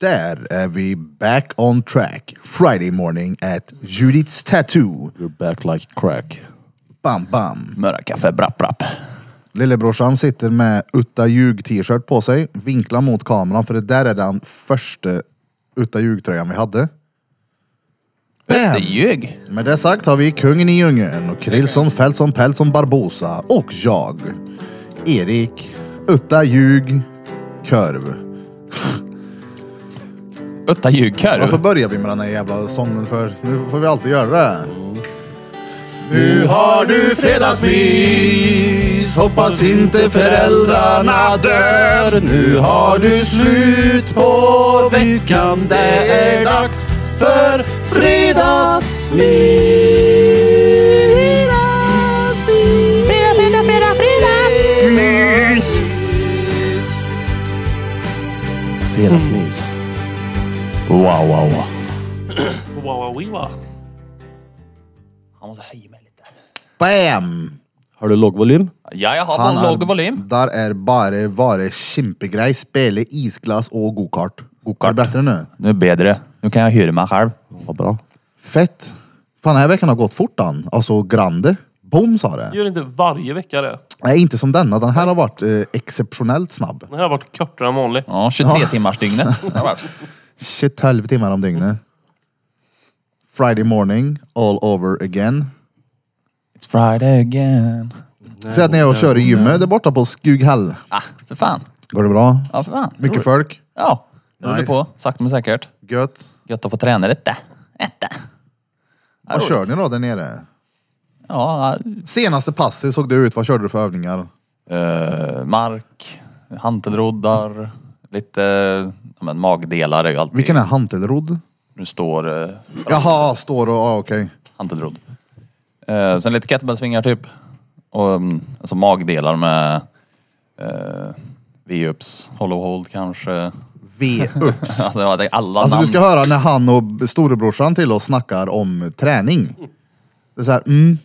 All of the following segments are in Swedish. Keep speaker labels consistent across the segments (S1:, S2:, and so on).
S1: Där är vi back on track. Friday morning at Judith's Tattoo.
S2: You're back like crack.
S1: Bam, bam.
S2: Möra kaffe, brapp, brapp.
S1: Lillebrorsan sitter med Utta Ljug t-shirt på sig, vinklar mot kameran för det där är den första Utta Ljug-tröjan vi hade.
S2: Det ljög.
S1: Med det sagt har vi kungen i djungeln och Krillson, Fältson, Pältson, Barbosa och jag. Erik, Utta Ljug, Körv.
S2: Utta ljugkorv.
S1: Varför börjar vi med den här jävla sången för? Nu får vi alltid göra det.
S2: Nu har du
S1: fredagsmys, hoppas inte föräldrarna dör. Nu har du slut på veckan, det är dags för fredagsmys.
S3: Fredag, fredag, fredag, fredags!
S2: Fredagsmys. Wow, wow, wow.
S4: Wawawiwa. Han måste höja mig lite.
S1: Bam!
S2: Har du låg volym?
S4: Ja, jag har en låg volym.
S1: Där är bara vare kimpegrej, spela isglass och gokart.
S2: Gokart.
S1: Är det bättre nu?
S4: Nu är bättre. Nu kan jag hyra mig själv.
S2: Vad bra.
S1: Fett. Fan, den här veckan har gått fort dan. Alltså grande. Bom sa det.
S5: Gör inte varje vecka det.
S1: Nej, inte som denna. Den här har varit eh, exceptionellt snabb.
S5: Den här har varit kortare än vanligt.
S4: Ja, 23 timmars dygnet. Det har varit.
S1: 12 timmar om dygnet. Friday morning, all over again.
S4: It's Friday again.
S1: Säg att när jag kör i gymmet där borta på Skughäll.
S4: Ah, för fan.
S1: Går det bra?
S4: Ja, för fan.
S1: Mycket folk?
S4: Ja, det rullar
S1: Nice.
S4: på. Sakta men säkert.
S1: Gött.
S4: Gött att få träna lite. Äta.
S1: Vad kör ni då där nere?
S4: Ja,
S1: Senaste passet hur såg det ut? Vad körde du för övningar?
S4: eh, mark, hantelroddar, lite ja, men, magdelar är ju alltid...
S1: Vilken är hantelrodd?
S4: Nu står uh,
S1: Jaha, står och... Ah, okej.
S4: hantelrodd. Eh, sen lite kettlebellsvingar typ. Och, mm, alltså magdelar med uh, V-ups, hollow hold kanske.
S1: V-ups.
S4: Alltså, ja, det är alla
S1: Alltså
S4: namn.
S1: du ska höra när han och storebrorsan till oss snackar om träning. Det är så här, mm.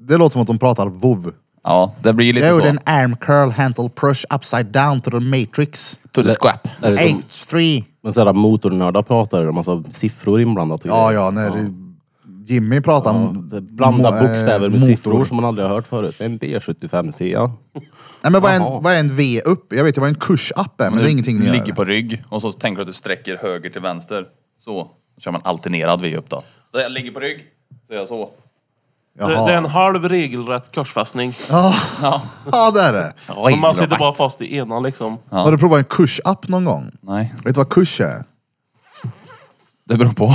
S1: Det låter som att de pratar vov.
S4: Ja, det blir lite
S1: Jag gjorde
S4: så.
S1: en arm curl, handle push upside down to the matrix.
S4: To the scrap.
S2: Är det som,
S1: Eight, three.
S2: men sådär motornördar pratar om massa siffror inblandat och
S1: Ja,
S2: grejer.
S1: ja, när Jimmy pratar om...
S2: Det Blanda
S1: mo- eh,
S2: bokstäver med
S1: motor.
S2: siffror som man aldrig har hört förut. En B75C, ja.
S1: Nej, men vad är,
S2: Jaha.
S1: en, vad är en V-upp? Jag vet ju vad en kurs-app är, men det är ingenting ni
S4: du
S1: gör.
S4: ligger på rygg och så tänker du att du sträcker höger till vänster. Så. Då kör man alternerad V-upp då. Så jag ligger på rygg, så gör jag så.
S5: Det,
S1: Jaha.
S5: det är en halv regelrätt korsfästning.
S1: Ja, det är det.
S5: Men man sitter bara fast i ena liksom.
S1: Har du provat en kurs-app någon gång?
S4: Nej,
S1: Vet du vad kurs är?
S4: det beror på.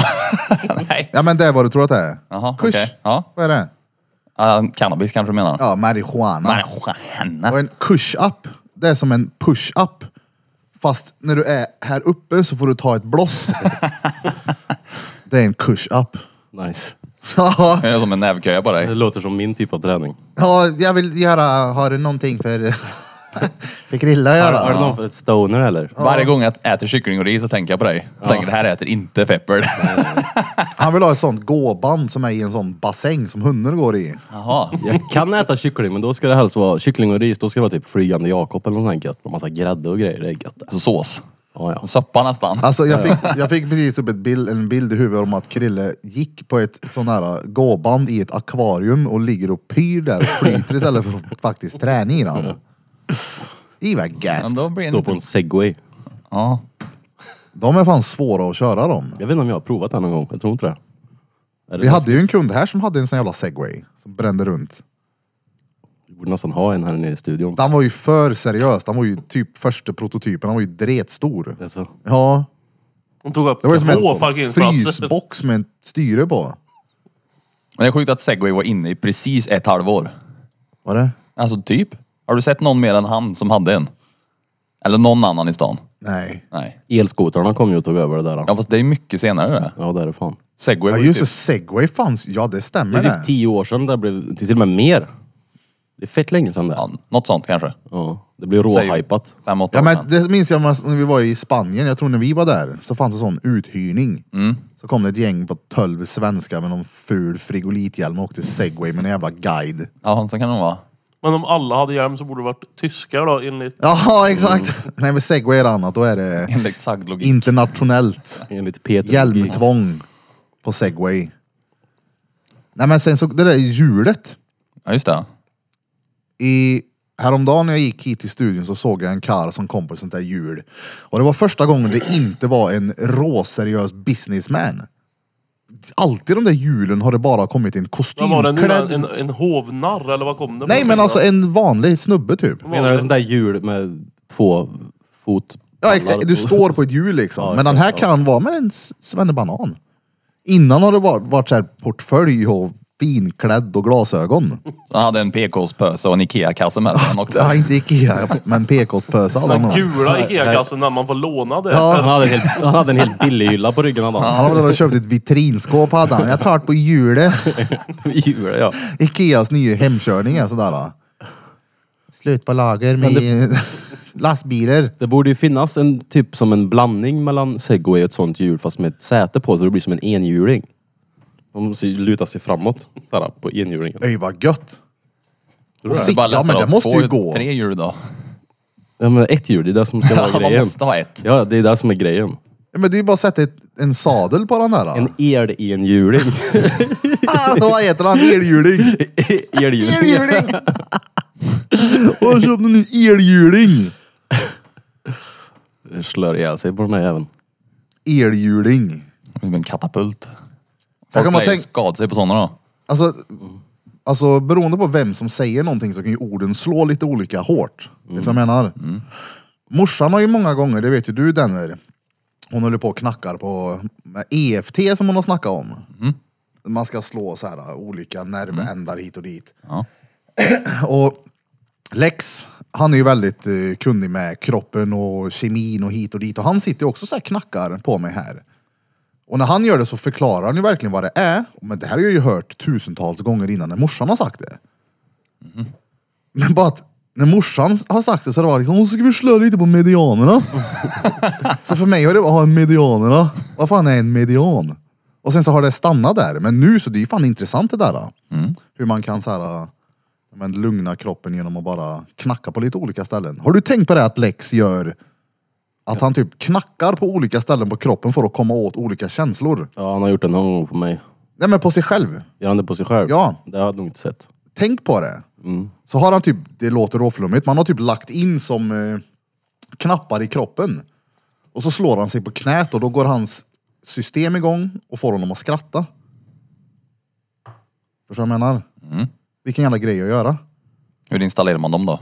S4: Nej.
S1: Ja, men det är vad du tror att det är.
S4: Jaha,
S1: kurs.
S4: okej. Ja.
S1: Vad är det?
S4: Ah, cannabis kanske du menar?
S1: Ja, marijuana.
S4: Marijuana.
S1: Och en push-up, det är som en push-up. Fast när du är här uppe så får du ta ett bloss. det är en push-up.
S2: Nice.
S1: Ja,
S4: Jag är som en nävköja på
S2: Det
S4: dig.
S2: låter som min typ av träning.
S1: ja, jag vill göra, har du någonting för, för grilla att
S2: Har, har du
S1: göra?
S2: någon för ett stoner eller?
S4: Varje gång jag äter kyckling och ris så tänker jag på dig. Jag tänker det här äter inte Pepper.
S1: Han vill ha ett sånt gåband som är i en sån bassäng som hundar går i.
S4: Jaha.
S2: Jag kan äta kyckling men då ska det helst vara kyckling och ris. Då ska det vara typ flygande Jakob eller något sånt gött. Med massa grädde och grejer. Det är gött det.
S4: Så sås.
S2: Ja, ja.
S4: Soppa nästan.
S1: Alltså jag fick, jag fick precis upp ett bild, en bild i huvudet om att Krille gick på ett sån här gåband i ett akvarium och ligger och pyr där och flyter istället för att faktiskt träna i den. Det var
S4: Men
S1: gött.
S4: då blir det
S2: Stå på
S4: inte...
S2: en segway.
S4: Ja.
S1: De är fan svåra att köra dem.
S2: Jag vet inte om jag har provat det någon gång. Jag tror inte det. Är det
S1: Vi hade ju en kund här som hade en sån jävla segway som brände runt.
S2: Vi borde nästan ha en här nere i studion.
S1: Den var ju för seriös. Den var ju typ första prototypen. Den var ju dretstor.
S2: Alltså,
S1: Ja,
S5: De tog upp
S1: det var ju som
S5: två
S1: en
S5: parkeringsplatser.
S1: frysbox med ett styre på.
S4: Men det är sjukt att segway var inne i precis ett halvår.
S1: Var det?
S4: Alltså typ. Har du sett någon mer än han som hade en? Eller någon annan i stan?
S1: Nej.
S4: Nej.
S2: elskotrarna kom ju och tog över det där.
S4: Ja
S2: Ja,
S4: fast det är mycket senare det.
S2: det är det fan.
S4: Segway
S1: Ja
S4: var ju
S1: just det,
S4: typ...
S1: segway fanns. Ja det
S2: Det
S1: stämmer
S2: är typ
S1: det.
S2: tio år sedan det blev, till och med mer. Det är fett länge sedan det.
S4: Ja, något sånt kanske.
S2: Ja, det blir råhypat.
S4: Fem, åtta
S1: Ja
S4: år
S1: men
S4: sedan.
S1: det minns jag när vi var i Spanien. Jag tror när vi var där så fanns det sån uthyrning. Så kom det ett gäng på 12 svenskar med någon ful frigolithjälm och åkte segway med en jävla guide.
S4: Ja, så kan det vara.
S5: Men om alla hade hjälm så borde det varit tyskar då enligt...
S1: Ja, exakt. Nej men segway är annat, då är det
S4: Enligt sagd logik.
S1: internationellt.
S2: Enligt Peter.
S1: Hjälmtvång på segway. Nej men sen så, det där hjulet.
S4: Ja just det.
S1: I, häromdagen när jag gick hit till studion så såg jag en kar som kom på ett sånt där hjul. Och det var första gången det inte var en råseriös businessman. Alltid de där hjulen har det bara kommit en
S5: Vad var det nu? En,
S1: kostymklädd...
S5: en, en hovnarr eller vad kom det?
S1: Nej men alltså en vanlig snubbe typ.
S2: Menar du sånt där hjul med två fot?
S1: Ja, ex- du står på ett hjul liksom. men den här kan vara med en s- svennebanan. Innan har det varit, varit så här portfölj och finklädd och glasögon.
S4: Han hade en PK-spöse och en Ikea-kasse med sig. Han åkte-
S1: Ja, inte Ikea, men PKs-pösa hade han
S5: Den
S1: nog.
S5: gula Ikea-kassen när man får låna det.
S1: Ja.
S2: Han hade, en hel, han hade en hel billig hylla på ryggen. Han bara,
S1: Han hade väl köpt ett vitrinskåp hade han. Jag tar det på hjulet.
S2: hjul, ja.
S1: Ikeas nya hemkörning är sådär. då. Slut på lager med lastbilar.
S2: Det borde ju finnas en typ som en blandning mellan segway och ett sånt hjul fast med ett säte på så det blir som en enhjuling. Man måste ju luta sig framåt såhär, på enhjulingen.
S1: Öj vad gött. Och
S4: Det är
S1: sitta,
S4: bara
S1: ja,
S4: lättare
S1: men det
S4: att
S1: måste
S4: få
S1: ju
S4: ut
S1: gå.
S4: Tre hjul då.
S2: Ja men ett hjul, det är det som ska vara
S4: Man
S2: grejen.
S4: måste ha ett.
S2: Ja det är det som är grejen.
S1: Ja, Men det är ju bara att sätta ett, en sadel på den där. då.
S2: En el-enhjuling.
S1: Ah, vad heter han? Elhjuling.
S2: Elhjuling.
S1: Elhjuling! Och jag köpte en ny elhjuling!
S2: Slör ihjäl sig på den här jäveln.
S1: Elhjuling.
S4: Det blir En katapult.
S1: Här
S4: Folk
S1: kan man
S4: lär ju
S1: tänka,
S4: skada sig på sådana då.
S1: alltså, alltså beroende på vem som säger någonting så kan ju orden slå lite olika hårt. Vet du vad jag menar? Morsan har ju många gånger, det vet ju du Denver, hon håller på och knackar på med EFT som hon har snackat om. Man ska slå så här olika nervändar hit och dit.
S4: Ja.
S1: Och Lex, han är ju väldigt eh, kunnig med kroppen och kemin och hit och dit. Och han sitter ju också så här knackar på mig här. Och när han gör det så förklarar han ju verkligen vad det är. Men det här har jag ju hört tusentals gånger innan när morsan har sagt det. Men bara att när morsan har sagt det så har det varit liksom, "Åh, ska vi slå lite på medianerna. så för mig har det varit, medianerna, vad fan är en median? Och sen så har det stannat där. Men nu så det är ju fan intressant det där. då. Hur man kan så här, men lugna kroppen genom att bara knacka på lite olika ställen. Har du tänkt på det att Lex gör att han typ knackar på olika ställen på kroppen för att komma åt olika känslor?
S2: Ja han har gjort det någon gång på mig.
S1: Nej men på sig själv.
S2: Gör han det på sig själv?
S1: Ja.
S2: Det hade jag nog inte sett.
S1: Tänk på det. Så har han typ, det låter råflummigt, man har typ lagt in som eh, knappar i kroppen. Och så slår han sig på knät och då går hans system igång och får honom att skratta. Förstår du vad jag menar?
S4: Mm.
S1: Vilken jävla grej att göra.
S4: Hur installerar man dem då?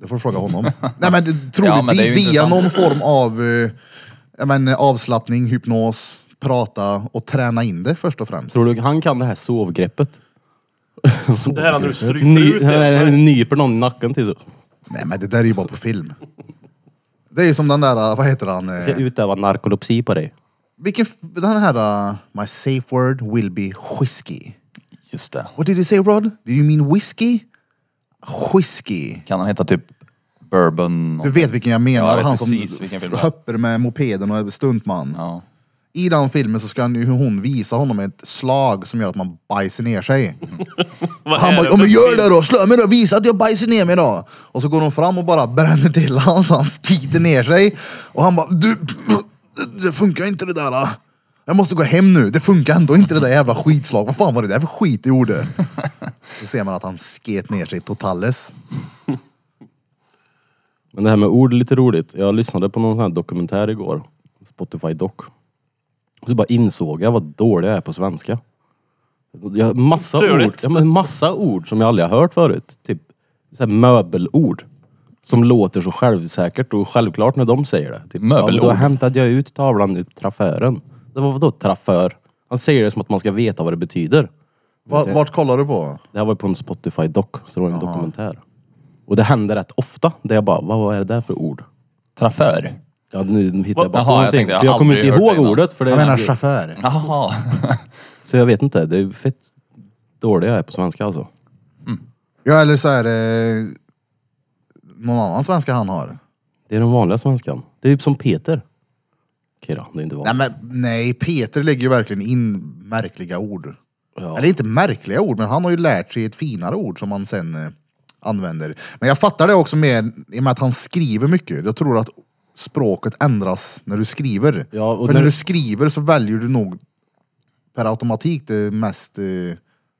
S1: Det får du fråga honom. Nej men det- troligtvis
S4: Ja, men det är ju
S1: via
S4: intressant.
S1: någon form av eh, ja, men, eh, avslappning, hypnos, prata och träna in det först och främst.
S2: Tror du han kan det här sovgreppet?
S5: Det här när du stryper
S2: Ny,
S5: ut det.
S2: han nyper någon i nacken till så.
S1: Nej men det där är ju bara på film. Det är ju som den där, eh, vad heter han? eh,
S2: Ska jag utöva narkolepsi på dig?
S1: Vilken, f- den här eh, My safe word will be whiskey.
S4: Just det.
S1: What did you say Rod? Did you mean whiskey? Whiskey.
S4: Kan han heta typ Bourbon?
S1: Du vet vilken jag menar,
S4: Ja, jag
S1: han
S4: vet
S1: som
S4: precis vilken film det är.
S1: hoppar med mopeden och är stuntman.
S4: Ja.
S1: I den filmen så ska han ju- hon visa honom ett slag som gör att man bajsar ner sig.
S5: Vad
S1: Han
S5: är
S1: bara,
S5: det
S1: ja
S5: för
S1: men gör
S5: film?
S1: det då, slå mig då, visa att jag bajsar ner mig då. Och så går hon fram och bara bränner till han så han skiter ner sig. Och han bara, du, det funkar inte det där. ah. Jag måste gå hem nu, det funkar ändå inte det där jävla skitslaget. Vad fan var det där för skit du gjorde? Så ser man att han sket ner sig totales.
S2: Men det här med ord är lite roligt. Jag lyssnade på någon sån här dokumentär igår. Spotify Doc. Och så bara insåg jag vad dålig jag är på svenska. Jag har massa
S5: Turligt.
S2: ord, ja, men massa ord som jag aldrig har hört förut. Typ så här möbelord. Som låter så självsäkert och självklart när de säger det. Typ,
S4: Möbelord.
S2: Ja, men då hämtade jag ut tavlan ur trafören. Det var vadå traför? Han säger det som att man ska veta vad det betyder.
S1: Va, vart kollar du på?
S2: Det här var ju på en Spotify doc, så det var en dokumentär. Och det hände rätt ofta, där jag bara, vad vad är det där för ord?
S4: Traför?
S2: Ja, nu hittar jag bara
S4: Jaha,
S2: på
S4: jag
S2: någonting.
S4: tänkte, jag
S2: för jag
S4: har
S2: kommer inte
S4: aldrig hört
S2: ihåg
S4: det innan.
S2: ordet. För det,
S1: Jag menar chaufför.
S4: Jaha.
S2: så jag vet inte, det är fett dålig jag är på svenska alltså.
S1: Ja eller så är det någon annan svenska han har.
S2: Det är den vanliga svenskan. Det är typ som Peter. Okej då, det är inte
S1: Nej,
S2: vanligt.
S1: men, nej, Peter lägger ju verkligen in märkliga ord.
S2: Ja.
S1: Eller inte märkliga ord, men han har ju lärt sig ett finare ord som han sen eh, använder. Men jag fattar det också mer i och med att han skriver mycket. Jag tror att språket ändras när du skriver.
S2: Ja, och
S1: För
S2: när-
S1: när du skriver så väljer du nog per automatik det mest eh,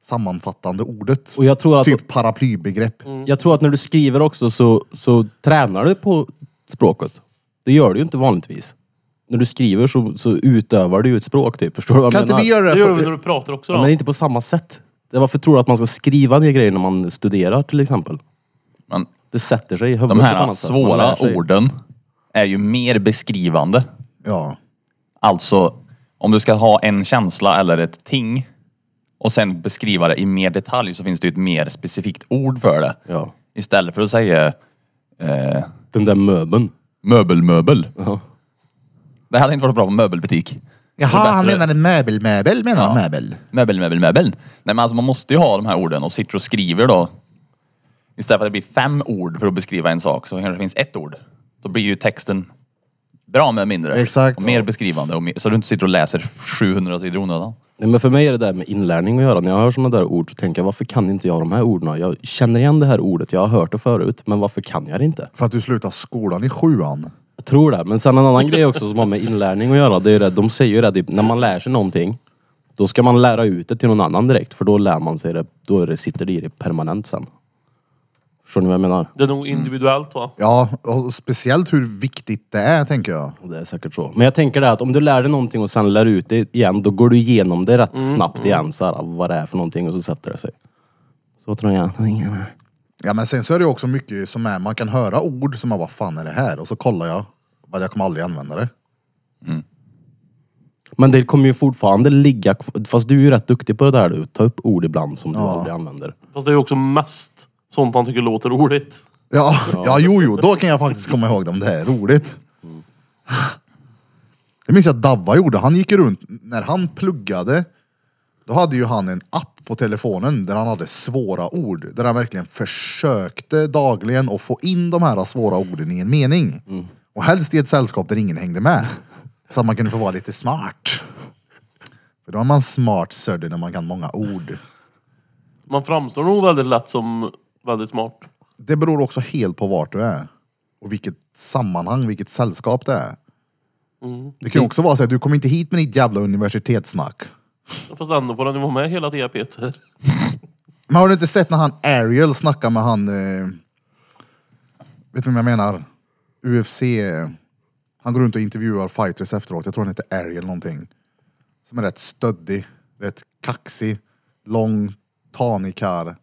S1: sammanfattande ordet.
S2: Och jag Mm. tror att,
S1: Typ paraplybegrepp.
S2: jag tror att när du skriver också så, så tränar du på språket. Det gör du ju inte vanligtvis. När du skriver så, så utövar du ju ett språk typ. Förstår du vad
S1: Kan
S2: jag
S1: inte
S2: menar?
S1: vi göra
S5: Det
S1: det?
S5: gör du väl
S1: på-
S5: när du pratar också
S2: Men
S5: då?
S2: inte på samma sätt. Det är varför tror du att man ska skriva ner grejer när man studerar till exempel?
S4: Men
S2: Det sätter sig i huvudet
S4: de
S2: på ett
S4: här
S2: annat sätt. Man lär
S4: svåra
S2: sig.
S4: orden är ju mer beskrivande.
S1: Ja.
S4: Alltså, om du ska ha en känsla eller ett ting och sen beskriva det i mer detalj så finns det ju ett mer specifikt ord för det.
S2: Ja.
S4: Istället för att säga eh,
S2: Den där möbeln.
S4: möbelmöbel.
S2: Ja.
S4: Det hade inte varit bra på möbelbutik.
S1: Jaha,
S4: bättre.
S1: han menade möbel, möbel menar han
S4: Ja.
S1: möbel.
S4: Möbel, möbel, möbel. Nej men alltså man måste ju ha de här orden och sitter och skriver då. Istället för att det blir fem ord för att beskriva en sak så kanske det finns ett ord. Då blir ju texten bra med mindre.
S1: Exakt.
S4: Och mer
S1: Ja.
S4: beskrivande. Och mer, så du inte sitter och läser 700 sidor i onödan.
S2: Nej, men för mig är det där med inlärning att göra. När jag hör sådana där ord så tänker jag, varför kan inte jag de här orden? Jag känner igen det här ordet, jag har hört det förut, men varför kan jag det inte?
S1: För att du slutade skolan i sjuan.
S2: Jag tror det. Men sen en annan grej också som har med inlärning att göra, det är ju det, de säger ju det, typ, när man lär sig någonting, då ska man lära ut det till någon annan direkt, för då lär man sig det, då är det, sitter det i det permanent sen. Förstår ni vad jag menar?
S5: Det är nog individuellt va?
S1: Ja, och speciellt hur viktigt det är tänker jag.
S2: Det är säkert så. Men jag tänker det att om du lär dig någonting och sen lär ut det igen, då går du igenom det rätt snabbt igen, så här, vad det är för någonting och så sätter det sig. Så tror jag.
S1: Ja men sen så är det ju också mycket som är, man kan höra ord som man vad fan är det här? Och så kollar jag, bara jag kommer aldrig använda det.
S2: Men det kommer ju fortfarande ligga kv- fast du är ju rätt duktig på det där du, ta upp ord ibland som du
S1: Ja.
S2: aldrig använder.
S5: Fast det är ju också mest sånt han tycker låter roligt.
S1: Ja, ja jo jo, då kan jag faktiskt komma ihåg dem, det här är roligt. Det minns jag att Davva gjorde, han gick ju runt, när han pluggade, då hade ju han en app på telefonen där han hade svåra ord. Där han verkligen försökte dagligen att få in de här svåra orden i en mening. Och helst i ett sällskap där ingen hängde med. Så att man kunde få vara lite smart. För då är man smart sördig när man kan många ord.
S5: Man framstår nog väldigt lätt som väldigt smart.
S1: Det beror också helt på vart du är. Och vilket sammanhang, vilket sällskap det är.
S5: Mm.
S1: Det kan ju också vara så att du kommer inte hit med ditt jävla universitetssnack.
S5: Fast ändå får han ju vara med hela tiden Peter.
S1: Men har du inte sett när han Ariel snackar med han... Eh, vet du vem jag menar? UFC. eh, Han går runt och intervjuar fighters efteråt. Jag tror han heter Ariel någonting. Som är rätt stöddig, rätt kaxig, lång, tanig karl.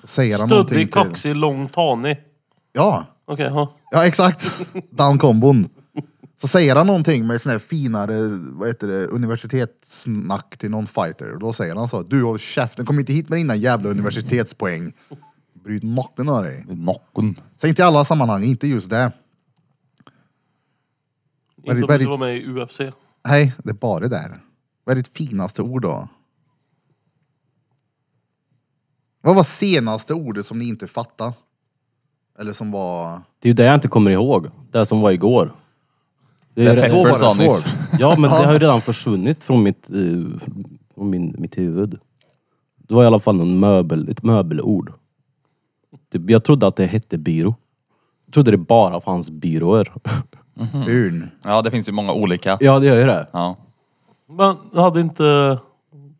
S1: Så säger han någonting
S5: Stöddig,
S1: till-
S5: kaxig, lång, tanig.
S1: Ja.
S5: Okej, ja.
S1: Ja, exakt. Den kombon. Så säger han någonting med sån här finare, vad heter det, universitetssnack till någon fighter. Då säger han så, du håll käften, kom inte hit med dina jävla universitetspoäng. Bryt nacken av dig.
S4: Nocken.
S1: Så inte i alla sammanhang, inte just det.
S5: Inte om
S1: vad är
S5: du
S1: det-
S5: ska vara med i UFC.
S1: Nej, det är bara där. Vad är ditt finaste ord då? Vad var senaste ordet som ni inte fattade? Eller som var...
S2: Det är ju det jag inte kommer ihåg. Det som var igår. Det
S4: Det
S2: ju rätt-
S1: Då var det
S4: Feppers sa nyss.
S1: svårt.
S2: Ja men det har ju redan försvunnit från mitt, eh, från min, mitt huvud. Det var i alla fall en möbel, ett möbelord. Typ, jag trodde att det hette byrå. Jag trodde det bara fanns byråer.
S1: Hmm. Urn.
S4: Ja det finns ju många olika.
S2: Ja det gör ju det.
S4: Ja.
S5: Men hade inte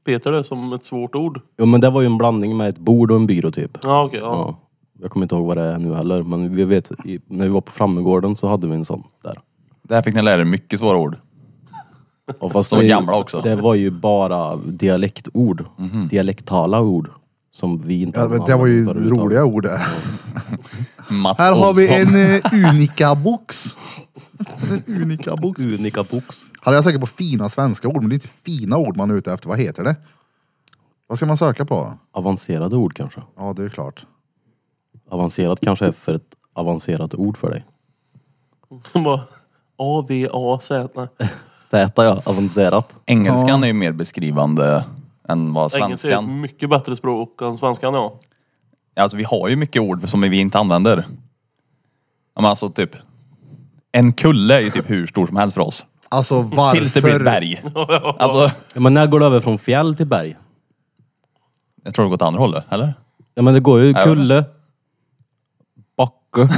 S5: Peter det som ett svårt ord?
S2: Ja, men det var ju en blandning med ett bord och en byrå typ.
S5: Ja, okej. ja.
S2: Ja. Jag kommer inte ihåg vad det är nu heller men vi vet, i, när vi var på Frammegården så hade vi en sån där.
S4: Där fick ni lära er mycket svåra ord.
S2: Och fast
S4: De
S2: det-
S4: gamla också.
S2: Det var ju bara dialektord. Dialektala ord. Som vi inte
S1: Ja,
S2: hade
S1: men det var ju
S2: använt förut.
S1: roliga ord det.
S4: Mats
S1: Här har vi
S4: Olsson.
S1: en eh, unika box. en unika box.
S2: Unika box.
S1: Hade jag sökt på fina svenska ord, men det är inte fina ord man är ute efter. Vad heter det? Vad ska man söka på?
S2: Avancerade ord kanske.
S1: Ja, det är klart.
S2: Avancerat kanske är för ett avancerat ord för dig.
S5: Bara A, V, A, Z. Nej.
S2: Z ja, avancerat.
S4: Engelskan är ju mer beskrivande än vad
S5: Engelska är ett
S4: svenskan...
S5: mycket bättre språk än svenskan ja.
S4: Alltså vi har ju mycket ord som vi inte använder. Ja, men alltså typ... En kulle är ju typ hur stor som helst för oss.
S1: Alltså varför...
S4: Tills det blir ett berg. Alltså,
S2: Ja, men när går det över från fjäll till berg?
S4: jag tror det går åt andra hållet, eller?
S2: Ja men det går ju kulle, Backe.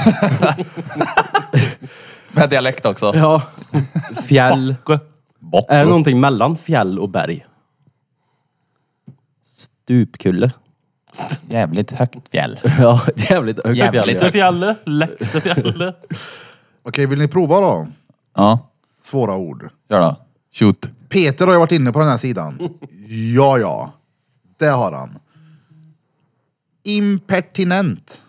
S4: Med dialekt också.
S2: Ja. Fjäll.
S4: Bock.
S2: Är det någonting mellan fjäll och berg? Stupkulle.
S4: Jävligt högt fjäll.
S2: Ja, jävligt höga
S4: Jävligt
S2: fjäll.
S4: högt.
S5: Läxtefjälle, Läxtefjälle.
S1: Okej, vill ni prova då?
S4: Ja,
S1: Svåra ord.
S4: gör det. Shoot.
S1: Peter har ju varit inne på den här sidan. Ja, ja. Det har han. Impertinent.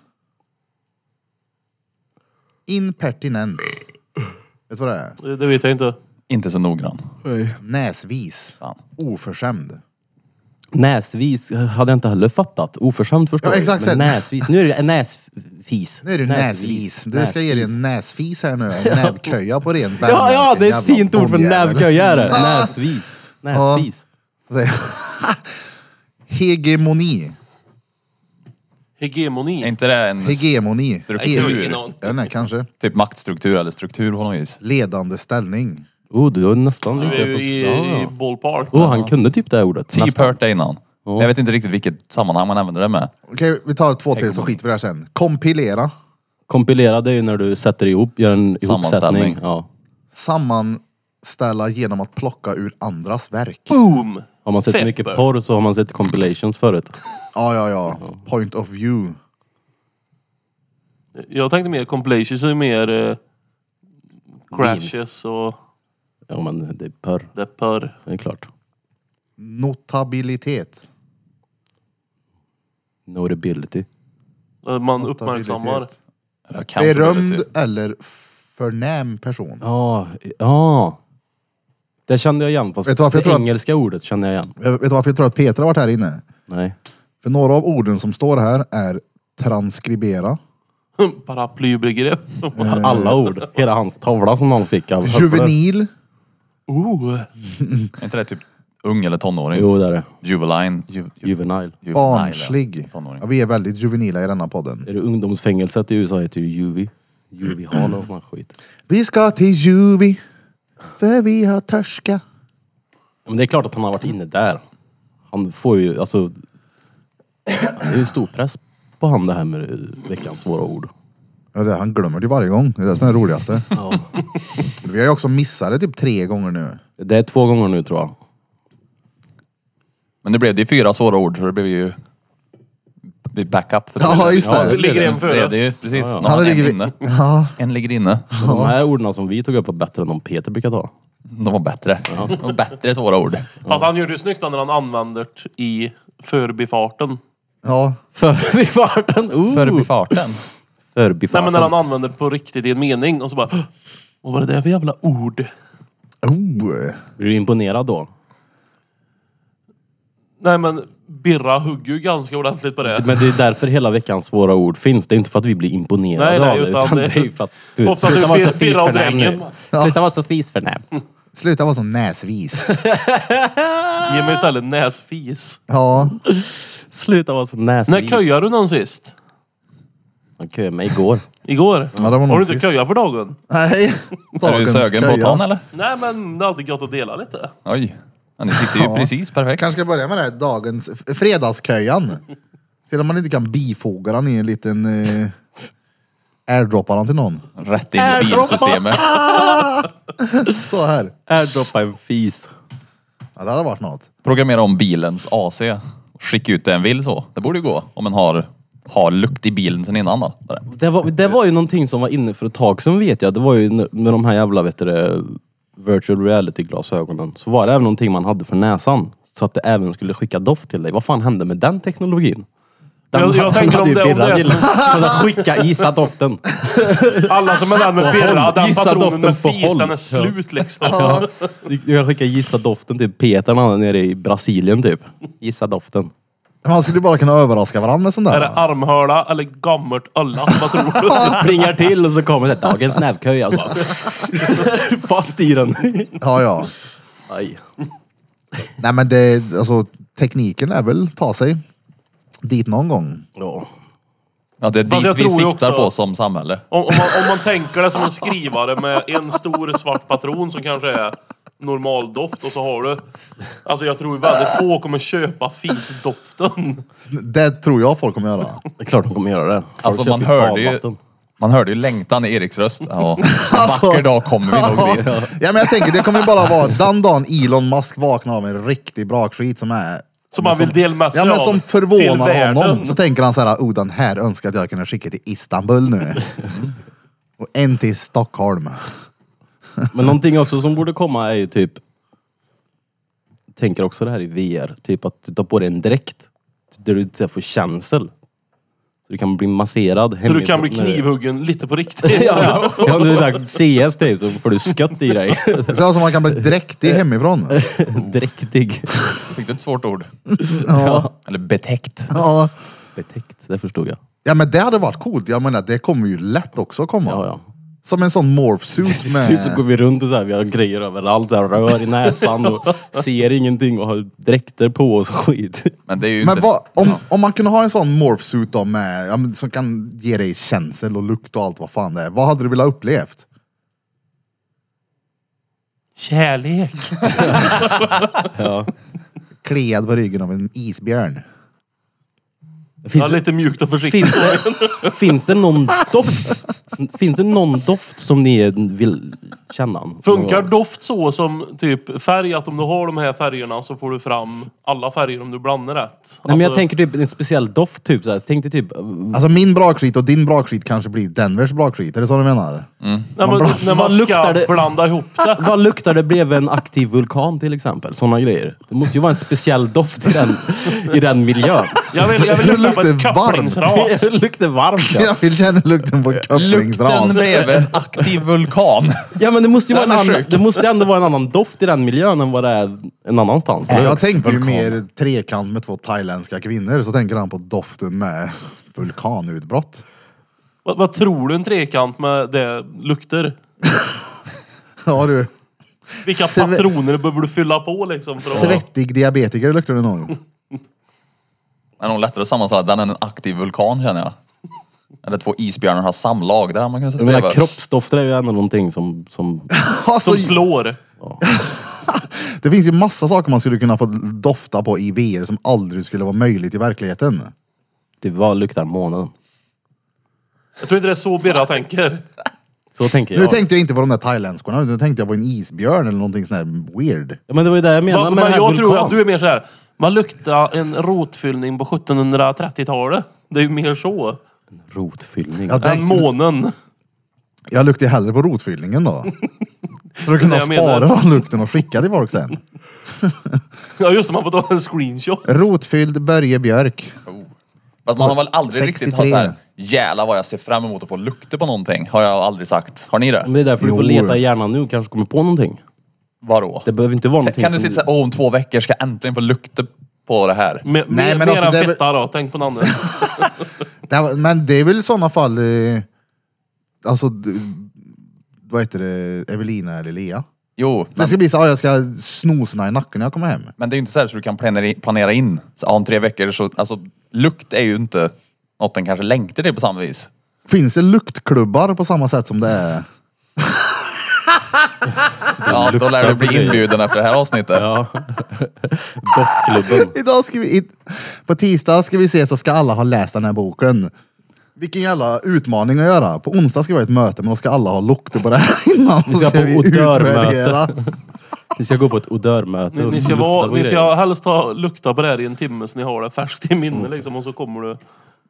S1: Impertinent. Vet du vad det är?
S5: Det det vet jag inte.
S4: Inte så noggrann.
S1: Näsvis.
S4: Fan.
S1: Oförskämd.
S2: Näsvis hade jag inte heller fattat. Oförskämt förstår
S1: Ja,
S2: jag.
S1: exakt
S2: Men
S1: så.
S2: näsvis. Nu är det näsfis.
S1: Nu är du näsvis. Du ska ge dig en näsfis här nu. En näbbköja på ren
S2: Ja, ja,
S1: värmländska,
S2: det är ett
S1: jävla
S2: fint ord för
S1: bonnjävel.
S2: nävköjare.
S1: Ah!
S2: Näsvis. Näsvis.
S1: Så säger jag, Hegemoni.
S5: Hegemoni.
S4: Är inte det en s-
S1: Hegemoni.
S4: Struktur.
S1: Hege-
S4: Ingen
S5: aning.
S1: Jag vet inte, kanske.
S4: typ maktstruktur eller struktur på något vis?
S1: Ledande ställning.
S2: Oh, du är nästan
S5: Vi
S2: lite
S5: är ju
S2: på...
S5: i,
S2: Ja.
S5: i ballpark.
S2: Oh, han kunde typ det här ordet.
S4: Typ
S2: Nästan.
S4: hört det innan. Men Jag vet inte riktigt vilket sammanhang man använder det med.
S1: Okej, vi tar två till så skiter vi där sen. Kompilera.
S2: Kompilera det är ju när du sätter ihop, gör en ihopsättning.
S4: Sammanställning.
S2: Ja.
S1: Sammanställa genom att plocka ur andras verk.
S5: Boom!
S2: Har man sett
S5: Fepper.
S2: mycket porr så har man sett compilations förut.
S1: Ja, ja, ja. Point of view.
S5: Jag tänkte mer compilations och mer eh,
S2: Memes.
S5: crashes och
S2: Ja men det är porr,
S5: deppar.
S2: det är klart.
S1: Notabilitet.
S2: Notability.
S5: Eh, Man uppmärksammar.
S1: Notabilitet.
S4: Berömd. typ-
S1: Berömd eller förnäm person.
S2: Ja, ja. Det kände jag igen fast
S1: Vet du varför jag
S2: det
S1: tror att-
S2: engelska ordet kände jag igen.
S1: Jag vet du varför jag tror att Peter har varit här inne?
S2: Nej.
S1: För några av orden som står här är transkribera,
S5: Paraplybegrepp.
S1: Eh.
S2: Alla ord. Hela hans tavla som han fick av
S1: juvenil,
S5: Oh,
S4: Är inte det typ ung eller tonåring?
S2: Jo det är det.
S4: Juveline. Ju, ju,
S2: Juvenile.
S4: juvenile.
S1: barnslig.
S4: Tonåring.
S1: Ja, vi är väldigt juvenila i denna podden.
S2: Är det ungdomsfängelset i USA heter ju Juvi. Juvi Hall och sån här skit.
S1: Vi ska till Juvi, för vi har törska.
S2: Men det är klart att han har varit inne där. Han får ju, alltså... Det är ju stor press på han det här med eh, veckans svåra ord.
S1: Ja, det, han glömmer det varje gång. Det är det som är det roligaste. Vi har ju också missat det typ tre gånger nu.
S2: Det är två gånger nu tror jag.
S4: Men nu blev det ju fyra svåra ord så det blev ju det är backup. För
S1: Ja, just det.
S4: blev
S5: Ligger en före.
S4: Det är det ju, precis. Ja,
S1: Han
S4: Han
S1: ligger
S4: ligger
S1: vi-
S4: inne.
S1: Ja.
S4: En ligger inne.
S2: Men De här orden som vi tog upp var bättre än de Peter brukar ta.
S4: De var bättre. De var bättre svåra ord.
S5: Fast han gjorde det snyggt när han använder det i förbifarten.
S1: Ja,
S2: Förbifarten! Oh.
S4: Förbifarten.
S5: Nej men
S2: Förbifarten.
S5: när han använder det på riktigt i en mening och så bara "Hå! Vad var det där för jävla ord?
S1: oh.
S2: Blir du imponerad då?
S5: Nej men Birra hugger ju ganska ordentligt på det.
S2: Men det är därför hela veckans svåra ord finns. Det är inte för att vi blir imponerade
S5: Nej, nej,
S2: av det.
S5: utan
S2: Utan,
S5: det-
S2: det är ju för att... Du,
S5: Hoppas du
S2: sluta vara
S5: blir-
S2: så
S5: blir av
S2: fisförnäm
S5: drängen.
S2: nu. Sluta vara så fisförnäm.
S1: Sluta vara så näsvis.
S5: Ge mig istället näsfis.
S1: Ja,
S2: Sluta vara så näsvis.
S5: När köjade du någon sist?
S2: Han köade mig igår.
S5: Igår?
S1: ja det var
S5: Har
S1: nog
S5: du inte
S1: sist.
S5: köjat för dagen?
S1: Nej.
S4: Är du sögen på att ta den eller?
S5: Nej men det är alltid gott att dela lite.
S4: Oj. Ja, ni sitter ju
S1: Ja.
S4: precis perfekt.
S1: kanske ska börja med det här dagens f- fredagsköjan. Se om man inte kan bifoga den i en liten eh, airdroppa den till någon.
S4: Rätt in i bilsystemet.
S1: Så här.
S2: Airdroppa en fis.
S1: Ja, det hade varit något.
S4: Programmera om bilens AC. Skicka ut det en vill så. Det borde ju gå. Om man har, har lukt i bilen sen innan då. Bara.
S2: Det var, det var ju någonting som var inne för ett tag sedan vet jag. Det var ju n- med de här jävla vet du, det, virtual reality-glasögonen. Så var det även någonting man hade för näsan. Så att det även skulle skicka doft till dig. Vad fan hände med den teknologin? Den,
S5: Jag- jag
S2: den
S5: tänker
S2: hade
S5: om
S2: ju
S5: det- om
S2: Birra
S5: det är
S2: gillat. Så att skicka, gissa doften.
S5: Alla som är där med Birra, den
S2: Gissa
S5: patronen
S2: doften
S5: med
S2: på
S5: fis,
S2: håll.
S5: den är
S2: Ja.
S5: slut liksom.
S2: Du, du kan skicka gissa doften till Peter när han är nere i Brasilien typ. Gissa doften.
S1: Man skulle ju bara kunna överraska varandra med sån
S5: Är
S1: där.
S5: det armhöla eller gammalt ölla? Vad tror du?
S2: Plingar till och så kommer det dagens nävköja. så bara- Fast i den.
S1: Ja, ja.
S2: Aj.
S1: Nej, men det, alltså, tekniken är väl ta sig dit någon gång.
S2: Ja.
S4: Ja, det är
S5: Fast jag
S4: dit vi
S5: tror ju
S4: siktar
S5: också-
S4: på som samhälle.
S5: Om, om, man, om man tänker det som en skrivare med en stor svart patron som kanske är normaldoft och så har du... Alltså jag tror väldigt få kommer köpa fisdoften.
S1: Det tror jag folk kommer göra.
S2: Det är klart de kommer göra det. Folk
S4: Alltså
S2: köper
S4: man hörde ju...
S2: badvatten.
S4: Man hörde ju längtan i Eriks röst. Ja. En vacker dag kommer vi nog dit.
S1: Ja men jag tänker, det kommer ju bara vara den dagen Elon Musk vaknar av en riktig brakskit som är...
S5: Som han vill dela med sig
S1: Ja men
S5: av
S1: som
S5: till
S1: förvånar
S5: världen.
S1: honom. Så tänker han så här, oh den här önskar att jag kunde skicka till Istanbul nu. Och en till Stockholm.
S2: Men någonting också som borde komma är ju typ... Tänker också det här i VR. Typ att du tar på dig en dräkt. Där du så här får känsel. Så du kan bli masserad
S5: Så
S2: hemifrån.
S5: du kan bli knivhuggen lite på riktigt.
S2: Ja, ja. ja, om du är CS typ så får du skött i dig.
S1: Så som man kan bli dräktig hemifrån.
S2: Dräktig.
S4: Fick du ett svårt ord?
S1: Ja.
S4: Eller betäckt.
S1: Ja.
S2: Betäckt, det förstod jag.
S1: ja men det hade varit coolt. Jag menar det kommer ju lätt också komma.
S2: Ja, ja.
S1: Som en sån morph suit
S2: Till slut Typ så går
S1: med...
S2: vi runt och så här, vi har grejer överallt, så här, rör i näsan och ser ingenting och har dräkter på oss och skit.
S4: Men det är ju
S1: Men
S4: inte...
S1: vad, om,
S4: Ja.
S1: om man kunde ha en sån morph suit då med, ja, men som kan ge dig känsel och lukt och allt vad fan det är. Vad hade du velat ha upplevt?
S5: Kärlek.
S1: Kliad på ryggen av en isbjörn.
S5: Ja,
S2: Finns,
S5: lite mjukt och försiktigt.
S2: finns, det, finns det någon doft? Finns det någon doft som ni vill känna?
S5: Funkar doft så som typ färg, att om du har de här färgerna så får du fram alla färger om du blandar rätt?
S2: Nej, men jag
S5: Alltså,
S2: tänker typ en speciell doft typ såhär. Tänk dig typ...
S1: Alltså min brakskit och din brakskit kanske blir Denvers brakskit, är det så du menar?
S4: Mm.
S5: när man,
S1: bland-
S5: när man
S2: Vad
S5: ska
S2: luktar det?
S5: blanda ihop det.
S2: Vad luktar det bredvid en aktiv vulkan till exempel? Sådana grejer. Det måste ju vara en speciell doft i den, i den miljön.
S5: Jag vill, jag vill
S1: Det
S5: lukta på ett
S1: luktar varmt.
S5: kapplingsras.
S2: Det luktar varmt ja.
S1: Jag vill känna lukten på
S4: Lukten
S1: kopplingsras.
S4: bredvid en aktiv vulkan.
S2: Ja men det måste ju vara en
S4: Den är
S2: annan,
S4: sjuk.
S2: det måste ändå vara en annan doft i den miljön än vad det är en annanstans.
S1: Jag tänkte ju
S4: Vulkan.
S1: mer trekant med två thailändska kvinnor, så tänker han på doften med vulkanutbrott.
S5: Vad, vad tror du en trekant med det lukter?
S1: Ja du,
S5: Vilka
S1: Sve-
S5: patroner behöver du fylla på liksom? För att...
S1: svettig diabetiker luktar det nog.
S4: Det är nog lättare att sammanställa den än en aktiv vulkan känner jag. Eller två isbjörnar har samlag. Där hade man kunnat sätta
S2: Jag menar
S4: bredvid.
S2: kroppsdofter är ju ändå någonting som... som
S1: Alltså,
S5: Som slår.
S1: det finns ju massa saker man skulle kunna få dofta på i VR som aldrig skulle vara möjligt i verkligheten.
S2: det var typ luktar månen.
S5: Jag tror inte det är så Birra tänker.
S2: Så tänker
S1: Nu
S2: jag.
S1: tänkte jag inte på de där thailändskorna, utan nu tänkte jag på en isbjörn eller någonting sånt där weird.
S2: ja, men det var ju det jag menade
S5: Va,
S2: med den
S5: men
S2: här
S5: jag
S2: vulkan.
S5: tror att du är mer så här. Man luktar en rotfyllning på 1730-talet. Det är ju mer så.
S2: Rotfyllning.
S1: Ja,
S5: Än
S1: den,
S5: månen.
S1: jag luktar ju hellre på rotfyllningen då. För att kunna
S5: Det jag menar.
S1: spara den lukten och skicka till folk sen.
S5: Ja just det, man får ta en screenshot.
S1: Rotfylld Börje Björk.
S4: Fast man har väl aldrig riktigt har
S1: 63.
S4: så här, jävlar vad jag ser fram emot att få lukta på någonting. Har jag aldrig sagt. Har ni det?
S2: Men det är därför du får
S1: Jo.
S2: leta i hjärnan nu och kanske kommer på någonting.
S4: Vadå?
S2: Det behöver inte vara någonting
S4: Kan du
S2: som...
S4: sitta såhär, åh om två veckor ska jag äntligen få lukta på det här.
S5: Med,
S1: Nej,
S5: Nej,
S1: men
S5: men
S1: alltså, det är
S5: än
S1: väl-
S5: fetta då, tänk på något annat.
S1: Det här, men det är väl i sådana fall, eh, alltså, d- vad heter det, Evelina eller Lea?
S4: Jo,
S1: Det
S4: men,
S1: ska bli så, ah, jag ska snosna i nacken när jag kommer hem.
S4: men det är ju inte så, här så du kan planera, planera in. Så, ja, om tre veckor så, alltså lukt är ju inte något den kanske längtar till på samma vis.
S1: Finns det luktklubbar på samma sätt som det är?
S4: Ja, då lär du
S2: luktar på
S4: bli
S2: dig.
S4: inbjuden efter det här avsnittet.
S2: Ja. Doftklubben.
S1: Idag ska vi, i, på tisdag ska vi ses så ska alla ha läst den här boken. Vilken jävla utmaning att göra. På onsdag ska vi ha ett möte men då ska alla ha lukter på det här innan.
S2: Vi ska på odörmöte.
S1: utvärdera.
S2: Ni ska gå på ett odörmöte
S5: Ni,
S2: och
S5: ni, ska
S2: lukta
S5: vara,
S2: på
S5: ni
S2: grejer.
S5: ska helst ta, lukta på det här i en timme så ni har det färskt i
S1: Mm.
S5: minne liksom och så kommer du...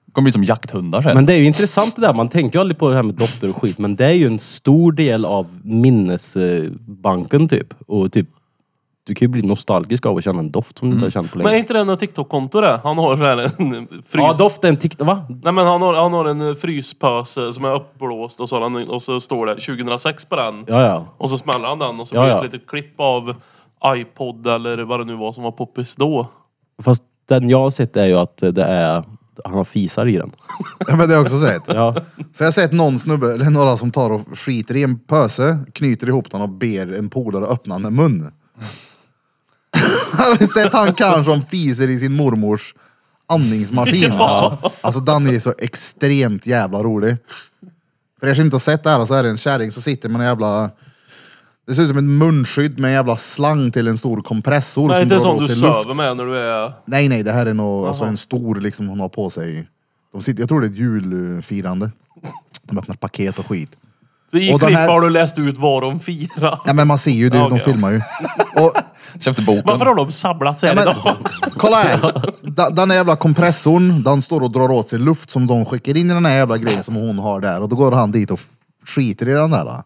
S4: Det kommer bli som jakthundar sen.
S2: Men det är ju intressant det där. Man tänker ju aldrig på det här med dofter och skit. Men det är ju en stor del av minnesbanken typ. Och typ, du kan ju bli nostalgisk av att känna en doft som du inte har känt på
S5: Mm. Men är
S2: länge.
S5: inte det något TikTok-konto det? Han har så här en frys...
S2: Ja, doften tickar... Va?
S5: Nej men han har, han har en eh, fryspöse som är uppblåst och så, har han, och så står det 2006 på den.
S2: Ja, ja.
S5: Och så smäller han den och så
S2: Ja,
S5: blir det
S2: ja.
S5: ett litet klipp av iPod eller vad det nu var som var poppis då.
S2: Fast den jag har sett är ju att det är... Han har fisar i den.
S1: Ja, men det har jag också sett.
S2: Ja.
S1: Så jag har sett någon snubbe, eller några som tar och skiter i en pöse, knyter ihop den och ber en polare öppna den med mun. Har du sett han karln som fiser i sin mormors andningsmaskin? Alltså den är så extremt jävla rolig. För er som inte har sett det här så är det en kärring som sitter med en jävla... Det ser ut som ett munskydd med en jävla slang till en stor kompressor
S5: Nej,
S1: som
S5: inte
S1: drar
S5: sån
S1: åt
S5: du
S1: sig
S5: söver
S1: luft.
S5: med när du är...
S1: Nej nej, det här är nog alltså, en stor liksom hon har på sig. De sitter, jag tror det är ett julfirande. De öppnar paket och skit.
S5: Så i
S1: Och den
S5: klipp
S1: här-
S5: har du läst ut vad de firar.
S1: Nej men man ser ju, det,
S5: Ja,
S1: de
S5: okej.
S1: filmar ju. Och,
S4: Köpte boken.
S5: Varför har de sablat sig här
S1: nej,
S5: idag?
S1: men, kolla här! Da- Den här jävla kompressorn, den står och drar åt sig luft som de skickar in i den här jävla grejen som hon har där. Och då går han dit och skiter i den där. då.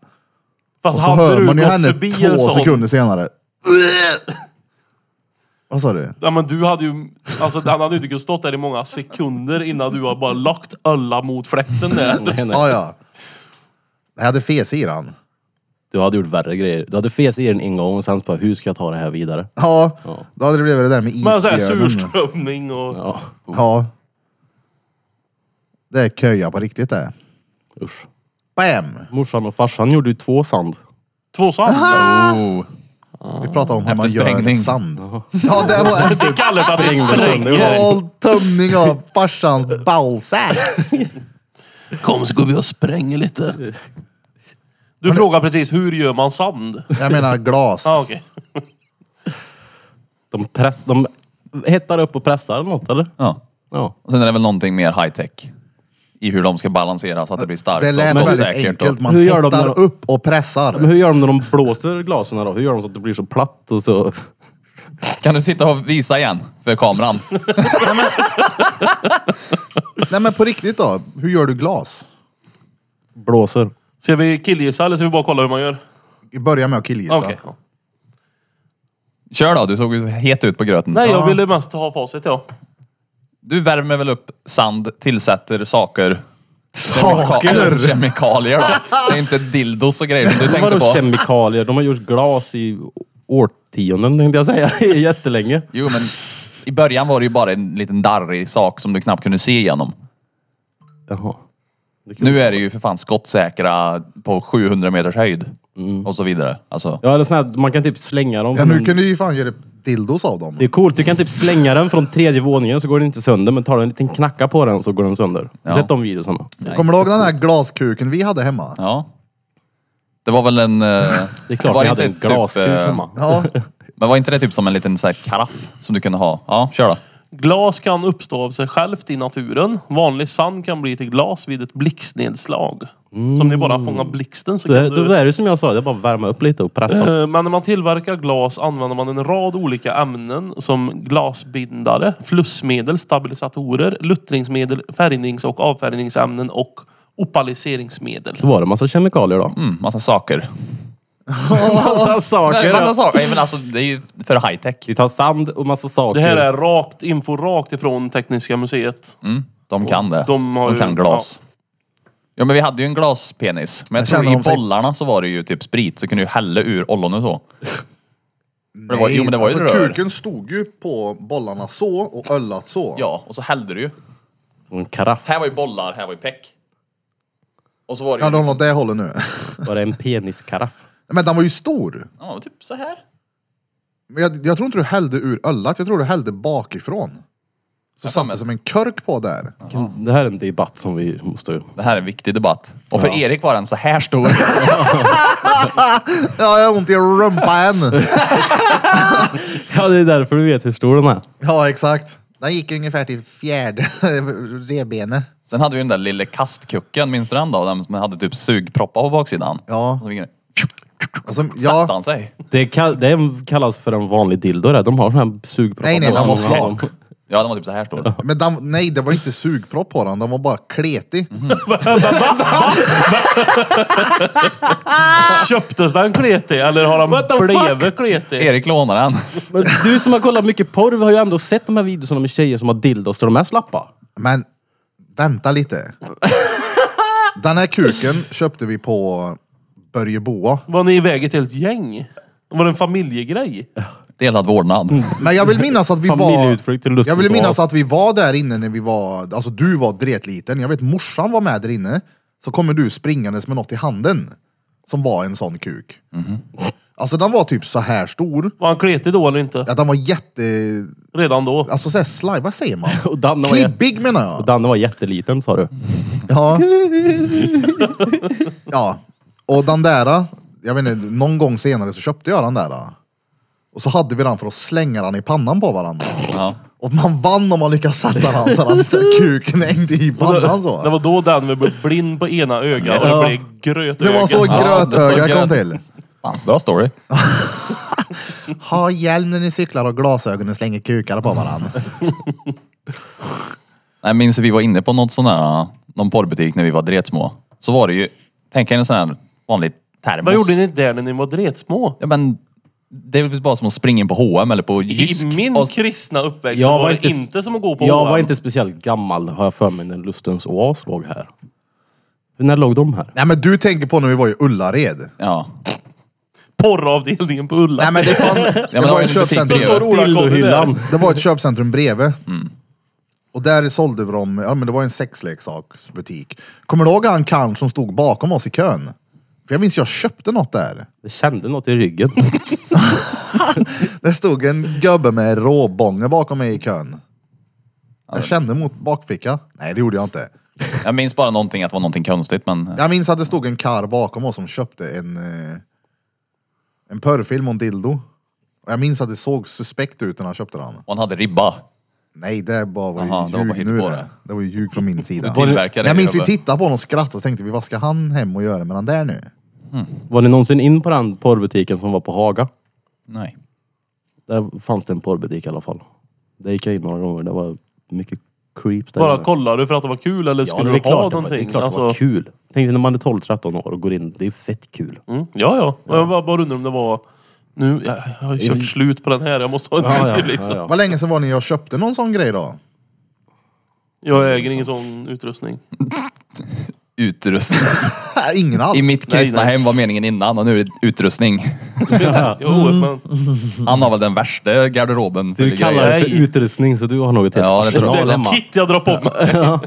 S5: Fast
S1: Och så
S5: hade
S1: hör
S5: du
S1: man ju
S5: gått
S1: henne
S5: förbi en
S1: två
S5: sån...
S1: sekunder senare. Vad sa du?
S5: Ja, men du hade ju... Alltså, han hade ju inte kunnat stått där i många sekunder innan du har bara lagt alla mot fläkten där.
S2: Nej, nej.
S1: Ja, ja. Jag hade fes i den.
S2: Du hade gjort värre grejer. Du hade fes i den en gång och sen så bara, hur ska jag ta det här vidare?
S1: Ja, då hade det blivit det där med
S5: Men såhär
S1: isbjörnen.
S5: surströmming och...
S2: Ja,
S1: Ja. Det är köja på riktigt det.
S2: usch.
S1: Bam!
S2: Morsan och farsan gjorde ju två sand.
S5: Två sand.
S4: Oh.
S1: Vi pratar om hur man
S4: Efter
S1: gör en
S4: sprängning.
S1: sand. Ja, det var en
S5: Det kallas att det spränger.
S1: total tömning av farsans ballsack.
S5: Kom så går vi och spränger lite. Du frågar precis, hur gör man sand?
S1: Jag menar glas.
S5: Ja, okej.
S2: De press, de hettar upp och pressar eller något eller?
S4: Ja.
S2: Ja.
S4: Och sen är det väl någonting mer high tech. I hur de ska balansera så att det blir starkt
S1: Det lät
S4: och
S1: väldigt
S4: stålsäkert.
S1: enkelt.
S4: Och...
S1: Man
S2: Hur gör de
S1: hittar
S2: när de-
S1: upp och pressar.
S2: Men hur gör de när de blåser glasen då? Hur gör de så att det blir så platt och så?
S4: Kan du sitta och visa igen för kameran?
S1: Nej men på riktigt då, hur gör du glas?
S2: Blåser.
S5: Ska vi killgissa eller ska vi bara kolla hur man gör?
S1: Börja med att killgissa.
S5: Okej.
S4: Kör då, du såg ju het ut på gröten.
S5: Nej,
S1: Ah.
S5: jag ville mest ha facit ja.
S4: Du värmer väl upp sand, tillsätter saker.
S1: Saker!
S4: Kemika- Kemikalier då. Det är inte dildos och grejer som du tänkte
S2: Vadå
S4: på.
S2: kemikalier? De har gjort glas i årtionden tänkte jag säga. Jättelänge.
S4: Jo men i början var det ju bara en liten darrig sak som du knappt kunde se igenom.
S2: Jaha.
S4: Nu är det ju för fan skottsäkra på 700 meters höjd.
S2: Mm.
S4: Och så vidare. Alltså,
S2: Ja eller sån här, man kan typ slänga dem.
S1: Ja
S2: från-
S1: nu kan du ju fan göra dildos av dem.
S2: Det är coolt, du kan typ slänga den från tredje våningen så går den inte sönder. Men tar du en liten knacka på den så går den sönder. Har du
S4: Ja.
S2: sett de videosarna?
S1: Kommer du ihåg den här glaskuken vi hade hemma?
S4: ja. Det var väl en... eh,
S2: Det är klart
S4: var
S2: ni hade en
S4: inte
S2: glaskuk
S4: eh,
S2: hemma.
S1: Ja.
S4: Men var inte det typ som en liten så här karaff som du kunde ha? Ja, kör då.
S5: Glas kan uppstå av sig självt i naturen. Vanlig sand kan bli till glas vid ett blixtnedslag. Så om ni bara fångar blixten så
S2: Mm. Det,
S5: kan
S2: det, Mm.
S5: du...
S2: det är det som jag sa, det är bara att värma upp lite och pressa.
S5: Eh, Men när man tillverkar glas använder man en rad olika ämnen som glasbindare, flussmedel, stabilisatorer, luttringsmedel, färgnings och avfärgningsämnen och opaliseringsmedel.
S2: Då var det massa kemikalier då.
S4: Mm, massa saker.
S2: Massa
S4: Nej,
S2: saker.
S4: massa saker. Nej, men alltså det är ju för high tech.
S2: Vi tar sand och massa saker.
S5: Det här är rakt info rakt ifrån Tekniska museet.
S4: Mm, de kan det.
S5: de har ju-
S4: kan glas. Ja. men vi hade ju en glaspenis. Men jag,
S1: Jag
S4: tror
S1: känner
S4: i
S1: de sig-
S4: bollarna så var det ju typ sprit. Så kunde du hälla ur ollonet så. det var- jo, men det var ju
S1: alltså,
S4: rör.
S1: Kuken stod ju på bollarna så och öllat så.
S4: Ja, och så hällde du ju.
S2: En karaff.
S4: Här var ju bollar, här var ju peck. Och så var det
S1: Ja,
S4: ju...
S1: de
S4: Liksom,
S1: åt det hållet nu.
S2: Var det en peniskaraff?
S1: Men den var ju stor.
S4: ja, typ så här.
S1: Men jag, jag tror inte du hällde ur öllat, jag tror du hällde bakifrån. Så satt det som en körk på där.
S2: Det här är en debatt som vi måste...
S4: Det här är en viktig debatt. Och för Erik var den så här stor.
S1: Ja, jag har ont i rumpan än.
S2: Ja, det är därför du vet hur stor den är.
S1: Ja, exakt. Den gick ungefär till fjärde revbenet.
S4: Sen hade vi den där lilla kastkucken, minns du den då? Den som hade typ sugproppar på baksidan.
S1: Ja.
S4: Och så fick
S1: Och så-
S4: den-
S1: Alltså,
S4: satte
S1: ja,
S4: han sig.
S2: Det, kall, det är- kallas för en vanlig dildo det. De har sån här sugpropp.
S1: Nej, nej, den var slak.
S4: Ja, den var typ så här stor.
S1: men den, nej, det var inte sugpropp på den, den var bara kletig.
S5: Köptes den kletig eller har
S2: What the
S5: han
S2: fuck?
S5: blivit kletig?
S4: Erik lånade den.
S2: Men du som har kollat mycket porr har ju ändå sett de här videorna med tjejer som har dildos så de är slappa.
S1: Men vänta lite. Den här kuken köpte vi på Börje Boa.
S5: Var ni iväg ett helt gäng? Var det en familjegrej?
S4: Delad vårdnad.
S1: Men jag vill minnas att vi var...
S2: Familjeutflykt till lustens
S1: Jag vill minnas
S2: oas.
S1: att vi var där inne när vi var... Alltså du var dretliten. Jag vet morsan var med där inne. Så kommer du springandes med något i handen. Som var en sån kuk.
S2: Mhm.
S1: Alltså den var typ så här stor.
S5: Var han kletig då eller inte?
S1: Ja, den var jätte...
S5: Redan då?
S1: Alltså såhär slaj, vad säger man?
S2: Och Danne var, jä-
S1: Klibbig menar
S2: och
S1: jag.
S2: Danne var jätteliten sa du.
S1: Ja. ja. Och den där, jag vet inte, någon gång senare så köpte jag den där. Och så hade vi den för att slänga den i pannan på varandra.
S4: Ja.
S1: Och man vann om man lyckades sätta den så att kuken hängde i pannan
S5: Det
S1: så.
S5: var då den vi blev blind på ena ögat och
S1: Ja.
S5: det blev grötöga.
S1: Det var så
S4: Ja, det var
S1: grötöga
S4: gröt.
S1: kom till.
S4: Fan, bra story.
S1: Ha hjälm när ni cyklar och glasögon och slänger kukar på varandra.
S4: Jag minns att vi var inne på något sån här, någon porrbutik när vi var dretsmå. Så var det ju, tänk er en sån här vanlig termos.
S5: Vad gjorde ni där när ni var dretsmå?
S4: Ja men, det är väl bara som att springa in på H&M eller på Jysk.
S5: I min
S4: och,
S5: kristna uppväxt
S2: Jag
S5: så var,
S2: var
S5: det
S2: inte
S5: inte,
S2: s-
S5: som att gå på
S2: Jag
S5: H&M.
S2: var inte speciellt gammal har jag för mig när Lustens Oas låg här. När låg de här?
S1: Nej men du tänker på när vi var i Ullared.
S4: ja.
S5: Porravdelningen på Ulla.
S1: Nej men det, fan, det
S4: men det var
S1: var
S4: en
S1: ett
S4: butik
S1: köpcentrum.
S5: Så står
S4: bredvid. Mm.
S5: Ola Conny där.
S2: Dildohyllan.
S1: Det var ett köpcentrum bredvid. Och där sålde vi dem, ja men det var en sexleksaksbutik. Kommer du ihåg han Karl som stod bakom oss i kön? För jag minns jag köpte något där.
S2: Jag kände något i ryggen.
S1: Det stod en gubbe med råbånge bakom mig i kön. Jag kände mot bakficka. Nej det gjorde jag inte.
S4: Jag minns bara någonting, att det var någonting konstigt men...
S1: Jag minns att det stod en karl bakom oss som köpte en, eh, en porrfilm och en dildo. Och jag minns att det såg suspekt ut när han köpte den.
S4: Och han hade ribba.
S1: Nej, det bara var
S4: Aha,
S1: ju
S4: det var bara
S1: ljug nu
S4: hittepå
S1: det.
S4: det.
S1: Det var ju ljug från min sida.
S4: tillverkade
S1: jag
S4: det,
S1: minns vi
S4: Robert.
S1: tittade på honom och skrattade och tänkte vi, vad ska han hem och göra med den där nu?
S2: Var ni någonsin in på den porrbutiken som var på Haga?
S4: Nej.
S2: Där fanns det en porrbutik i alla fall. Där gick jag in några gånger. Det var mycket creeps där
S5: Bara
S2: inne.
S5: kollade du för att det var kul eller
S2: Ja, det
S5: skulle
S2: är
S5: du ha
S2: klart, det var, det är
S5: någonting?
S2: klart det var
S5: Alltså,
S2: kul. Tänkte när man är 12-13 år och går in, det är fett kul.
S5: mm, ja, ja. Jag bara, bara undrar om det var... Nu, jag, jag har ju kört slut på den här. Jag måste ha en
S2: Ja, ja,
S5: till
S2: ja,
S5: liksom.
S2: ja.
S1: Vad länge sedan var ni jag köpte någon sån grej då?
S5: Jag äger ingen sån utrustning.
S4: Utrustning.
S1: Ingen alls.
S4: I mitt
S5: Nej,
S4: kristna
S5: nej.
S4: hem var meningen innan och nu är det utrustning.
S5: Jag har
S2: Mm.
S5: oerhört, men-
S4: Han har väl den värsta garderoben. för
S2: Du
S4: grejer.
S2: kallar det för
S5: grejer.
S2: utrustning så du har något helt
S4: Ja, det tror jag.
S5: Det
S2: arsenal
S5: är ett
S2: hemma.
S5: kit jag drar på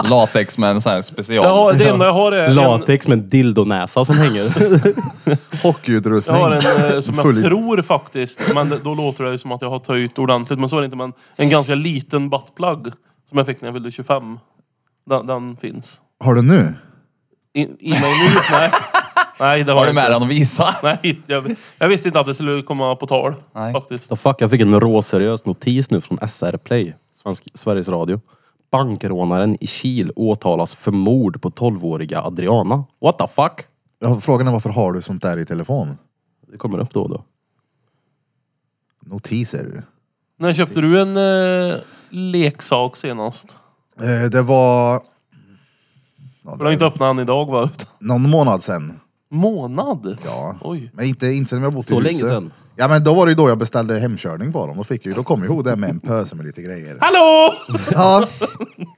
S5: mig.
S4: Latex med en sån här special.
S5: Jag har, det enda jag har är en,
S2: Latex med en dildonäsa som hänger.
S1: Hockeyutrustning.
S5: jag har en eh, som jag
S1: Full-
S5: tror faktiskt, men det- då låter det ju som att jag har töjt ordentligt. Men så är det inte. Men en ganska liten buttplug som jag fick när jag fyllde 25. Den, den finns.
S1: Har du nu?
S5: I, i mig nu? Nej. Nej, det har
S4: Har
S5: jag
S4: du med
S5: inte.
S4: den och visa?
S5: Nej, jag, jag visste inte att det skulle komma på tal.
S4: Nej.
S5: Faktiskt.
S2: Så fuck, jag fick en råseriös notis nu från SR Play, Svensk, Sveriges Radio. Bankrånaren i Kil åtalas för mord på 12-åriga Adriana. What the fuck?
S1: Ja, Frågan är varför har du sånt där i telefon?
S2: Det kommer upp då och då.
S1: Notiser.
S5: När köpte du en eh, leksak senast?
S1: Eh, det var... Ja,
S5: Du har
S1: det-
S5: inte öppnat den idag va? Utan-
S1: Någon månad sedan.
S5: Månad?
S1: Ja.
S5: Oj.
S1: Men inte, inte sen jag bott i
S2: Så
S1: huset.
S2: länge sedan.
S1: Ja men då var det ju då jag beställde hemkörning på dem. Då, fick jag, ju- då kom jag ihåg det med en pöse med lite grejer.
S5: Hallå!
S1: Ja.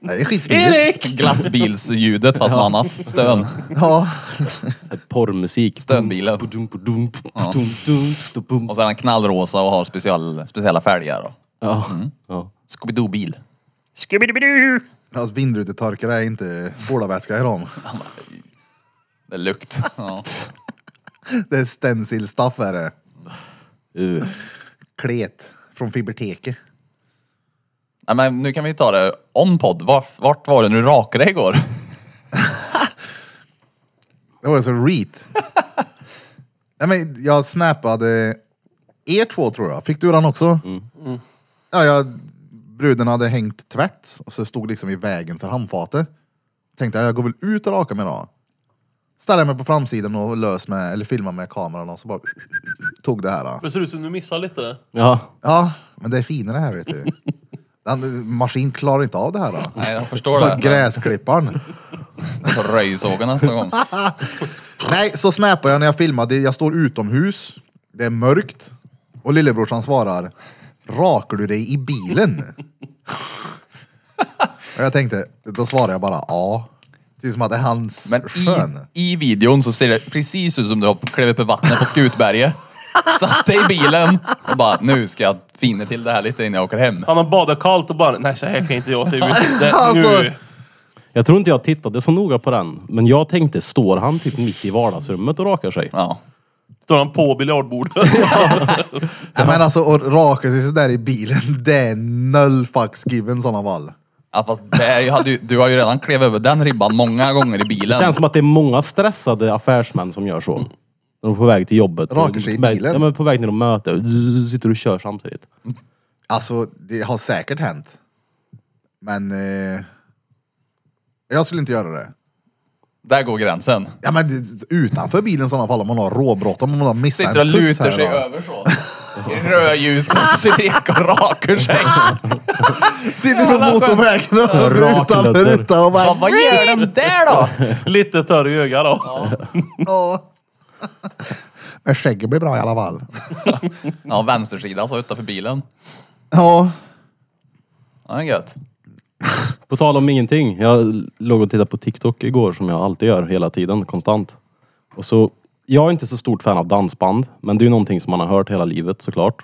S1: Nej, det är skitsmidigt.
S5: Erik!
S4: Glassbilsljudet fast med annat. Stön.
S1: Ja.
S2: Så här Porrmusik.
S4: Stönbilen. Och
S2: Ja.
S4: så är den knallrosa och har special, speciella fälgar. då.
S2: Ja.
S4: Scooby-Doo-bil.
S1: Alltså vindrutetorkare är inte spolarvätska i dem.
S4: Det är lukt. Ja.
S1: Det är stencil stuff är det.
S2: Uh.
S1: Klet från Fiberteke.
S4: Nej, men nu kan vi ta det on podd. Vart, vart var det nu rakade igår?
S1: Det var så reet. Nej men jag snappade er två tror jag. Fick du den också? Ja, jag, bruden hade hängt tvätt och så stod liksom i vägen för handfatet. Tänkte jag, jag går väl ut och rakar mig då. Ställde mig på framsidan och lös med, eller filmade med kameran och så bara tog det här. Då.
S5: Det ser ut som du missar lite.
S2: Ja.
S1: Ja, men det är finare här vet du. Den, maskin klarar inte av det här. Då.
S4: Nej, jag förstår
S1: Ta
S4: det.
S1: gräsklipparen.
S4: Ta röjsågen nästa gång.
S1: Nej, så snappar jag när jag filmade. Jag står utomhus. Det är mörkt. Och lillebrorsan svarar. Rakar du dig i bilen? och jag tänkte, då svarar jag bara ja. Det är som att det är hans
S4: Men
S1: skön.
S4: i, i videon så ser det precis ut som du har klivit på vattnet på Skutberget. Satt dig i bilen och bara, nu ska jag fina till det här lite innan jag åker hem.
S5: Han har badat kallt och bara, nej så här kan inte jag se ut. Det,
S1: Alltså.
S5: nu.
S2: Jag tror inte jag tittade så noga på den, men jag tänkte, står han typ mitt i vardagsrummet och rakar sig?
S4: Ja.
S5: Står han på biljardbordet.
S1: Nej, men alltså att raka sig sådär i bilen, det är noll fucks given i sådana fall.
S4: Ja, fast det är, ju- hade, ju- du har ju redan klivit över den ribban många gånger i
S2: Det
S4: bilen.
S2: känns som att det är många stressade affärsmän som gör så. När de är på väg till jobbet.
S1: Rakar sig i
S2: På väg-
S1: bilen.
S2: Ja men på väg till något möte. Zzz, Sitter och kör samtidigt.
S1: Alltså, det har säkert hänt. Men... Eh, jag skulle inte göra det.
S4: Där går gränsen.
S1: Ja men det- utanför bilen i sådana fall om man har råbråttom, om man har missat
S4: Sitter och
S1: en puss
S4: lutar
S1: här
S4: sig
S1: då.
S4: över så. I rödljus och så sitter Erik och rakar sig.
S1: Sitter på motorvägen och rutan
S2: Raklötter.
S1: rutan och
S4: Vad,
S1: bara...
S4: vad gör den där då?
S5: Lite törr i ögat då.
S1: "Åh." Men skägget blir bra i alla fall.
S4: Ja, vänstersida så utanför bilen.
S1: Ja.
S4: Ja, det är gött.
S2: På tal om ingenting. Jag låg och tittade på TikTok igår som jag alltid gör hela tiden, konstant. Och så, jag är inte så stort fan av dansband, men det är ju någonting som man har hört hela livet såklart.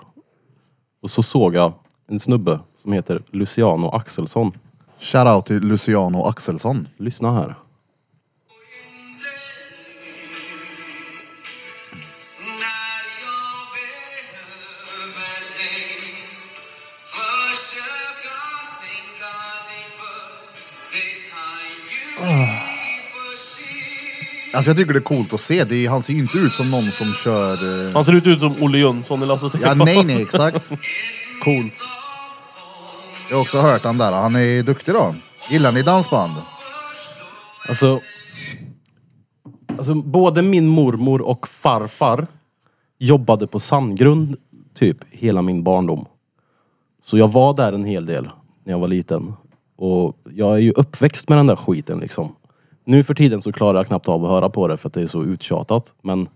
S2: Och så såg jag en snubbe som heter Luciano Axelsson.
S1: Shoutout till Luciano Axelsson.
S2: Lyssna här.
S6: När jag behöver dig Försök att tänka dig för Det kan ju bli för sent
S1: Alltså jag tycker det är coolt att se. Det är, han ser ju inte ut som någon som kör... Eh,
S5: Han ser ut, ut som Olle Jönsson alltså, typ. i Lasse
S1: ja,
S5: Stefans.
S1: nej, nej, exakt. Coolt. Jag har också hört han där. Han är duktig då. Gillar ni dansband?
S2: Alltså, alltså, både min mormor och farfar jobbade på sandgrund typ hela min barndom. Så jag var där en hel del när jag var liten. Och jag är ju uppväxt med den där skiten liksom. Nu för tiden så klarar jag knappt av att höra på det för att det är så uttjatat. Men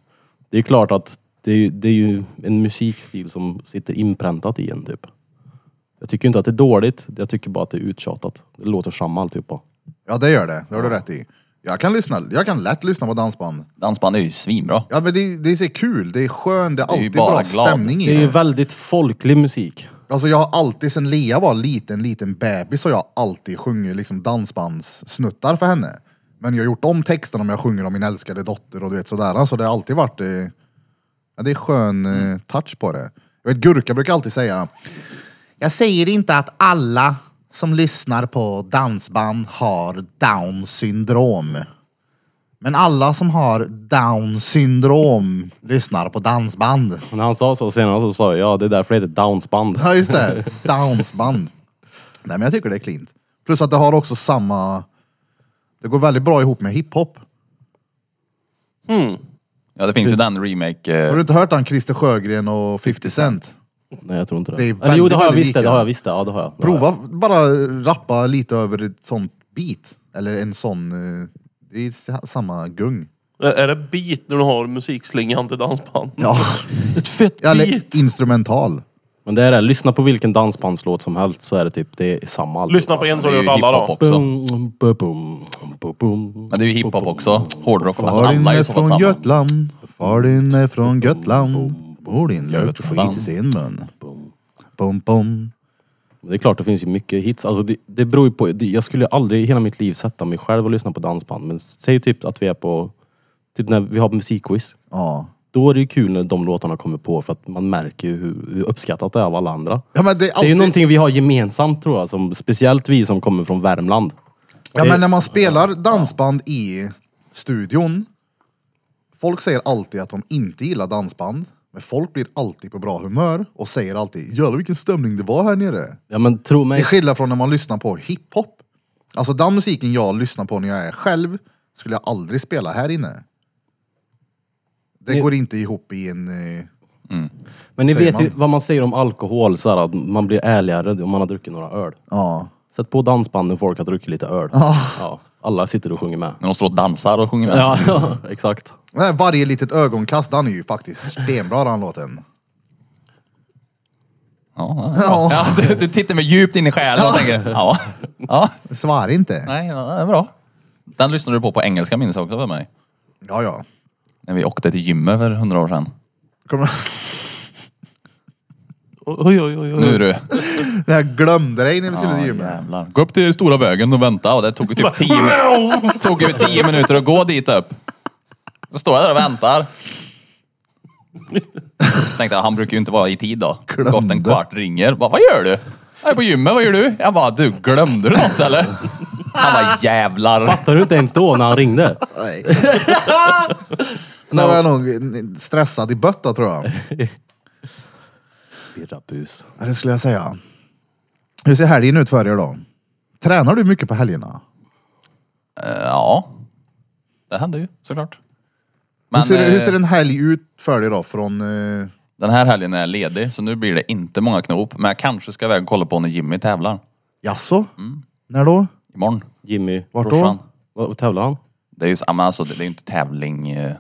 S2: det är klart att det är, ju- det är ju en musikstil som sitter inpräntat i en typ. Jag tycker inte att det är dåligt, jag tycker bara att det är uttjatat. Det låter samma alltihopa.
S1: Ja, det gör det. Det har du rätt i. Jag kan, lyssna, jag kan lätt lyssna på dansband.
S4: Dansband är ju svinbra.
S1: Ja, men det, det är så kul. Det är skönt. Det är
S4: är ju
S1: alltid
S4: bara
S1: bra
S4: glad.
S1: stämning i
S2: Det är
S1: det.
S2: ju väldigt folklig musik.
S1: Alltså jag har alltid, sen Lea var liten, liten bebis, har jag alltid sjungit liksom dansbandssnuttar för henne. Men jag har gjort om texterna om jag sjunger om min älskade dotter och du vet sådär. Alltså det har alltid varit, eh, ja, det är skön eh, touch på det. Jag vet Gurka brukar alltid säga, jag säger inte att alla som lyssnar på dansband har down syndrom. Men alla som har down syndrom lyssnar på dansband.
S2: Och När han sa så senast så sa jag ja, det är därför det heter Downsband.
S1: Ja just det, dansband. Nej men jag tycker det är klint. Plus att det har också samma, det går väldigt bra ihop med hiphop.
S4: Ja, det finns ju den remake... eh,
S1: Har du inte hört han Christer Sjögren och 50 Cent?
S2: Nej jag tror inte det.
S1: Det är
S2: Eller jo det har jag
S1: väldigt
S2: visst det, det
S1: lika.
S2: har jag visst det. Ja det har jag. Det har jag.
S1: Prova, bara rappa lite över ett sånt beat. Eller en sån, eh, det är sa- samma gung.
S5: Är det beat när du har musikslingan till dansband?
S1: Ja,
S5: Ett fett
S1: eller
S5: beat!
S1: instrumental.
S2: Men det är det, lyssna på vilken dansbandslåt som helst så är det typ, det är samma alltid.
S5: Lyssna på en
S4: Det
S5: som
S4: är
S5: gör
S4: ju
S5: alla
S4: hiphop
S5: då.
S4: också.
S2: Bum, bu- bum, bu- bum.
S4: Men det är ju hiphop också. Hårdrock och nästan
S1: Far din
S4: alla är
S1: är
S4: i så fall
S1: från
S4: samma.
S1: Götland, far din är från Götland. Bor din lök skit i sin mun. Bom, bom.
S2: Men Det är klart det finns ju mycket hits. Alltså det, det beror ju på, det, jag skulle aldrig i hela mitt liv sätta mig själv och lyssna på dansband. Men säg typ att vi är på, typ när vi har musikquiz.
S1: Ja.
S2: Då är det ju kul när de låtarna kommer på för att man märker ju hur, hur uppskattat det är av alla andra.
S1: Ja, men det är
S2: Det är ju
S1: alltid
S2: någonting vi har gemensamt tror jag, som, speciellt vi som kommer från Värmland.
S1: Ja men när man spelar dansband i studion, folk säger alltid att de inte gillar dansband, men folk blir alltid på bra humör och säger alltid jävlar vilken stämning det var här nere.
S2: Ja men tro
S1: Det är
S2: mig,
S1: skillnad från när man lyssnar på hiphop. Alltså den musiken jag lyssnar på när jag är själv skulle jag aldrig spela här inne. Det går inte ihop i en... eh,
S2: men ni
S1: säger
S2: vet ju
S1: man.
S2: vad man säger om alkohol så här, att man blir ärligare om man har druckit några öl.
S1: Ja.
S2: Sätt på dansbanden folk har druckit lite öl.
S1: Ah.
S2: Ja, alla sitter och sjunger med.
S4: När de står och dansar och sjunger med.
S2: Ja, exakt.
S1: Den här varje litet ögonkast, den är ju faktiskt stenbra den låten.
S4: Ja, ja. ja du, du tittar mig djupt in i själen och tänker, ja. ja.
S1: Svar inte.
S4: Nej, ja, det är bra. Den lyssnade du på på engelska minns jag också för mig.
S1: Ja, ja.
S4: När vi åkte till gymmet för hundra år sedan.
S1: Kommer...
S5: Oj, oj, oj. oj.
S4: Nu du.
S1: Det här glömde dig när vi skulle
S4: Ja,
S1: till gymmet.
S4: jävlar. Gå upp till stora vägen och vänta. Och det tog ju typ tio, min- tog ju tio minuter att gå dit upp. Så står jag där och väntar. Tänkte jag, han brukar ju inte vara i tid då.
S1: Glömde.
S4: Gått en kvart, ringer. Bara, vad gör du? Jag är på gymmet, vad gör du? Jag bara, du glömde du något eller? Han bara, jävlar.
S2: Fattar du inte ens då när han ringde?
S1: När var jag nog stressad i bötta tror jag.
S2: Birrabus.
S1: Ja, Det skulle jag säga. Hur ser helgen ut för er då? Tränar du mycket på helgerna?
S4: Eh, ja, det händer ju såklart. Men
S1: hur, ser,
S4: eh,
S1: hur ser en helg ut för dig då? Från, eh,
S4: den här helgen är jag ledig så nu blir det inte många knop. Men jag kanske ska iväg och kolla på när Jimmy tävlar.
S1: jaså?
S4: Mm.
S1: När då?
S4: Imorgon.
S2: Jimmy.
S1: Vart
S4: Brorsan.
S1: då?
S2: Vad vad tävlar han?
S4: Det är ju ja, men alltså, det det är ju inte tävling eh,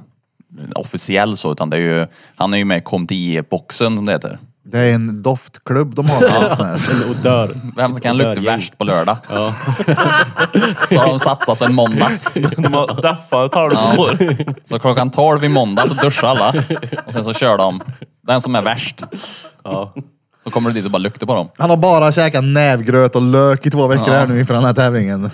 S4: officiell så utan det är ju, han är ju med i Kom till IE-boxen som det heter.
S1: Det är en doftklubb de har på Halsnäs.
S2: Och dör.
S4: Vem som kan
S2: Där,
S4: lukta
S2: gäng.
S4: värst på lördag. så har de satsat sen måndags.
S5: De har deffat ett halvår.
S4: Så klockan 12 i måndag så duschar alla. Och sen så kör de den som är värst.
S2: Ja.
S4: Så kommer du dit och bara luktar på dem.
S1: Han har bara käkat nävgröt och lök i två veckor
S4: Ja.
S1: här nu inför den här tävlingen.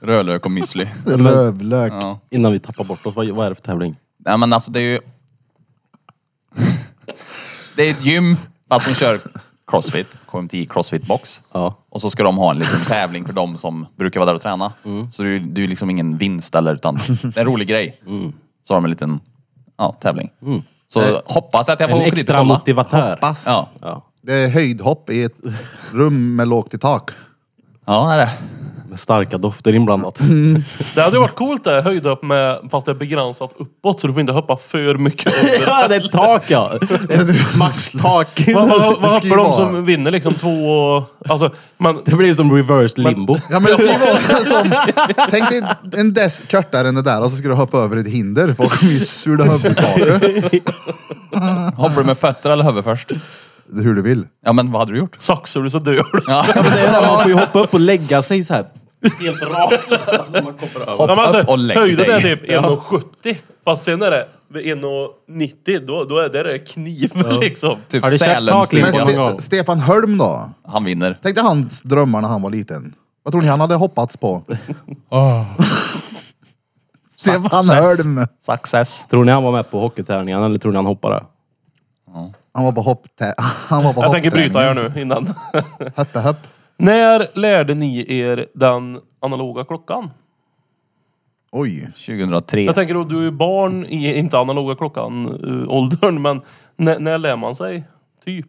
S4: Rödlök och müsli.
S1: Rövlök.
S4: Ja.
S2: Innan vi tappar bort oss, vad, vad är det för tävling?
S4: Nej men alltså det är ju... Det är ett gym fast de kör crossfit. KMTI crossfit box.
S2: Ja.
S4: Och så ska de ha en liten tävling för de som brukar vara där och träna. Så det är ju det är ju liksom ingen vinst eller utan det är en rolig grej. Så har de en liten ja, tävling. Så hoppas att jag får
S2: En
S4: åka dit och
S2: extra
S4: kolla.
S2: motivatör.
S1: Pass.
S4: Ja.
S2: Ja.
S1: Det är höjdhopp i ett rum med lågt i tak.
S4: ja, det är det.
S2: Med starka dofter inblandat.
S5: Det hade ju varit coolt det. Höjda upp med, fast det är begränsat uppåt så du får inte hoppa för mycket under.
S2: ja, det är ett tak ja! Det är ett Maxtak.
S5: Vad, vad, vad hoppar
S1: Skriv
S5: de
S1: bara.
S5: som vinner liksom? Två och... Alltså, man,
S2: Det blir som reverse limbo.
S1: Ja men det ska ju vara så- som... Tänk dig en dess kortare än det där och så ska du hoppa över ett hinder. Folk kommer ju sula huvudtaket.
S4: Hoppar du med fötter eller huvud först?
S1: Hur du vill.
S4: Ja men vad hade du gjort?
S5: saxar du så dör du.
S4: Ja,
S2: Det är där man får ju hoppa upp och lägga sig så här. Helt rakt. Alltså, man kommer över.
S4: Hoppa
S5: Ja, men alltså,
S4: upp och lägg
S5: höjden är
S4: dig.
S5: typ 1,70. Fast sen är det vid 1,90. Då, då är det där är kniv liksom.
S2: Har du
S4: Typ
S2: köpt
S1: Men
S2: taklimpa?
S4: Sälenstugan.
S2: någon
S1: Ste
S2: gång.
S1: Stefan Holm då?
S4: Han vinner.
S1: Tänk dig hans drömmar när han var liten. Vad tror ni han hade hoppats på?
S5: Ah.
S1: Stefan
S4: Success.
S1: Holm.
S4: Success.
S2: Tror ni han var med på hockeyträningen eller tror ni han hoppade?
S1: Han var på hopp... Han var på
S5: Jag tänker bryta
S1: hoppträningen.
S5: här nu innan.
S1: Höppe höpp.
S5: När lärde ni er den analoga klockan?
S1: Oj.
S4: 2003.
S5: Jag tänker då, du är barn i, inte analoga klockan-åldern, men när, när lär man sig? Typ.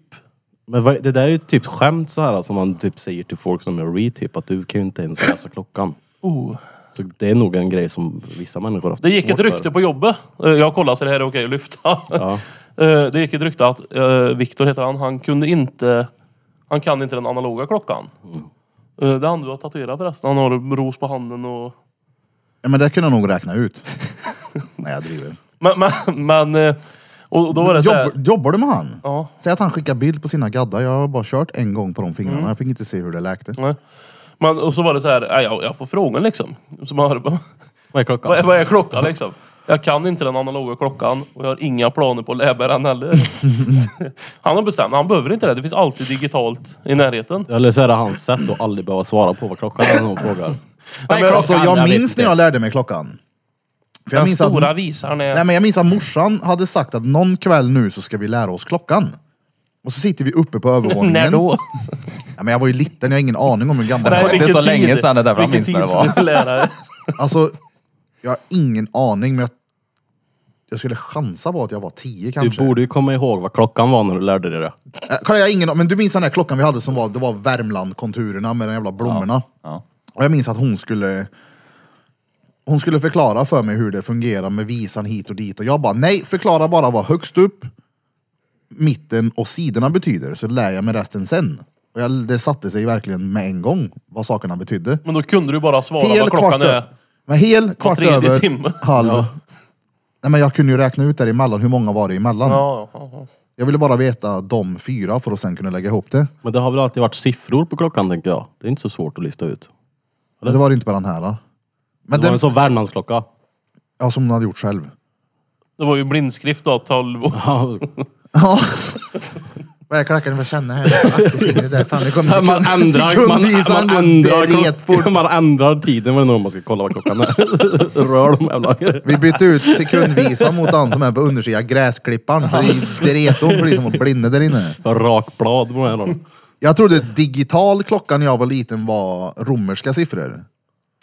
S2: Men vad, det där är ju typ skämt så här som man typ säger till folk som gör retyp att du kan ju inte ens läsa klockan.
S5: Oh.
S2: Så det är nog en grej som vissa människor har haft
S5: Det gick ett
S2: svårt för.
S5: rykte på jobbet. Eh, Jag kollade så det här är okej att lyfta.
S2: Ja.
S5: Eh, Det gick ett rykte att eh, Viktor heter han, han kunde inte... Han kan inte den analoga klockan.
S1: Mm.
S5: Eh, Det är han du har tatuerat förresten. Han har ros på handen och...
S1: Ja, men det kunde jag nog räkna ut. Nej jag driver.
S5: Men... men, men eh, och då var det så här,
S1: Jobb, jobbar du med han?
S5: Ja.
S1: Säg att han skickar bild på sina gaddar. Jag har bara kört en gång på de
S5: Mm.
S1: fingrarna. Jag fick inte se hur det läkte.
S5: Nej. Men, och så var det så här, "Nej, jag, jag får frågan liksom. Så man hörde bara,
S2: Vad är klockan?
S5: vad, är- vad är klockan liksom? Jag kan inte den analoga klockan och jag har inga planer på att lära mig den heller. han har bestämt, han behöver inte det. Det finns alltid digitalt i närheten.
S2: Eller så är det hans sätt att aldrig behöva svara på vad klockan är när någon frågar.
S5: Nej, men,
S1: Alltså
S2: jag
S1: jag
S2: vet
S1: minns
S2: inte.
S1: när jag lärde mig klockan. För jag
S5: den
S1: minns
S5: stora
S1: att,
S5: visaren är...
S1: nej, men jag minns att morsan hade sagt att någon kväll nu så ska vi lära oss klockan. Och så sitter vi uppe på övervåningen.
S5: när då?
S1: Ja, men jag var ju liten, jag har ingen aning om hur gammal jag
S4: Nej,
S1: var.
S4: inte
S5: vilken
S4: så länge sedan, det är därför han
S5: vilken
S4: minns när det
S5: tid
S4: var.
S5: som du lärare.
S1: Alltså, jag har ingen aning men jag, jag skulle chansa på att jag var tio
S2: Du
S1: kanske.
S2: borde ju komma ihåg vad klockan var när du lärde dig det.
S1: Eh, Kalle, jag har ingen men du minns den där klockan vi hade som var, det var Värmland-konturerna med de jävla blommorna.
S4: Ja.
S1: Och jag minns att hon skulle hon skulle förklara för mig hur det fungerar med visan hit och dit och jag bara nej, förklara bara vad högst upp, mitten och sidorna betyder så lär jag mig resten sen. Och jag, det satte sig verkligen med en gång vad sakerna betydde.
S5: Men då kunde du bara svara vad
S1: kvart
S5: klockan är.
S1: ö- Men hel kvart
S5: tredje
S1: över
S5: timme.
S1: halv. Nej, men jag kunde ju räkna ut däremellan, hur många var det emellan?
S5: Ja, ja, ja.
S1: Jag ville bara veta de fyra för att sen kunna lägga ihop det.
S2: Men det har väl alltid varit siffror på klockan tänker jag. Det är inte så svårt att lista ut.
S1: Det var det inte på den här. Då. Men
S2: Det var
S1: den,
S2: en sån Värmlandsklocka.
S1: ja, som hon hade gjort själv.
S5: Det var ju blindskrift då, 12 år.
S1: Ja. Vad är klackarna för känna här? Aktivfingret där. Fan, det kom
S2: Man ändrar, man, man, ändrar, klock- man ändrar tiden vad det är när man ska kolla vad klockan är. Rör de jävla
S1: Vi bytte ut sekundvisan mot den som är på undersidan gräsklipparen. För det är reton för de som var blinda där inne.
S2: rakblad på den här.
S1: Jag trodde digital klocka när jag var liten var romerska siffror.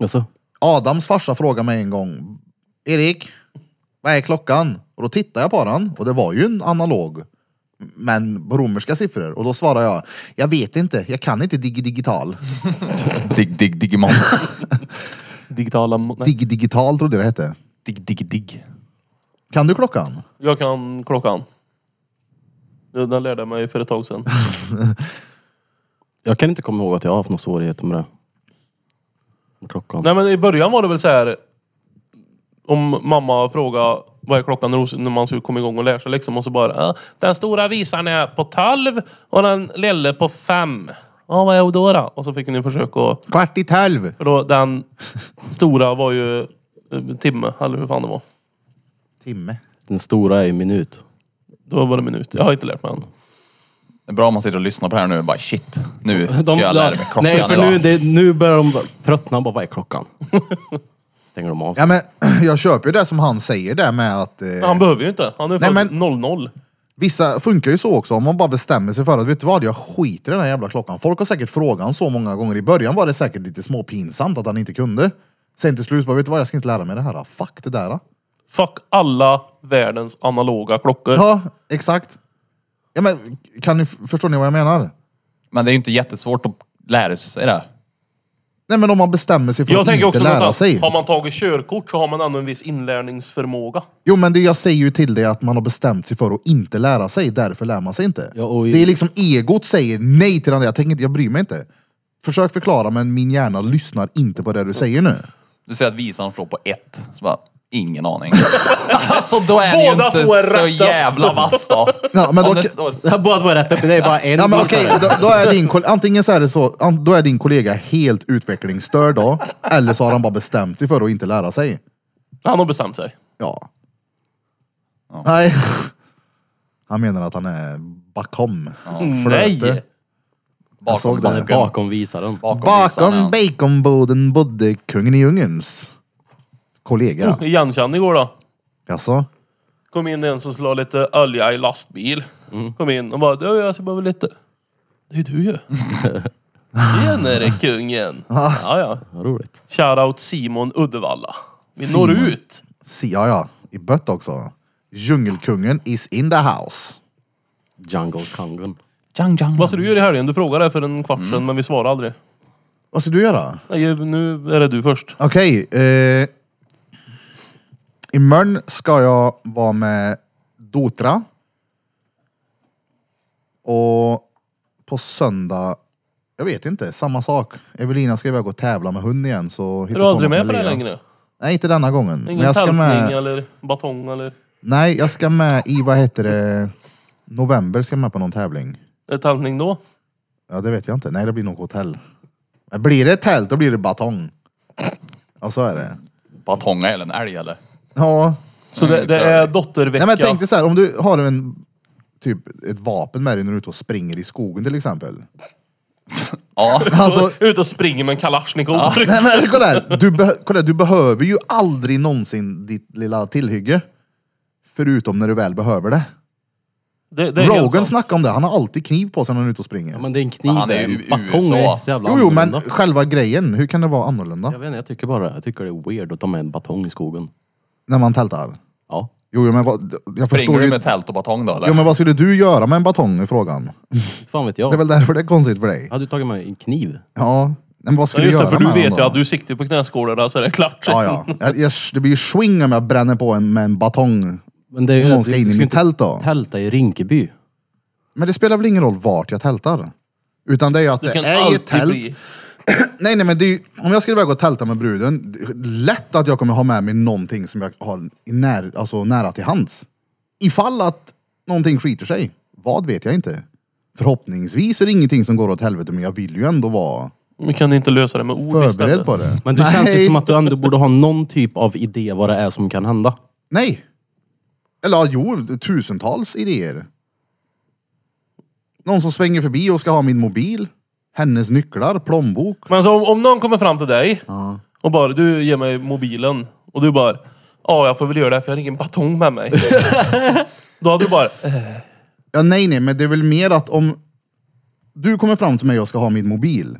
S2: Alltså,
S1: Adams farsa frågade mig en gång. Erik, Vad är klockan? Och då tittade jag på den och det var ju en analog. Men på romerska siffror. Och då svarade jag, jag vet inte, jag kan inte digi digital.
S4: Dig, dig, digimon.
S5: Digitala... mo- Nej.
S1: Digi digital trodde jag det hette.
S4: dig, dig, dig.
S1: Kan du klockan?
S5: Jag kan klockan. Den den lärde jag mig för ett tag sedan.
S2: Jag kan inte komma ihåg att jag har haft några svårigheter med det. Med klockan.
S5: Nej men i början var det väl så här. Om mamma frågade vad är klockan när hon- när man skulle komma igång och lära sig liksom och så bara "Ja, Den stora visaren är på 12 och den lille på 5. Ja vad är då då? Och så fick ni försöka att...
S1: Kvart i tolv.
S5: För då den stora var ju eh, timme eller hur fan det var.
S1: Timme.
S2: Den stora är i minut.
S5: Då var det minut. Jag har inte lärt mig än.
S4: Det är bra om man sitter och lyssnar på det här nu och bara shit, nu ska
S2: De-
S4: jag lära mig klockan
S2: Nej, för
S4: idag.
S2: nu, det, nu börjar de bara tröttna. Bara, vad är klockan? Stänger de av.
S1: Ja men jag köper ju det som han säger där med att eh,
S5: Han behöver ju inte. Han är
S1: Nej,
S5: född
S1: men-
S5: 00.
S1: Vissa funkar ju så också, om man bara bestämmer sig för att vet du vad, jag skiter i den här jävla klockan. Folk har säkert frågat så många gånger. I början var det säkert lite småpinsamt att han inte kunde. Sen till slut bara, vet du vad, jag ska inte lära mig det här. Fuck det där.
S5: Fuck alla världens analoga klockor.
S1: Ja, exakt. Ja men, kan ni, förstår ni vad jag menar?
S4: Men det är ju inte jättesvårt att lära sig det.
S1: Nej men om man bestämmer sig för
S5: Jag
S1: att
S5: tänker
S1: inte
S5: också
S1: lära sig.
S5: någonstans, har man tagit körkort så har man ändå en viss inlärningsförmåga.
S1: Jo men det jag säger ju till dig att man har bestämt sig för att inte lära sig, därför lär man sig inte.
S2: Ja, och i-
S1: Det är liksom egot säger nej till den där, jag tänker inte, jag bryr mig inte. Försök förklara men min hjärna lyssnar inte på det du säger nu.
S4: Du säger att visan slår på ett. Så bara, ingen aning. alltså då är ni
S5: Båda
S4: ju inte
S5: två är
S4: så
S5: rätta.
S4: jävla vass då.
S1: Ja, men
S4: Om
S1: då-
S4: det står-
S2: Båda var rätt upp. Det är bara en.
S1: Ja men okej, då, då är din koll- antingen så är det så, an- då är din kollega helt utvecklingsstörd då, eller så har han bara bestämt sig för att inte lära sig.
S5: Han har bestämt sig.
S1: Ja. Nej. Han menar att han är bakom. Flöte.
S5: Nej!
S1: Jag såg
S4: Bakom,
S1: det.
S4: bakom, bakom,
S2: Bakom visaren.
S4: visan, ja.
S1: Bakom baconboden bodde kungen i djungens kollega.
S5: Igenkänd igår då.
S1: Jaså?
S5: Kom in en som slår lite olja i lastbil. Kom in och bara, du jag ska behöva lite... Det är du ju. Tjenare kungen! Ja, ja.
S2: Vad roligt.
S5: Shoutout Simon Uddevalla. Vi
S1: Simon.
S5: når ut.
S1: Si- Ja, ja. I bött också. Djungelkungen is in the house.
S2: Jungle Kangen.
S4: Jang, jang.
S5: Vad ska du göra i helgen? Du frågade för en kvart sedan
S1: Mm.
S5: men vi svarade aldrig.
S1: Vad ska du göra?
S5: Nej, nu är det du först.
S1: Okej. Eh, imorgon ska jag vara med Dotra. Och på söndag, jag vet inte, samma sak. Evelina ska iväg och tävla med hund igen. Så
S5: Är du aldrig med på det här längre?
S1: Nej, inte denna gången. Men
S5: Ingen
S1: jag ska
S5: tältning
S1: med,
S5: eller batong eller...
S1: nej, jag ska med i, vad heter det, november ska jag med på någon tävling.
S5: Är det tältning då?
S1: Ja, det vet jag inte. Nej, det blir nog hotell. Men Blir det tält, då blir det batong. Ja, så är det.
S4: Batonga eller en älg eller?
S1: Ja,
S5: Så det, det är dottervecka.
S1: Nej, men tänk dig så här, om du har en, typ ett vapen med dig när du är ute och springer i skogen till exempel.
S4: Ja.
S1: Alltså,
S5: Ut och springer med en kalasjnikov.
S1: nej, men alltså, kolla, här. Du beh- kolla här, du behöver ju aldrig någonsin ditt lilla tillhygge. Förutom när du väl behöver det.
S5: Det, det är helt
S1: Rogan
S5: sant.
S1: snackade om det, han har alltid kniv på sig när han är ute och springer.
S2: Ja, men det är en kniv.
S4: Han är
S2: där.
S4: ju
S2: En
S4: i
S2: batong
S4: USA.
S2: är så jävla
S1: jo, jo, men
S2: annorlunda.
S1: själva grejen, hur kan det vara annorlunda?
S2: Jag vet inte, jag tycker bara jag tycker det är weird att ta med en batong i skogen.
S1: När man tältar?
S2: Ja.
S1: Jo, jo men vad, jag
S4: Springer
S1: förstår
S4: du
S1: ju.
S4: med tält och batong då eller?
S1: Jo, men vad skulle du göra med en batong i frågan?
S2: Inte fan vet jag.
S1: Det är väl därför det är konstigt för dig?
S2: Jag hade ju tagit med en kniv.
S1: Ja, men vad
S5: Ja,
S1: skulle du
S5: just det,
S1: göra
S5: för du
S1: med den
S5: vet
S1: då?
S5: ju att du siktar på knäskålarna så är det klart.
S1: Ja, ja. Jag, jag, det blir ju swing om jag bränner på en med en batong.
S2: Men det är ju
S1: Om någon
S2: rätt-
S1: ska
S2: du
S1: in i
S2: ju
S1: mitt
S2: inte
S1: tält då?
S2: Tälta i Rinkeby.
S1: Men det spelar väl ingen roll vart jag tältar? Utan det är ju att
S5: Du
S1: det
S5: kan
S1: är ju ett
S5: alltid
S1: tält.
S5: bli...
S1: Nej, nej, men det är ju, om jag ska iväg och tälta med bruden, det är lätt att jag kommer ha med mig någonting som jag har i när, alltså nära till hands. Ifall att någonting skiter sig. Vad vet jag inte. Förhoppningsvis är det ingenting som går åt helvete, men jag vill ju ändå vara
S5: Vi kan inte lösa det med ord
S1: förberedd
S5: istället.
S1: på det.
S2: Men det
S1: nej,
S2: känns ju som att du ändå borde ha någon typ av idé vad det är som kan hända.
S1: Nej! Eller ja, jo, tusentals idéer. Någon som svänger förbi och ska ha min mobil. Hennes nycklar, plånbok.
S5: Men så om, om någon kommer fram till dig och bara du ger mig mobilen och du bara ja jag får väl göra det för jag har ingen batong med mig. Då hade du bara eh,
S1: Ja, nej, nej, men det är väl mer att om du kommer fram till mig och ska ha min mobil.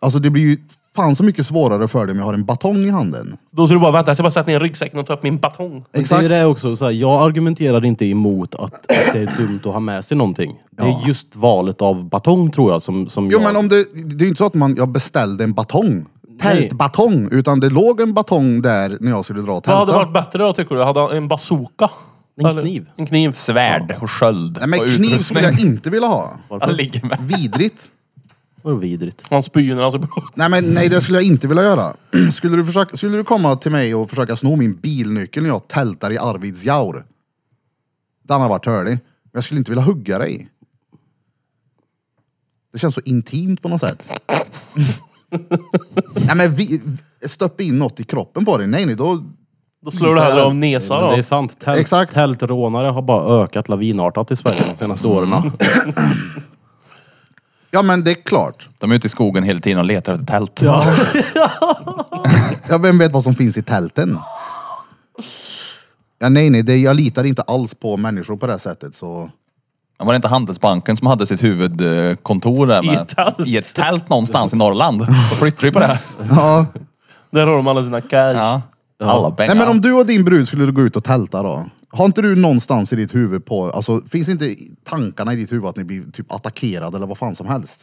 S1: Alltså det blir ju fan så mycket svårare för det om jag har en batong i handen.
S5: Då ska du bara vänta, jag ska bara sätta ner ryggsäcken och ta upp min batong.
S2: Men Det är ju det också, så här, jag argumenterar inte emot att, att det är dumt att ha med sig någonting. Det är just valet av batong tror jag som, som
S1: Jo
S2: jag...
S1: men om det, det är ju inte så att man, jag beställde en batong. Tältbatong. Utan det låg en batong där när jag skulle dra och
S5: Vad hade
S1: tälta.
S5: varit bättre då tycker du? Hade han en bazooka?
S2: En
S5: Eller-
S2: kniv.
S5: En kniv.
S4: Svärd och sköld
S1: Nej men
S4: och
S1: kniv skulle jag inte vilja ha.
S4: Han ligger med.
S1: Vidrigt.
S2: Vad vidrigt.
S5: Han spyr när han ser på.
S1: Nej men nej det skulle jag inte vilja göra. Skulle du, försöka, skulle du komma till mig och försöka sno min bilnyckel när jag tältar i Arvidsjaur? Den har varit hörlig. Men jag skulle inte vilja hugga dig. Det känns så intimt på något sätt. nej men vi, stöpp in något i kroppen på dig. Nej nej då...
S5: Då slår du hellre av näsa
S2: Men
S5: då.
S2: det är sant. Tält,
S1: Exakt.
S2: Tältrånare har bara ökat lavinartat i Sverige de senaste åren.
S1: Ja men det är klart.
S4: De är ute i skogen hela tiden och letar efter tält.
S1: Ja, vem vet vad som finns i tälten? Ja, nej, nej, det, jag litar inte alls på människor på det här sättet. Så.
S4: Var det inte Handelsbanken som hade sitt huvudkontor där?
S5: I
S4: med-
S5: ett tält.
S4: I ett tält någonstans i Norrland. Så flyttade vi på det.
S1: Ja.
S5: Där har de alla sina cash.
S4: Ja. Alla pengar.
S1: Nej, men om du och din brud skulle gå ut och tälta då? Har inte du någonstans i ditt huvud på, alltså finns inte i- tankarna i ditt huvud att ni blir typ attackerade eller vad fan som helst?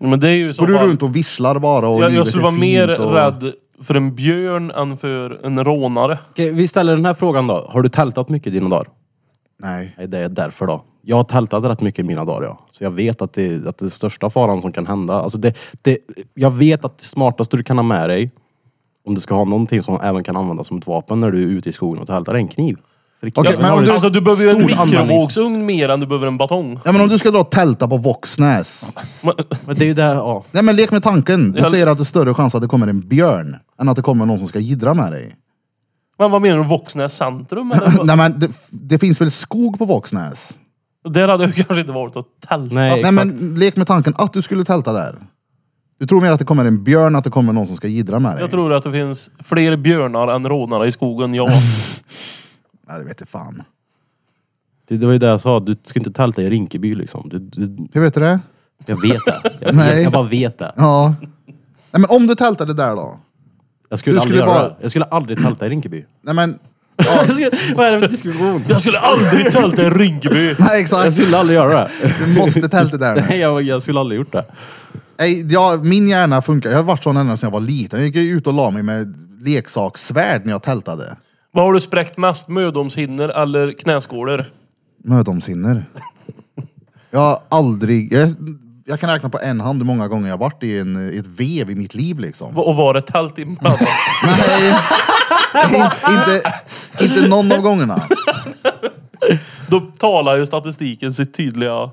S5: Men det är ju så
S1: Går du
S5: bara-
S1: runt och visslar bara och
S5: jag, jag
S1: livet
S5: skulle
S1: är
S5: vara
S1: fint
S5: mer
S1: och...
S5: rädd för en björn än för en rånare.
S2: Okej, vi ställer den här frågan då. Har du tältat mycket i dina dagar?
S1: Nej.
S2: Nej, det är därför då. Jag har tältat rätt mycket i mina dagar, ja. Så jag vet att det, att det största faran som kan hända, alltså det, det, jag vet att det smartaste du kan ha med dig, om du ska ha någonting som även kan användas som ett vapen när du är ute i skogen och tältar, är en kniv. För
S1: Okej,
S2: kniven
S1: men
S2: har
S1: om
S2: ju-
S1: du-
S5: Alltså du behöver ju en
S2: stor
S5: mikrovågsugn mer än du behöver en batong.
S1: Ja, men om du ska dra och tälta på Våxnäs.
S5: Men,
S2: Men det är ju det, ja.
S1: Nej men lek med tanken. Du
S5: Jag-
S1: säger att det är större chans att det kommer en björn än att det kommer någon som ska jiddra med dig.
S5: men vad menar du? Våxnäs centrum eller? vad?
S1: Nej men det, det finns väl skog på Våxnäs?
S5: Där hade jag kanske inte varit och tältat.
S2: Nej.
S1: Nej
S2: Exakt.
S1: men lek med tanken att du skulle tälta där. Du tror mer att det kommer en björn, att det kommer någon som ska jiddra med dig?
S5: Jag tror att det finns fler björnar än rånare i skogen, ja.
S1: Nej, det vet jag fan.
S2: Det, det var ju det jag sa, du ska inte tälta i Rinkeby liksom. Du, du,
S1: Hur vet du det?
S2: jag vet det. Jag,
S1: Nej.
S2: jag, jag bara vet det.
S1: Ja. Nej men om du tältade där då?
S2: Jag skulle,
S1: Du
S2: aldrig
S1: skulle
S2: göra
S1: bara-
S2: det. Jag skulle aldrig tälta i Rinkeby.
S1: Nej men,
S2: Jag skulle- Vad är det för diskussion?
S5: Jag skulle aldrig tälta i Rinkeby!
S1: nej
S2: Jag
S1: exakt.
S2: skulle aldrig göra det.
S1: Du måste tälta där nu.
S2: Nej, jag, jag skulle aldrig gjort det.
S1: Nej, ja, min hjärna funkar. Jag har varit sån ända sedan jag var liten. Jag gick ju ut och la mig med leksakssvärd när jag tältade.
S5: Vad har du spräckt mest? Mödomshinnor eller knäskålar?
S1: Mödomshinnor. Jag har aldrig... Jag, jag kan räkna på en hand hur många gånger jag har varit i, en, i ett vev i mitt liv liksom.
S5: Och var det tält emellan?
S1: Nej, inte, inte, inte någon av gångerna.
S5: Då talar ju statistiken sitt tydliga...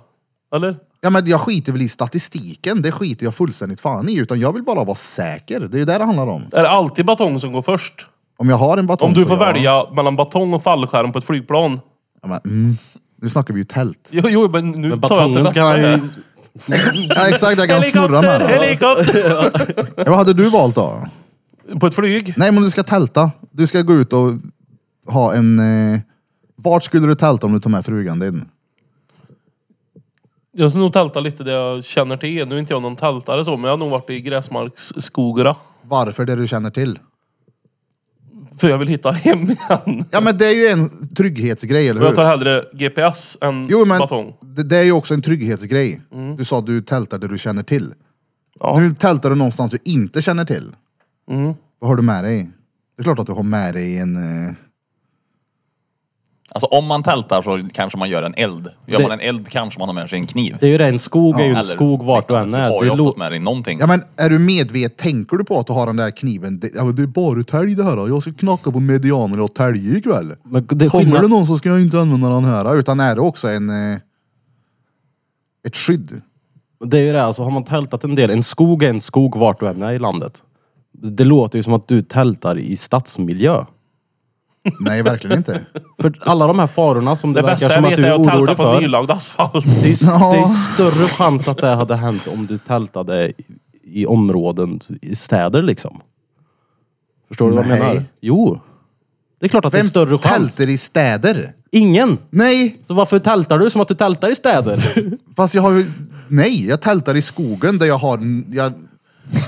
S5: Eller?
S1: Ja, men jag skiter väl i statistiken, det skiter jag fullständigt fan i. Utan jag vill bara vara säker, det är ju det det handlar om.
S5: Är det alltid batong som går först?
S1: Om jag har en batong
S5: Om du
S1: så
S5: får
S1: ja.
S5: välja mellan batong och fallskärm på ett flygplan.
S1: Ja, men, mm. Nu snackar vi ju tält.
S5: Jo, jo men nu
S2: Men
S5: tar jag till
S2: batongen ska
S5: nästa.
S2: han ju...
S1: Ja exakt, jag kan snurra med
S5: Helikopter!
S1: den.
S5: Helikopter!
S1: Ja, Vad hade du valt då?
S5: På ett flyg?
S1: Nej men du ska tälta. Du ska gå ut och ha en... Eh... Vart skulle du tälta om du tog med frugan din?
S5: Jag ska nog tälta lite det jag känner till. Nu är inte jag någon tältare så, men jag har nog varit i gräsmarksskogarna.
S1: Varför det du känner till?
S5: För jag vill hitta hem igen.
S1: Ja men det är ju en trygghetsgrej, eller
S5: Och jag tar
S1: hur?
S5: hellre GPS än
S1: Jo men
S5: batong.
S1: det, det är ju också en trygghetsgrej. Du sa att du tältar det du känner till.
S5: Mm. Ja.
S1: Nu tältar du någonstans du inte känner till.
S5: Mm.
S1: Vad har du med dig? Det är klart att du har med dig en... eh,
S4: Alltså om man tältar så kanske man gör en eld. Gör
S2: Det-
S4: man en eld kanske man har med sig en kniv.
S2: Det är ju det, en skog är ju en
S4: Eller
S2: skog vart du än
S4: liknande,
S2: är.
S4: Så har
S2: Det
S4: ju
S2: är
S4: oftast
S2: lo-
S4: med dig någonting.
S1: Ja men är du medveten, tänker du på att du har den där kniven? Det, ja, men det är barutelg det här då. Jag ska knacka på medianer och tälje ikväll.
S2: Men det är
S1: Kommer det
S2: skillnad-
S1: någon så ska jag inte använda den här. Utan är det också en... eh, Ett skydd.
S2: det är ju det, alltså har man tältat en del, en skog är en skog vart du än är i landet. Det låter ju som att du tältar i stadsmiljö.
S1: Nej verkligen inte.
S2: För alla de här farorna som det,
S5: Det
S2: verkar
S5: bästa jag
S2: som att
S5: vet
S2: du
S5: är
S2: är
S5: att tälta
S2: orolig
S5: på
S2: för.
S5: nylagd asfalt.
S2: Det är, ju s-
S1: Ja.
S2: det är ju större chans att det hade hänt om du tältade i, i områden, i städer liksom. Förstår du vad
S1: Nej.
S2: jag menar? Jo. Det är klart att det
S1: Vem
S2: är större chans.
S1: tälter i städer?
S2: Ingen!
S1: Nej!
S2: Så varför tältar du som att du tältar i städer?
S1: Fast jag har ju... Nej, jag tältar i skogen där jag har... Jag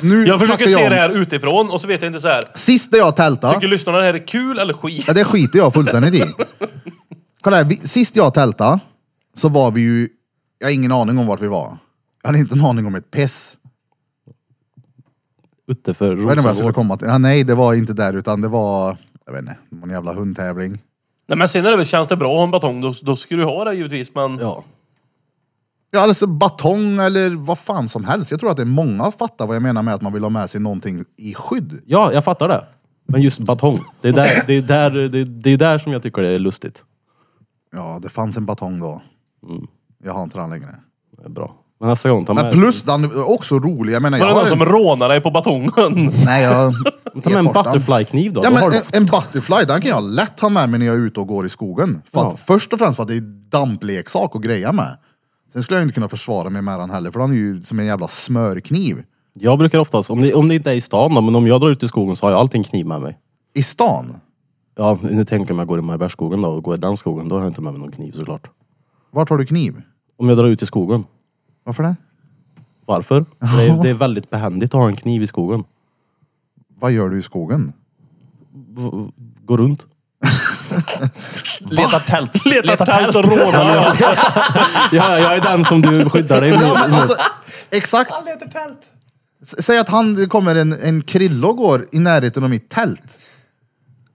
S1: Nu
S5: Jag försöker
S1: snackar
S5: se
S1: om-
S5: det här utifrån och så vet jag inte så här.
S1: Sist där jag tältade.
S5: Tycker lyssnarna det här är kul eller skit?
S1: Ja, det skiter jag fullständigt i. Kolla här, vi, sist jag tältade så var vi ju... Jag har ingen aning om vart vi var. Jag hade inte en aning om ett piss.
S2: Utanför
S1: Jag vet inte vad jag skulle
S2: Rosengård.
S1: komma till. Ja, nej, det var inte där utan det var... Jag vet inte, någon jävla hundtävling.
S5: Nej men sen är det väl, känns det bra att ha en batong då, då ska du ha det givetvis men...
S2: Ja.
S1: Ja, alltså batong eller vad fan som helst. Jag tror att det är många fattar vad jag menar med att man vill ha med sig någonting i skydd.
S2: ja, jag fattar det. Men just batong. Det är där, det är där, det är, det är där som jag tycker det är lustigt.
S1: Ja, det fanns en batong då. Jag har inte den längre.
S2: Det är bra. Men nästa gång, ta
S1: Men
S2: med,
S1: plus den är också rolig. Jag menar,
S5: Var
S1: jag
S5: det någon
S1: har en...
S5: som rånade dig på batongen?
S1: Nej, jag...
S2: ta med
S1: Ge
S2: en
S1: bort den.
S2: butterflykniv då.
S1: Ja,
S2: då
S1: men eh-
S2: har du-
S1: en, en butterfly, den kan jag lätt ha med mig när jag är ute och går i skogen. För att,
S2: Ja.
S1: Först och främst för att det är dampleksak att greja med. Sen skulle jag inte kunna försvara mig med den heller, för den är ju som en jävla smörkniv.
S2: Jag brukar oftast, om det, om det inte är i stan då, men om jag drar ut i skogen så har jag alltid en kniv med mig.
S1: I stan,
S2: Ja, nu tänker jag om jag går i Majbärsskogen då och går i den skogen, då har jag inte med mig någon kniv såklart.
S1: vart har du kniv?
S2: Om jag drar ut i skogen.
S1: Varför det?
S2: Varför? För Det är, det är väldigt behändigt att ha en kniv i skogen.
S1: Vad gör du i skogen?
S2: V- Gå runt.
S4: Letar tält.
S5: Letar tält och rånar.
S2: Ja, ja, jag är den som du skyddar dig
S1: Ja, men
S2: mot.
S1: alltså, exakt.
S4: letar tält.
S1: S- Säg att han det kommer en, en krille och går i närheten av mitt tält.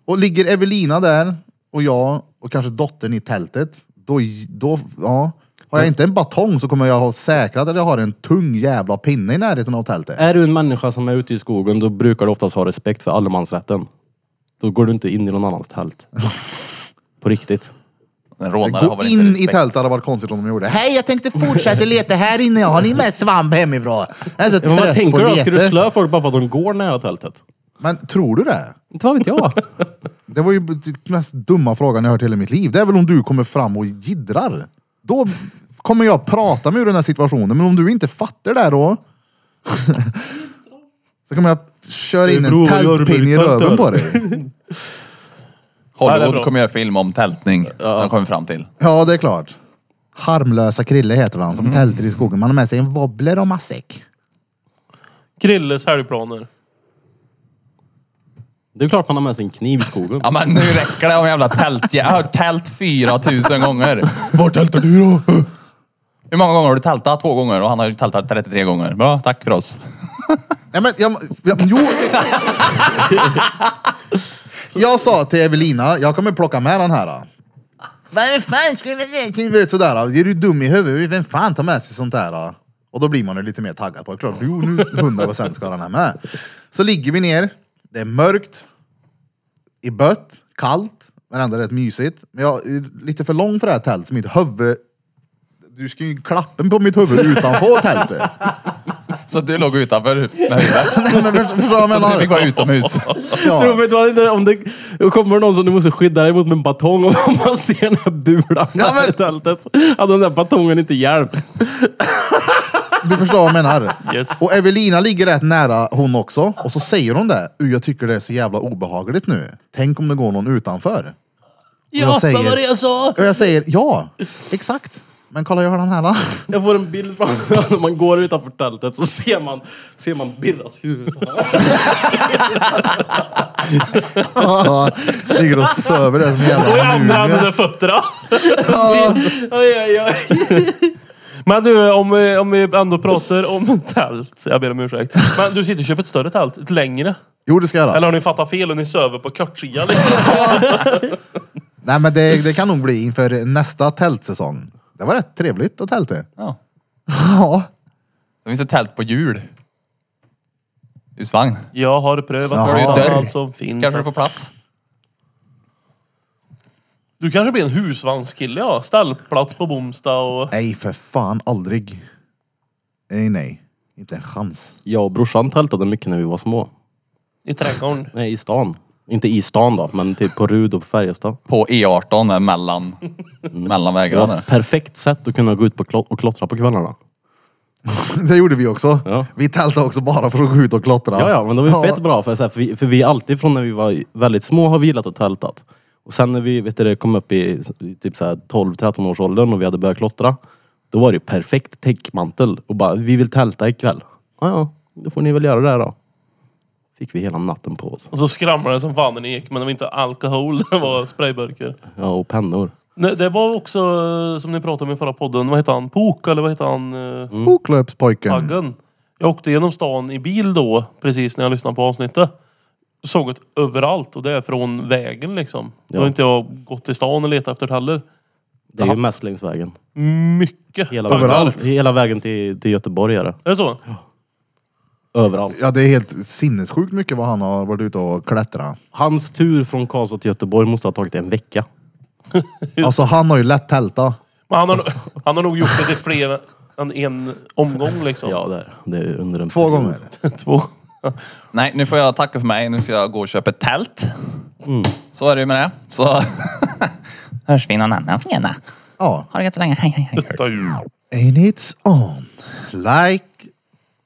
S1: Och ligger Evelina där och jag och kanske dottern i tältet. Då, j- då ja. Har jag inte en batong så kommer jag ha säkrat att jag har en tung jävla pinne i närheten av tältet.
S2: Är du en människa som är ute i skogen, då brukar du oftast ha respekt för allemansrätten. Då går du inte in i någon annans tält. På riktigt.
S4: En rånare har
S1: Gå
S4: väl inte
S1: in i
S4: respekt.
S1: tältet hade varit konstigt om de gjorde. Hej, jag tänkte fortsätta leta här inne. Har ni med svamp hemifrån? Jag är så
S2: Men vad
S1: trött
S2: tänker
S1: på
S2: du
S1: att
S2: då? Ska du
S1: leta.
S2: slö folk bara för att de går nära tältet?
S1: Men tror du det?
S2: Inte vad vet jag.
S1: Det var ju b- den mest dumma frågan jag hört i hela mitt liv. Det är väl om du kommer fram och jiddrar. Då kommer jag prata med ur den här situationen. Men om du inte fattar det här då. så kommer jag köra in
S2: Hey, bro,
S1: en
S2: vad gör du med
S1: tältpinne i
S2: ditt tält
S1: röven
S2: där?
S1: på dig.
S5: Ja, det är
S4: Hollywood
S5: bra.
S4: kommer göra film om tältning. Ja. De kommer fram till.
S1: Ja, det är klart. Harmlösa Krille heter han som tälter i skogen. Man har med sig en wobbler och matsäck.
S5: Krilles helgplaner.
S2: Det är klart man har med sig en kniv i skogen.
S4: Ja men nu räcker det om jävla tält. Jag har hört tält 4000 gånger.
S1: Var tältar du då?
S4: Hur många gånger har du tältat? Två gånger och han har ju tältat 33 gånger. Bra, tack för oss.
S1: Nej, men jag, jag, jo. jag sa till Evelina, jag kommer plocka med den här. då. Vem fan skulle det... Du vet sådär, då. är du dum i huvudet? Vem fan tar med sig sånt där? då? Och då blir man ju lite mer taggad på det. Klart, jo nu 100% ska den här med. Så ligger vi ner, det är mörkt, i bött, kallt, men ändå rätt mysigt. Men jag är lite för lång för det här tältet, så mitt huvud... Du ska ju klappen på mitt huvud utanför tältet.
S4: Så du låg utanför med huvudet.
S1: Nej, men förstår du vad jag
S4: Så du
S1: menar?
S4: fick vara utomhus.
S1: Ja.
S2: Du vet vad, det är, om det då kommer någon som du måste skydda dig mot med en batong och om man ser den här bulan
S1: Ja, men-
S2: i tältet så hade den där batongen inte hjälpt.
S1: Du förstår vad jag menar?
S5: Yes.
S1: Och Evelina ligger rätt nära hon också. Och så säger hon det. "Uh, Jag tycker det är så jävla obehagligt nu. Tänk om det går någon utanför. Ja, jag säger- vad var det
S2: jag sa!
S1: Och jag säger ja, exakt. Men kolla jag har den här. Då.
S2: Jag får en bild framför mig. När man går utanför tältet så ser man, ser man Birras huvud. så här.
S1: Ja, ligger och söver där som en
S5: Och i
S1: jävla
S5: andra
S1: mumie.
S5: handen är fötterna.
S2: Oj, oj, oj.
S5: Men du, om vi, om vi ändå pratar om tält. Jag ber om ursäkt. Men du sitter och köper ett större tält. Ett längre.
S1: Jo det ska jag göra.
S5: Eller har ni fattat fel och ni söver på kortsidan? liksom?
S1: Nej men det, det kan nog bli inför nästa tältsäsong. Det var rätt trevligt att tälta.
S4: Ja.
S1: Ja.
S4: Det finns ett tält på hjul. Husvagn.
S5: Jag har prövat
S1: Jaha.
S4: Har du
S5: allt
S4: dörr?
S5: annat som finns.
S4: Kanske du får plats.
S5: Du kanske blir en husvagnskille ja. Ställplats på Bomsta och...
S1: Nej för fan aldrig. Nej nej. Inte en chans.
S2: Jag och brorsan tältade mycket när vi var små.
S5: I trädgården.
S2: Nej, i stan. Inte i stan då, men typ på Rud och på Färjestad.
S4: På E18 där mellan, mellan
S2: Det var
S4: vägarna.
S2: ett perfekt sätt att kunna gå ut på klot- och klottra på kvällarna.
S1: Det gjorde vi också.
S2: Ja.
S1: Vi tältade också bara för att gå ut och klottra.
S2: Ja, ja, men det var ju fett bra. För, så här, för, vi, för vi alltid från när vi var väldigt små har vi gillat och tältat. Och sen när vi vet du, det, kom upp i, i typ så här 12-13 års åldern och vi hade börjat klottra. Då var det ju perfekt täckmantel och bara, vi vill tälta ikväll. Ja, ja. då får ni väl göra det här då. Fick vi hela natten på oss.
S5: Och så skramlade det som fan när ni gick, men det var inte alkohol, det var sprayburkar.
S2: Ja, och pennor.
S5: Nej, Det var också, eh, som ni pratade om i förra podden, vad heter han? Pok, eller vad heter han? eh,
S1: Oh, Boklöpspojken.
S5: Paggen. Jag åkte genom stan i bil då, precis när jag lyssnade på avsnittet. Såg det överallt och det är från vägen liksom. Då har
S2: Ja.
S5: inte jag gått till stan och letat efter det heller.
S2: Det är ju mest längs vägen.
S5: Mycket.
S2: Hela vägen,
S1: Överallt.
S2: Hela vägen till, till Göteborg är det.
S5: Är det så?
S2: Överallt.
S1: Ja, det är helt sinnessjukt mycket vad han har varit ute och klättrat.
S2: Hans tur från Karlstad till Göteborg måste ha tagit en vecka.
S1: Alltså han har ju lätt tälta.
S5: Men han har, han har nog gjort det till fler än en omgång liksom.
S2: Ja, det är, det är under en
S1: Två
S2: period.
S1: gånger.
S5: Två.
S4: Nej, nu får jag tacka för mig. Nu ska jag gå och köpa ett tält.
S1: Mm.
S4: Så är det ju med det. Så hörs vi någon annan fredag.
S1: Ja.
S4: Ha det gött så länge. Hej, hej, hej.
S1: In its own. Like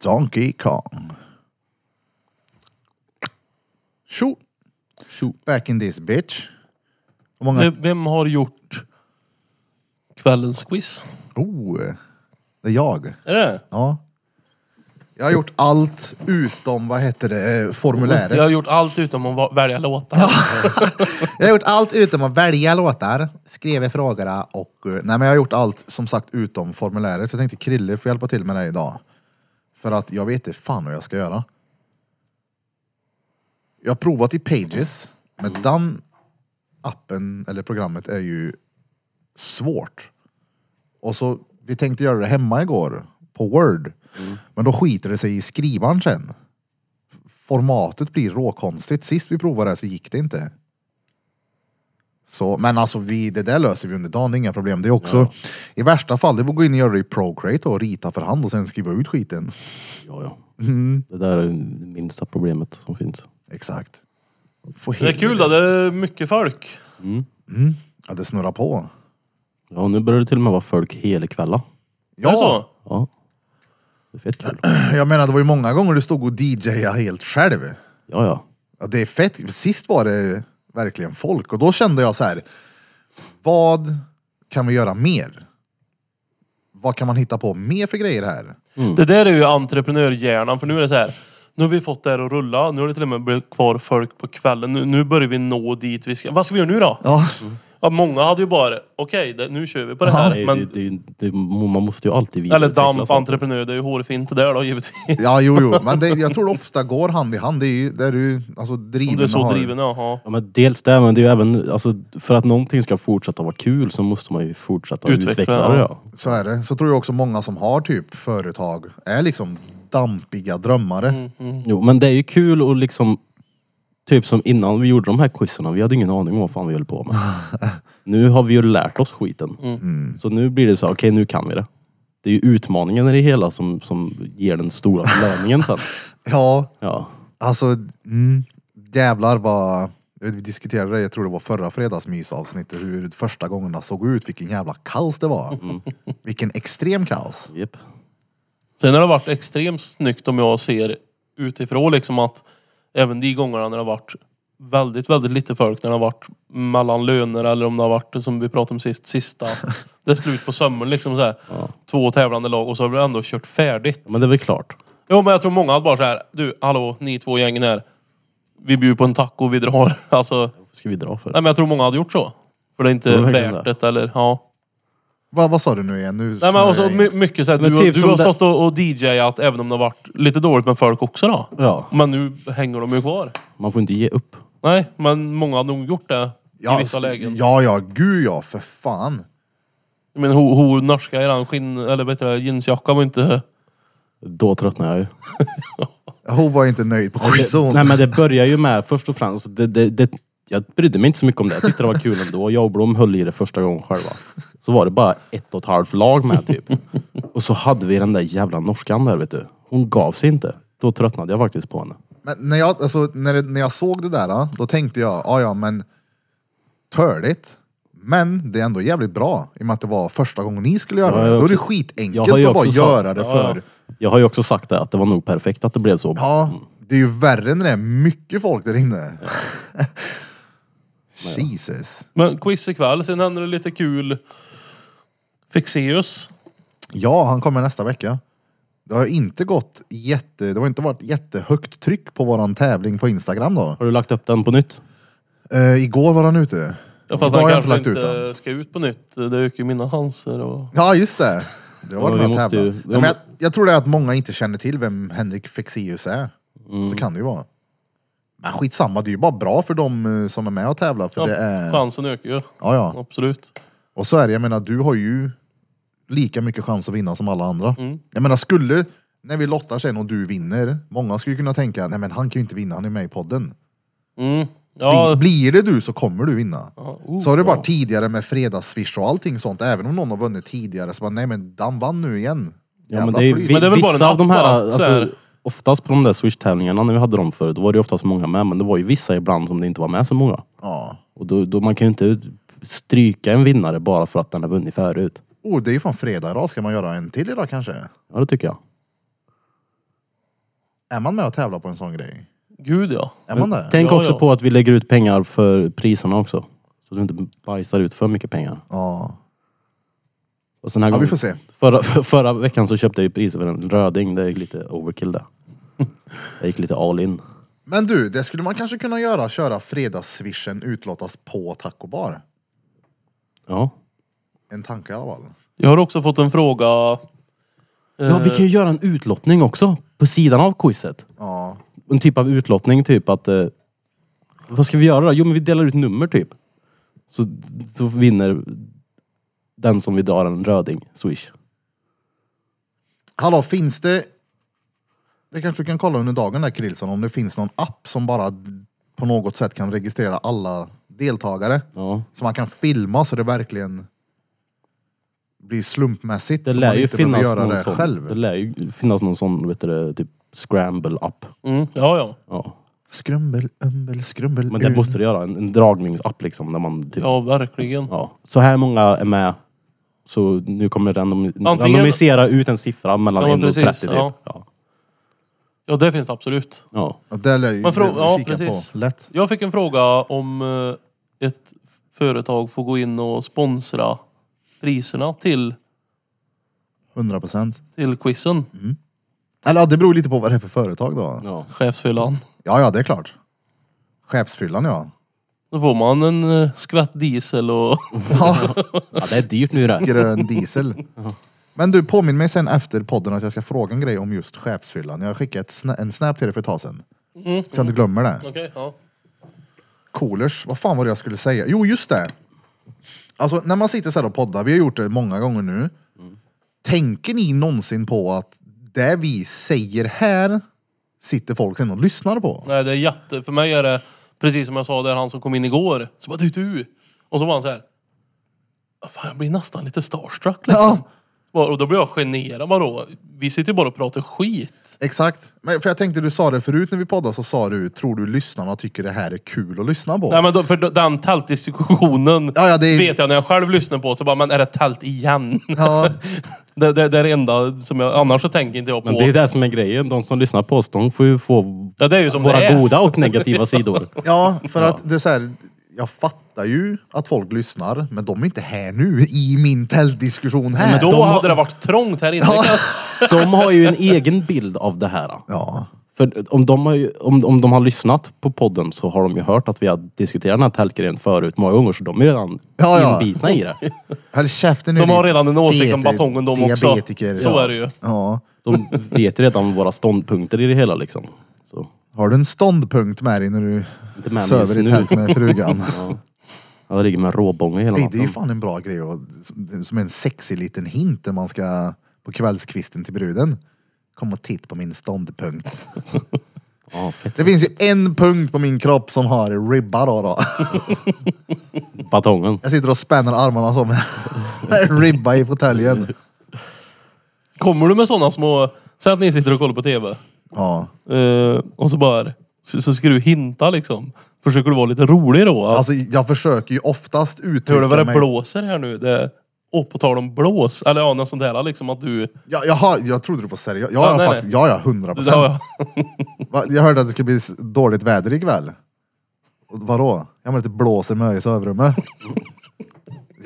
S1: Donkey Kong. Shoot. Shoot. Back in this bitch. Hur många...
S5: Vem- Vem har gjort kvällens quiz?
S1: Oh. Det är jag.
S5: Är det?
S1: Ja. Jag har gjort allt utom, vad heter det, eh, formuläret.
S5: Jag har gjort allt utom att va- välja låtar.
S1: Jag har gjort allt utom att välja låtar, skriva frågorna och... eh, Nej men jag har gjort allt som sagt utom formuläret så jag tänkte Krille får hjälpa till med det idag. För att jag vet inte fan vad jag ska göra. Jag har provat i Pages, men den appen eller programmet är ju svårt. Och så, vi tänkte göra det hemma igår, på Word. Men då skiter det sig i skrivaren sen. Formatet blir råkonstigt. Sist vi provade det så gick det inte. Så, men alltså vi, det där löser vi under dagen, det är inga problem. Det är också, i värsta fall, det är bara att gå in och göra det i Procreate och rita för hand och sen skriva ut skiten.
S2: Ja, ja. Det där är det minsta problemet som finns.
S1: Exakt. Få
S5: Det är
S1: helt-
S5: kul då, det är mycket folk.
S1: Ja, det snurrar på.
S2: Ja, nu börjar det till och med vara folk hela kvällar.
S5: Är det så?
S1: Ja,
S2: Ja. Det är fett kul.
S1: jag menar det var ju många gånger du stod och DJade helt själv.
S2: Ja, ja.
S1: Ja, det är fett. Sist var det verkligen folk och då kände jag så här. Vad kan vi göra mer? Vad kan man hitta på mer för grejer här?
S5: Det där är ju entreprenörhjärnan för nu är det så här. Nu har vi fått det här att rulla. Nu har det till och med blivit kvar folk på kvällen. Nu, nu börjar vi nå dit vi ska. Vad ska vi göra nu då?
S1: Ja,
S5: Ja, många hade ju bara, okej det- nu kör vi på det
S2: Det,
S5: här.
S2: är-
S5: Men,
S2: det, det, det, man måste ju alltid
S5: eller
S2: vidareutveckla
S5: damp,
S2: saker.
S5: entreprenör, det är ju hårfint det där då givetvis.
S1: ja jo, jo. men det, jag tror det ofta går hand i hand. Det är ju där du alltså, driven
S5: Om du är så
S1: har...
S5: driven, jaha.
S2: Ja, men dels det, men det är ju även, alltså, för att någonting ska fortsätta vara kul så måste man ju fortsätta
S5: Utveckla,
S2: utveckla, det.
S5: ja.
S2: Ja.
S1: Så är det. Så tror jag också många som har typ företag är liksom dampiga drömmare.
S5: Mm.
S2: Jo, men det är ju kul och liksom, typ som innan vi gjorde de här quizarna, vi hade ingen aning om vad fan vi höll på med. nu har vi ju lärt oss skiten. Så nu blir det så här, okej nu kan vi det. Det är ju utmaningen i det hela som, som ger den stora belöningen sen.
S1: Ja,
S2: Ja.
S1: Alltså, mm, jävlar vad... jag vet, Vi diskuterade det, jag tror det var förra fredagsmysavsnittet, hur första gångerna såg ut, vilken jävla kaos det var.
S5: Mm.
S1: Vilken extrem kaos.
S2: Yep.
S5: Sen har det varit extremt snyggt om jag ser utifrån liksom att även de gångerna när det har varit väldigt, väldigt lite folk, när det har varit mellan löner eller om det har varit som vi pratade om sist, sista. Det är slut på sommaren liksom så här. Två tävlande lag och så har vi ändå kört färdigt.
S2: Men det är väl klart.
S5: Jo men jag tror många hade bara så här, du hallå ni två gängen här. Vi bjuder på en taco, vi drar. Alltså,
S2: Vad ska vi dra för?
S5: nej men jag tror många hade gjort så. För det är inte
S2: Tror du verkligen
S5: värt det eller ja.
S1: Va, vad sa du nu igen? Nu
S5: Nej men
S1: snurrar
S5: också
S1: jag in.
S5: my- mycket såhär,
S2: Men
S5: du,
S2: typ
S5: du
S2: som
S5: har
S2: det-
S5: stått och, och DJat även om det har varit lite dåligt med folk också då.
S2: Ja,
S5: Men nu hänger de ju kvar.
S2: man får inte ge upp.
S5: Nej, men många har nog gjort det
S1: ja, alltså,
S5: i vissa lägen.
S1: Ja, ja, gud ja, för fan.
S5: Jag menar, ho, ho norska i den skinn, eller vet du, det, jeansjackan var inte...
S2: Då tröttnar jag ju.
S1: Hon var inte nöjd på quizon.
S2: Nej men det börjar ju med först och främst, det, det, det, jag brydde mig inte så mycket om det. Jag tyckte det var kul ändå. Jag och Blom höll i det första gången själva. Så var det bara ett och ett halvt lag med typ. Och så hade vi den där jävla norskan där vet du. Hon gav sig inte. Då tröttnade jag faktiskt på henne.
S1: Men när jag, alltså, när, det- när jag såg det där, då tänkte jag, ja ja men törligt. Men det är ändå jävligt bra i och med att det var första gången ni skulle göra
S2: Ja, jag
S1: det. Då är det
S2: också-
S1: skitenkelt att bara
S2: sagt-
S1: göra det
S2: Ja,
S1: för
S2: ja. Jag har ju också sagt det, att det var nog perfekt att det blev så.
S1: Ja, det är ju värre när det är mycket folk där inne. Jesus.
S5: Men quiz ikväll, sen händer det lite kul. Fexeus.
S1: Ja, han kommer nästa vecka. Det har inte gått jätte, det har inte varit jättehögt tryck på våran tävling på Instagram då.
S2: Har du lagt upp den på nytt?
S1: Eh, igår var den ute.
S5: Ja, fast
S1: Idag har
S5: han
S1: jag
S5: kanske
S1: inte
S5: inte,
S1: lagt ut den.
S5: ska ut på nytt. Det ökar ju mina chanser. Och...
S1: Ja, just det. Det var ja,
S2: Ja, vi
S1: den här
S2: måste
S1: tävlan.
S2: ju-
S1: Nej, men jag, jag tror det är att många inte känner till vem Henrik Fexeus är.
S2: Mm.
S1: Så kan det ju vara. Men skitsamma, det är ju bara bra för de eh, som är med och tävlar. För
S5: Ja,
S1: det är...
S5: Chansen ökar ju.
S1: Ja, ja.
S5: Absolut.
S1: Och så är det, jag menar du har ju lika mycket chans att vinna som alla andra.
S2: Mm.
S1: Jag menar skulle, när vi lottar sen och du vinner, många skulle kunna tänka, nej men han kan ju inte vinna, han är med i podden.
S5: Mm. Ja,
S1: Bli- Blir det du så kommer du vinna.
S5: Ja, oh,
S1: så har det varit
S5: bra.
S1: tidigare med fredagsswish och allting sånt, även om någon har vunnit tidigare så bara, nej men Dan vann nu igen.
S2: Ja, men
S1: Jävla
S2: det är,
S1: flyt.
S2: vi,
S5: Men det är väl bara
S2: vissa
S5: en
S2: av de här,
S5: app, va? Så här.
S2: alltså, oftast på de där Swish-tävlingarna när vi hade dem förut, då var det ju oftast många med. Men det var ju vissa ibland som det inte var med så många.
S1: Ja.
S2: Och då, då man kan ju inte stryka en vinnare bara för att den har vunnit förut.
S1: Oh, det är ju fan fredag idag, ska man göra en till idag kanske?
S2: Ja, det tycker jag.
S1: Är man med och tävlar på en sån grej?
S5: gud ja.
S1: Är man det?
S2: Tänk
S5: Ja,
S2: också
S5: ja.
S2: på att vi lägger ut pengar för priserna också. Så att du inte bajsar ut för mycket pengar.
S1: Ja.
S2: Och sen
S1: ja,
S2: här
S1: vi
S2: gången-
S1: får se.
S2: Förra, för, förra veckan så köpte jag ju priser för en röding. Det gick lite overkill där. Jag gick lite all in.
S1: Men du, det skulle man kanske kunna göra, köra fredagsswishen utlottas på Taco Bar.
S2: Ja.
S1: En tanke i alla fall.
S5: Jag har också fått en fråga.
S2: Ja, vi kan ju göra en utlottning också. På sidan av quizet.
S1: Ja.
S2: En typ av utlottning, typ att... Eh, vad ska vi göra då? Jo, men vi delar ut nummer typ. Så, så vinner den som vi drar en röding. Swish.
S1: Hallå, finns det... Det kanske du kan kolla under dagen där Krilson, om det finns någon app som bara på något sätt kan registrera alla deltagare.
S2: Ja.
S1: Så man kan filma så det verkligen blir slumpmässigt.
S2: Det
S1: så
S2: lär
S1: man
S2: ju
S1: inte behöver
S2: finnas
S1: göra
S2: någon
S1: det
S2: sån.
S1: själv.
S2: Det lär ju finnas någon sån, vet du det, typ scramble-app.
S5: Mm. Ja, ja.
S2: Ja.
S1: Skrumbel, ömbel, skrumbel.
S2: Men det
S1: ur.
S2: måste du göra. En, en dragningsapp liksom. När man typ
S5: Ja, verkligen.
S2: Ja. Så här många är med. Så nu kommer random,
S5: Antingen-
S2: randomisera ut en siffra mellan
S5: Ja, men
S2: 1 och 30
S5: precis,
S2: typ.
S5: ja.
S2: Ja. Ja.
S5: Ja, det finns det absolut.
S2: Ja.
S1: Ja, det lär ju
S5: Men frå-
S1: det lär
S5: ja,
S1: vi kika
S5: precis.
S1: på. Lätt.
S5: Jag fick en fråga om eh, ett företag får gå in och sponsra priserna till,
S1: 100 procent.
S5: till quizen.
S1: Eller ja, det beror lite på vad det är för företag då.
S5: Chefsfyllan.
S1: Ja, ja, det är klart. Chefsfyllan ja.
S5: Då får man en eh, skvätt diesel och...
S1: ja.
S2: det är dyrt nu det. här.
S1: Grön diesel. Men du, påminn mig sen efter podden att jag ska fråga en grej om just chefsfyllan. Jag skickade ett sna- en snap till dig för ett tag sedan.
S5: Mm.
S1: Så jag inte glömmer det.
S5: Okej, ja.
S1: Coolers, vad fan var det jag skulle säga? Jo, just det. Alltså när man sitter så här och poddar, vi har gjort det många gånger nu.
S5: Mm.
S1: Tänker ni någonsin på att det vi säger här sitter folk sen och lyssnar på?
S5: Nej, det är jätte... För mig är det precis som jag sa där han som kom in igår. Så bara du, du. Och så var han så här. "Ah, Fan, jag blir nästan lite starstruck liksom.
S1: Ja,
S5: Bara- Och då blir jag generad bara då. Vi sitter ju bara och pratar skit.
S1: exakt. Men för jag tänkte du sa det förut när vi poddade så sa du, tror du lyssnarna tycker det här är kul att lyssna på?
S5: Nej men då, för då- den tältdiskussionen
S1: Ja, ja, det är-
S5: vet jag när jag själv lyssnar på så bara, men är det tält igen?
S1: Ja.
S5: det, det, det är det enda som jag, annars så tänker inte jag på.
S2: Men det är det som är grejen. De som lyssnar på oss, de får ju få
S5: Ja, det är ju som
S2: våra
S5: det är.
S2: goda och negativa sidor.
S1: Ja, för att det är så här, jag fattar ju att folk lyssnar, men de är inte här nu i min tältdiskussion här.
S5: Men då
S2: de har-
S5: hade det varit trångt här inne. kan jag säga.
S2: De har ju en egen bild av det här.
S1: Ja,
S2: För om de, har ju, om, om de har lyssnat på podden så har de ju hört att vi har diskuterat den här tälkgrejen förut många gånger, så de är redan
S1: Ja, ja.
S2: inbitna i det.
S1: håll käften nu,
S5: De har
S1: din
S5: redan en åsikt om
S1: fete
S5: batongen de också.
S1: diabetiker.
S5: Så
S1: ja.
S5: är det ju.
S1: Ja.
S2: De vet ju redan våra ståndpunkter i det hela liksom. Så.
S1: Har du en ståndpunkt med dig när du
S2: Inte med mig
S1: söver
S2: just
S1: i
S2: nu.
S1: tält med frugan?
S2: Ja, det ligger med råbånge hela
S1: Nej,
S2: natten.
S1: det är ju fan en bra grej, och, som- som en sexig liten hint när man ska på kvällskvisten till bruden. Kom och titta på min ståndpunkt.
S2: Ja, fett.
S1: Det finns ju en punkt på min kropp som har ribba då. då.
S2: Batongen.
S1: Jag sitter och spänner armarna som en ribba i fåtöljen.
S5: Kommer du med sådana små... Säg att ni sitter och kollar på TV.
S1: Ja.
S5: Eh, och så bara... Så, så ska du hinta liksom. Försöker du vara lite rolig då?
S1: Alltså jag försöker ju oftast
S5: Hör du
S1: uttrycka
S5: vad det
S1: mig...
S5: blåser här nu? Det, och på tal om blås. Eller ja, något sånt där liksom att du...
S1: Ja, jaha, jag trodde du var seriös. Ja,
S5: Ja,
S1: ja,
S5: nej,
S1: fakt-
S5: nej.
S1: ja, ja, hundra
S5: du ja,
S1: procent. Va, Jag hörde att det skulle bli s- dåligt väder ikväll. Och vadå? Ja men att det blåser med i sovrummet.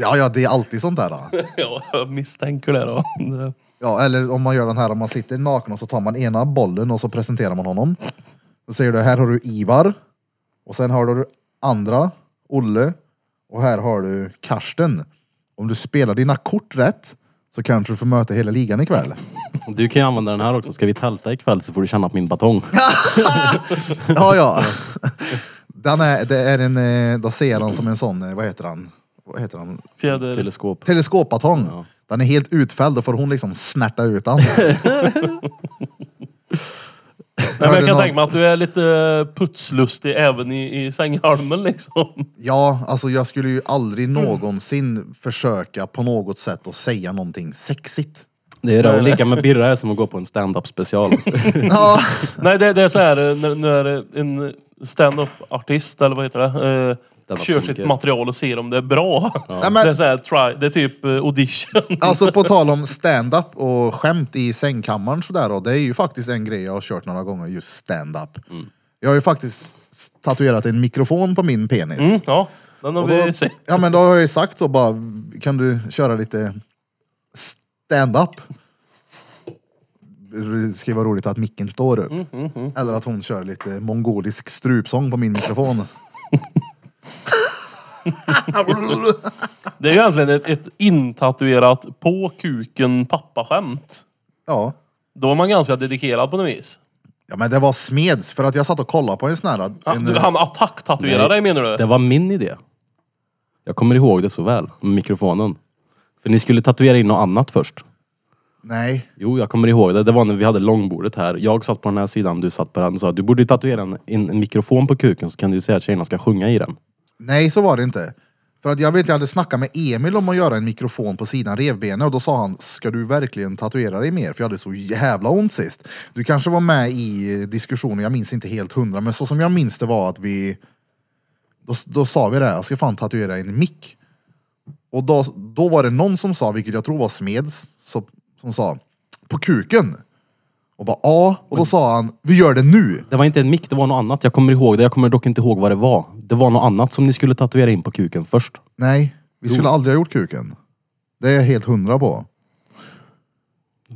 S1: Ja, ja, det är alltid sånt där. Då.
S5: ja, jag misstänker det då. Det-
S1: Ja, eller om man gör den här, om man sitter naken och så tar man ena bollen och så presenterar man honom. Då säger du, här har du Ivar. Och sen har du andra, Olle. Och här har du Karsten. Om du spelar dina kort rätt så kanske du får möta hela ligan ikväll.
S2: Du kan ju använda den här också. Ska vi tälta ikväll så får du känna på min batong.
S1: Ja, ja. Den är, det är en, eh, då ser han som en sån, eh, vad heter han? Vad heter han?
S5: Fjäder.
S2: Teleskop.
S1: Teleskopbatong. Den är helt utfälld, då får hon liksom snärta ut den.
S5: Nej, men
S1: Hörde
S5: jag kan
S1: någon-
S5: tänka mig att du är lite eh, putslustig även i, i sänghalmen liksom.
S1: Ja, alltså jag skulle ju aldrig någonsin försöka på något sätt att säga någonting sexigt.
S2: Det är det. Och lika med Birra är som att gå på en stand-up special.
S1: Ja,
S5: Nej, det, det är så här eh, när, när en stand-up-artist, eller vad heter det, eh,
S2: Stand-up
S5: kör
S2: komiker.
S5: sitt material och ser om det är bra.
S1: Nej, men-
S5: Det är så här, try, det är typ eh, audition.
S1: alltså på tal om stand-up och skämt i sängkammaren sådär då, det är ju faktiskt en grej jag har kört några gånger, just stand-up. Jag har ju faktiskt tatuerat en mikrofon på min penis.
S5: Mm, ja, den har
S1: Och då,
S5: vi sett.
S1: ja men då har jag ju sagt så bara, kan du köra lite stand-up? Det ska ju vara roligt att micken står
S5: Mm,
S1: upp. Eller att hon kör lite mongolisk strupsång på min mikrofon.
S5: Det är ju egentligen ett, ett intatuerat på kuken pappaskämt.
S1: Ja.
S5: Då är man ganska dedikerad på något vis.
S1: ja men det var smeds för att jag satt och kollade på en sån här.
S5: Ja,
S1: En,
S5: du, han attacktatuerar
S2: Nej.
S5: dig menar du?
S2: Det var min idé. Jag kommer ihåg det så väl. Med mikrofonen. För ni skulle tatuera in något annat först.
S1: Nej.
S2: Jo, jag kommer ihåg det. Det var när vi hade långbordet här. Jag satt på den här sidan, du satt på den. Du sa du borde tatuera en, en, en mikrofon på kuken så kan du säga att tjejerna ska sjunga i den.
S1: Nej så var det inte. För att jag vet jag hade snackat med Emil om att göra en mikrofon på sidan revbenen och då sa han Ska du verkligen tatuera dig mer? För jag hade så jävla ont sist. Du kanske var med i eh, diskussionen, jag minns inte helt hundra men så som jag minns det var att vi Då, då sa vi det, här, jag ska fan tatuera en mick. Och då, då var det någon som sa, vilket jag tror var Smeds, som, som sa På kuken! Och bara ja, och då sa han Vi gör det nu!
S2: Det var inte en mick, det var något annat. Jag kommer ihåg det. Jag kommer dock inte ihåg vad det var. Det var något annat som ni skulle tatuera in på kuken först.
S1: Nej, vi skulle aldrig ha gjort kuken. Det är jag helt hundra på.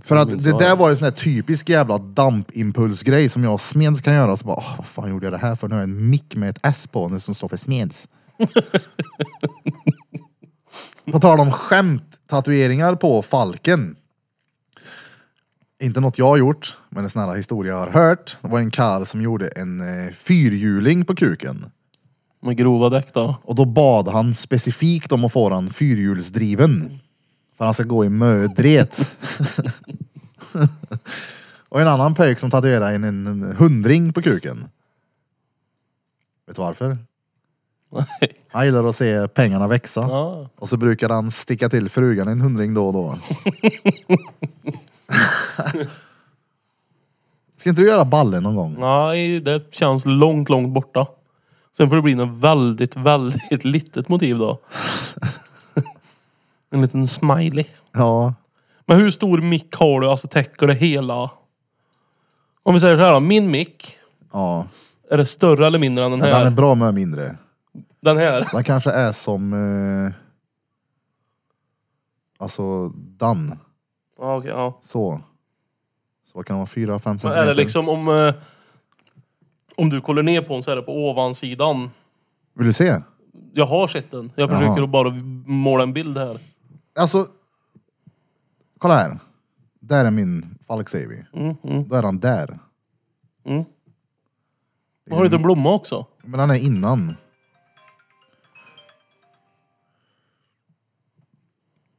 S1: För att det där var ju sån här typisk jävla dampimpulsgrej som jag och Smeds kan göra. Så bara, "Åh, vad fan gjorde jag det här för? Nu har jag en mick med ett S på nu som står för Smeds. på tal om skämt, tatueringar på falken. Inte något jag har gjort, men en sån här historia jag har hört. Det var en karl som gjorde en eh, fyrhjuling på kuken.
S5: Med grova däck då.
S1: Och då bad han specifikt om att få den fyrhjulsdriven. För han ska gå i mödret. och en annan pöjk som tatuerade en, en, en hundring på kuken. Vet du varför?
S5: Nej.
S1: Han gillar att se pengarna växa.
S5: Ja.
S1: Och så brukar han sticka till frugan en hundring då och då. ska inte du göra ballen någon gång?
S5: Nej, det känns långt, långt borta. Sen får det bli något väldigt, väldigt litet motiv då. En liten smiley.
S1: Ja.
S5: Men hur stor mick har du? Alltså täcker det hela? Om vi säger så här då. Min mick.
S1: Ja.
S5: Är det större eller mindre än den
S1: Den
S5: här?
S1: är bra med mindre.
S5: Den här?
S1: Den kanske är som... Eh, alltså, Dan.
S5: Ja, okej, ja.
S1: Så. Så vad kan det vara? fyra fem
S5: Men är
S1: centimeter?
S5: det liksom om... eh, Om du kollar ner på den så är det på ovansidan.
S1: Vill du se?
S5: Jag har sett den. Jag försöker att bara måla en bild här.
S1: Alltså... Kolla här. Där är min falk, säger vi. Då är han där.
S5: Har du inte en blomma också?
S1: Men han är innan.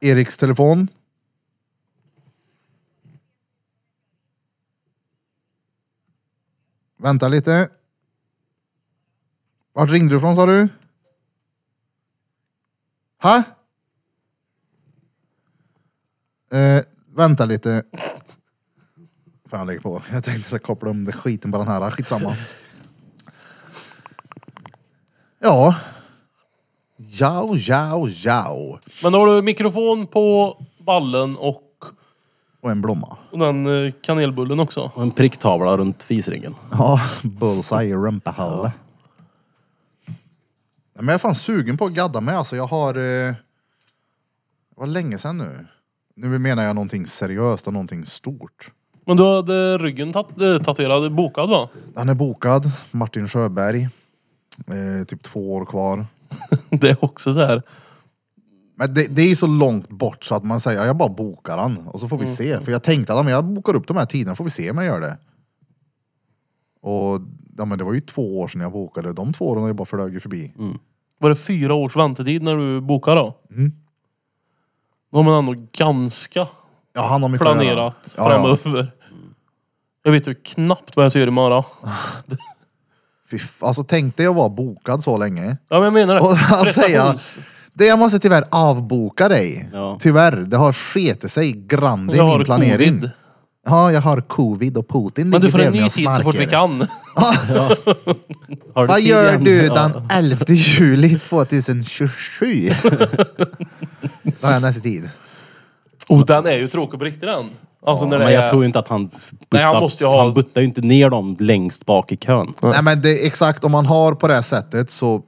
S1: Eriks telefon. Vänta lite. Vart ringde du från sa du? Ha? Eh, vänta lite. Fan lägg på. Jag tänkte så här, koppla om det skiten på den här. Skitsamma. Ja. Jao, jao, jao.
S5: Men då har du mikrofon på ballen och
S1: Och en blomma.
S5: den eh, kanelbullen också.
S2: Och en pricktavla runt fisringen.
S1: Ja, bullseye i rumpahålet. Ja. Men jag är fan sugen på att gadda mig alltså. Jag har... Eh... Det var länge sedan nu. Nu menar jag någonting seriöst och någonting stort.
S5: Men du hade ryggen tat- eh, tatuerad, bokad va?
S1: Han är bokad, Martin Sjöberg. Eh, typ två år kvar.
S5: Det är också så här.
S1: Men det, det är ju så långt bort så att man säger, ja, jag bara bokar han och så får
S5: Mm.
S1: vi se. För jag tänkte att ja, men jag bokar upp de här tiderna, får vi se om jag gör det. Och ja, men det var ju två år sedan jag bokade. De två åren har ju bara flugit förbi.
S5: Mm. Var det fyra års väntetid när du bokade då? Mm. Då har man ändå ganska
S1: Ja, han har mycket att göra.
S5: planerat
S1: Ja, ja.
S5: framöver. Jag vet ju knappt vad jag ska göra imorgon.
S1: Fy f- Alltså tänkte jag vara bokad så länge.
S5: Ja men jag menar det.
S1: Och han säger,
S5: Prestations-
S1: det jag måste tyvärr avboka dig.
S2: Ja.
S1: Tyvärr, det har sketit sig grande i
S5: Jag har
S1: min planering.
S5: covid.
S1: Ja, jag har covid och Putin
S5: Men du
S1: ligger
S5: får en
S1: bredvid mig
S5: ny
S1: och
S5: tid så fort vi
S1: snarkar.
S5: kan.
S2: Har
S1: Vad
S2: tid
S1: gör
S2: igen?
S1: du
S2: Ja.
S1: den 11 juli 2027? Då har jag nästa tid.
S5: Oh, den är ju tråkig på riktigt den. Alltså när det
S2: Men
S5: är...
S2: jag tror inte att han...
S5: Nej, han måste ju ha-
S2: han buttar ju inte ner dem längst bak i kön.
S1: Nej men det är exakt, om man har på det här sättet så...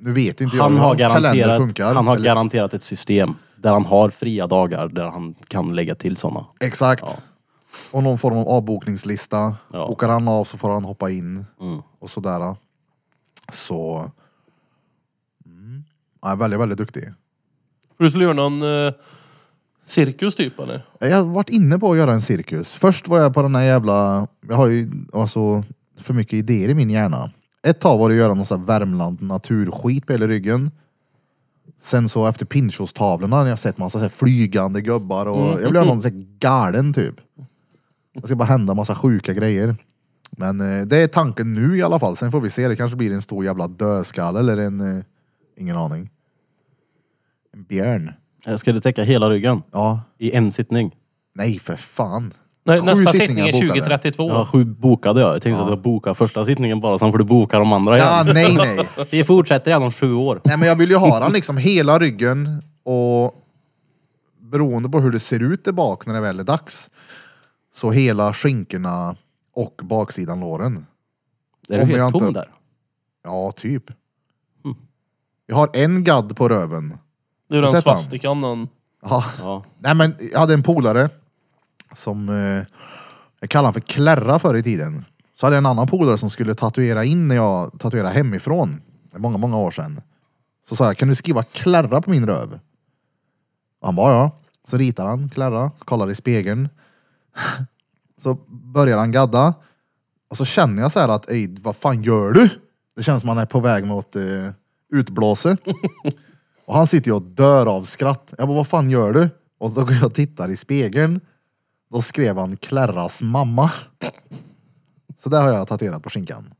S1: Nu vet inte jag
S2: Han
S1: hur
S2: har,
S1: hans kalender
S2: garanterat,
S1: funkar.
S2: han har
S1: Eller-
S2: garanterat ett system där han har fria dagar där han kan lägga till sådana.
S1: Exakt. Och någon form av avbokningslista.
S2: Ja. Mm.
S1: Åker han av så får han hoppa in. Och sådär. Så... Mm. Han är väldigt, väldigt duktig.
S5: Du skulle göra någon eh, cirkus typ eller?
S1: Jag har varit inne på att göra en cirkus. Först var jag på den här jävla... Jag har ju alltså för mycket idéer i min hjärna. Ett tag var det att göra någon sån här Värmland naturskit på hela ryggen. Sen så efter Pinchos-tavlorna när jag sett massa så här flygande gubbar och jag blev någon så här galen typ. Det ska bara hända massa sjuka grejer. Men eh, det är tanken nu i alla fall. Sen får vi se. Det kanske blir en stor jävla dödskalle eller en... Eh, ingen aning. En björn.
S2: Eh, Ska du täcka hela ryggen?
S1: Ja.
S2: I en sittning?
S1: Nej för fan.
S5: Nej,
S1: Sju
S5: nästa sittning
S1: sittningar
S5: är
S1: bokade.
S5: 2032.
S2: Jag har sju bokade jag. Jag tänkte att jag bokar första sittningen bara, sen får du boka de andra
S1: Ja,
S2: igen.
S1: nej nej.
S2: Vi fortsätter igen om sju år.
S1: Nej men jag vill ju ha den liksom hela ryggen och beroende på hur det ser ut där bak när det väl är dags. Så hela skinkorna och baksidan låren.
S2: Är
S1: Om
S2: du
S1: jag
S2: helt tom
S1: inte-
S2: där?
S1: Ja, typ.
S5: Mm.
S1: Jag har en gadd på röven.
S5: Det är
S1: Har
S5: den
S1: sett han?
S5: svastikan den.
S1: Ja.
S2: Ja.
S1: Nej men jag hade en polare som eh, jag kallade han för Klärra förr i tiden. Så hade jag en annan polare som skulle tatuera in när jag tatuerade hemifrån. Många, många år sedan. Så sa jag, kan du skriva Klärra på min röv? Och han bara, ja. Så ritar han Klärra, kollar i spegeln. så börjar han gadda. Och så känner jag så här att, ej, vad fan gör du? Det känns som att han är på väg mot eh, utblåse. Och han sitter ju och dör av skratt. Jag bara, vad fan gör du? Och så går jag och tittar i spegeln. Då skrev han Klärras mamma. Så där har jag tatuerat på skinkan.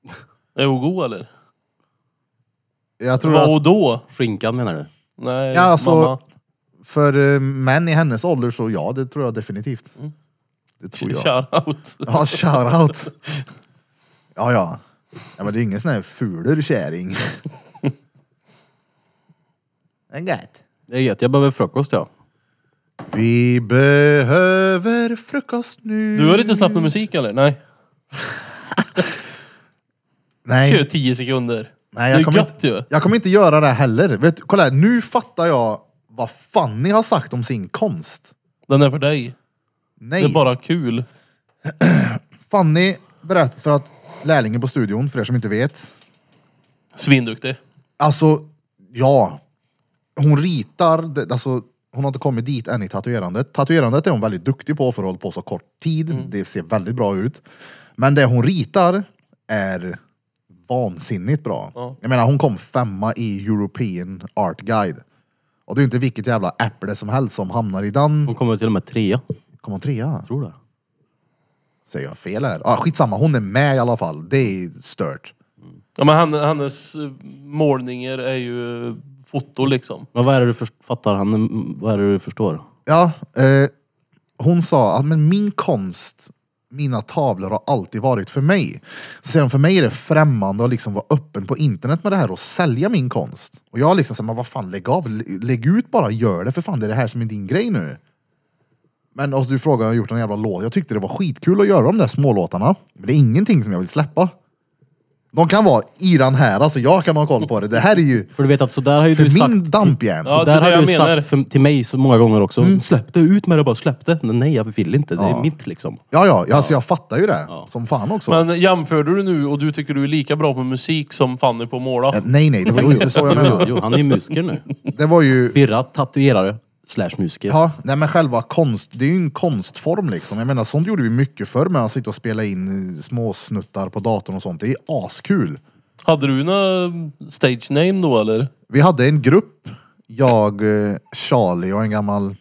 S5: Är hon god eller?
S1: Jag tror
S5: Vad
S1: att
S5: och då?
S2: Skinkan menar du?
S5: Nej,
S1: Ja, alltså-
S5: mamma.
S1: för eh, män i hennes ålder så ja, det tror jag definitivt. Det tror jag.
S5: Mm. Shoutout.
S1: Ja, shoutout. Ja, ja. Ja, men det är ingen sån här fulurkärring. Det är gött.
S2: Det är gött, jag behöver frukost ja.
S1: Vi behöver frukost nu.
S5: Du har lite slapp med musik eller? Nej. Kör
S1: Nej,
S5: 10 sekunder.
S1: nej
S5: det
S1: jag
S5: är
S1: kommer
S5: gött
S1: inte...
S5: ju.
S1: Jag kommer inte göra det heller. Vet, du, kolla här, nu fattar jag vad Fanny har sagt om sin konst.
S5: Den är för dig.
S1: Nej,
S5: Det är bara kul.
S1: Fanny berättar för att lärlingen på studion, för er som inte vet.
S5: Svinduktig.
S1: Alltså, ja. Hon ritar, det- alltså hon har inte kommit dit än i tatuerandet. Tatuerandet är hon väldigt duktig på för att hålla på så kort tid. Det ser väldigt bra ut. Men det hon ritar är vansinnigt bra. Jag menar hon kom femma i European Art Guide. Och det är ju inte vilket jävla äpple som helst som hamnar i den.
S2: Hon kommer till och med trea.
S1: Kom hon trea?
S2: Tror det.
S1: Säger jag fel här? Ah, skitsamma, hon är med i alla fall. Det är stört.
S5: Ja, men han, hennes eh, målningar är ju eh, foto liksom.
S2: Men vad är det du först- fattar? Han, vad är det du förstår?
S1: Ja, eh, hon sa att men min konst, mina tavlor har alltid varit för mig. Så säger hon, för mig är det främmande att liksom vara öppen på internet med det här och sälja min konst. Och jag liksom, så här, men vad fan lägg av, L- lägg ut bara, gör det för fan, det är det här som är din grej nu. Men alltså, du frågar, jag har gjort en jävla låt. Jag tyckte det var skitkul att göra de där smålåtarna. Men det är ingenting som jag vill släppa. De kan vara i den här, alltså jag kan ha koll på det. Det här är ju
S2: För du vet att sådär har ju
S1: för
S2: du
S1: min
S2: sagt...
S1: dampjärn.
S5: Ja, det är
S2: där
S5: det
S2: har
S5: jag
S2: du
S5: menar.
S2: sagt för, till mig så många gånger också. Släpp det, ut med det bara, släpp det. Men Nej, jag vill inte. Det är mitt liksom.
S1: Ja, ja, ja, alltså jag fattar ju det. Som fan också.
S5: Men jämförde du nu och du tycker du är lika bra på musik som Fanny på att måla?
S1: Eh, Nej, nej, det var ju inte så jag
S2: Jo,
S1: menade.
S2: jo, han är ju musiker nu.
S1: Det var ju...
S2: Birra, tatuerare, slash musiker.
S1: Ja, nej men själva konst, det är ju en konstform liksom. Jag menar sånt gjorde vi mycket förr med att sitta och spela in eh, små snuttar på datorn och sånt. Det är askul.
S5: Hade du några stage name då eller?
S1: Vi hade en grupp, jag, eh, Charlie och en gammal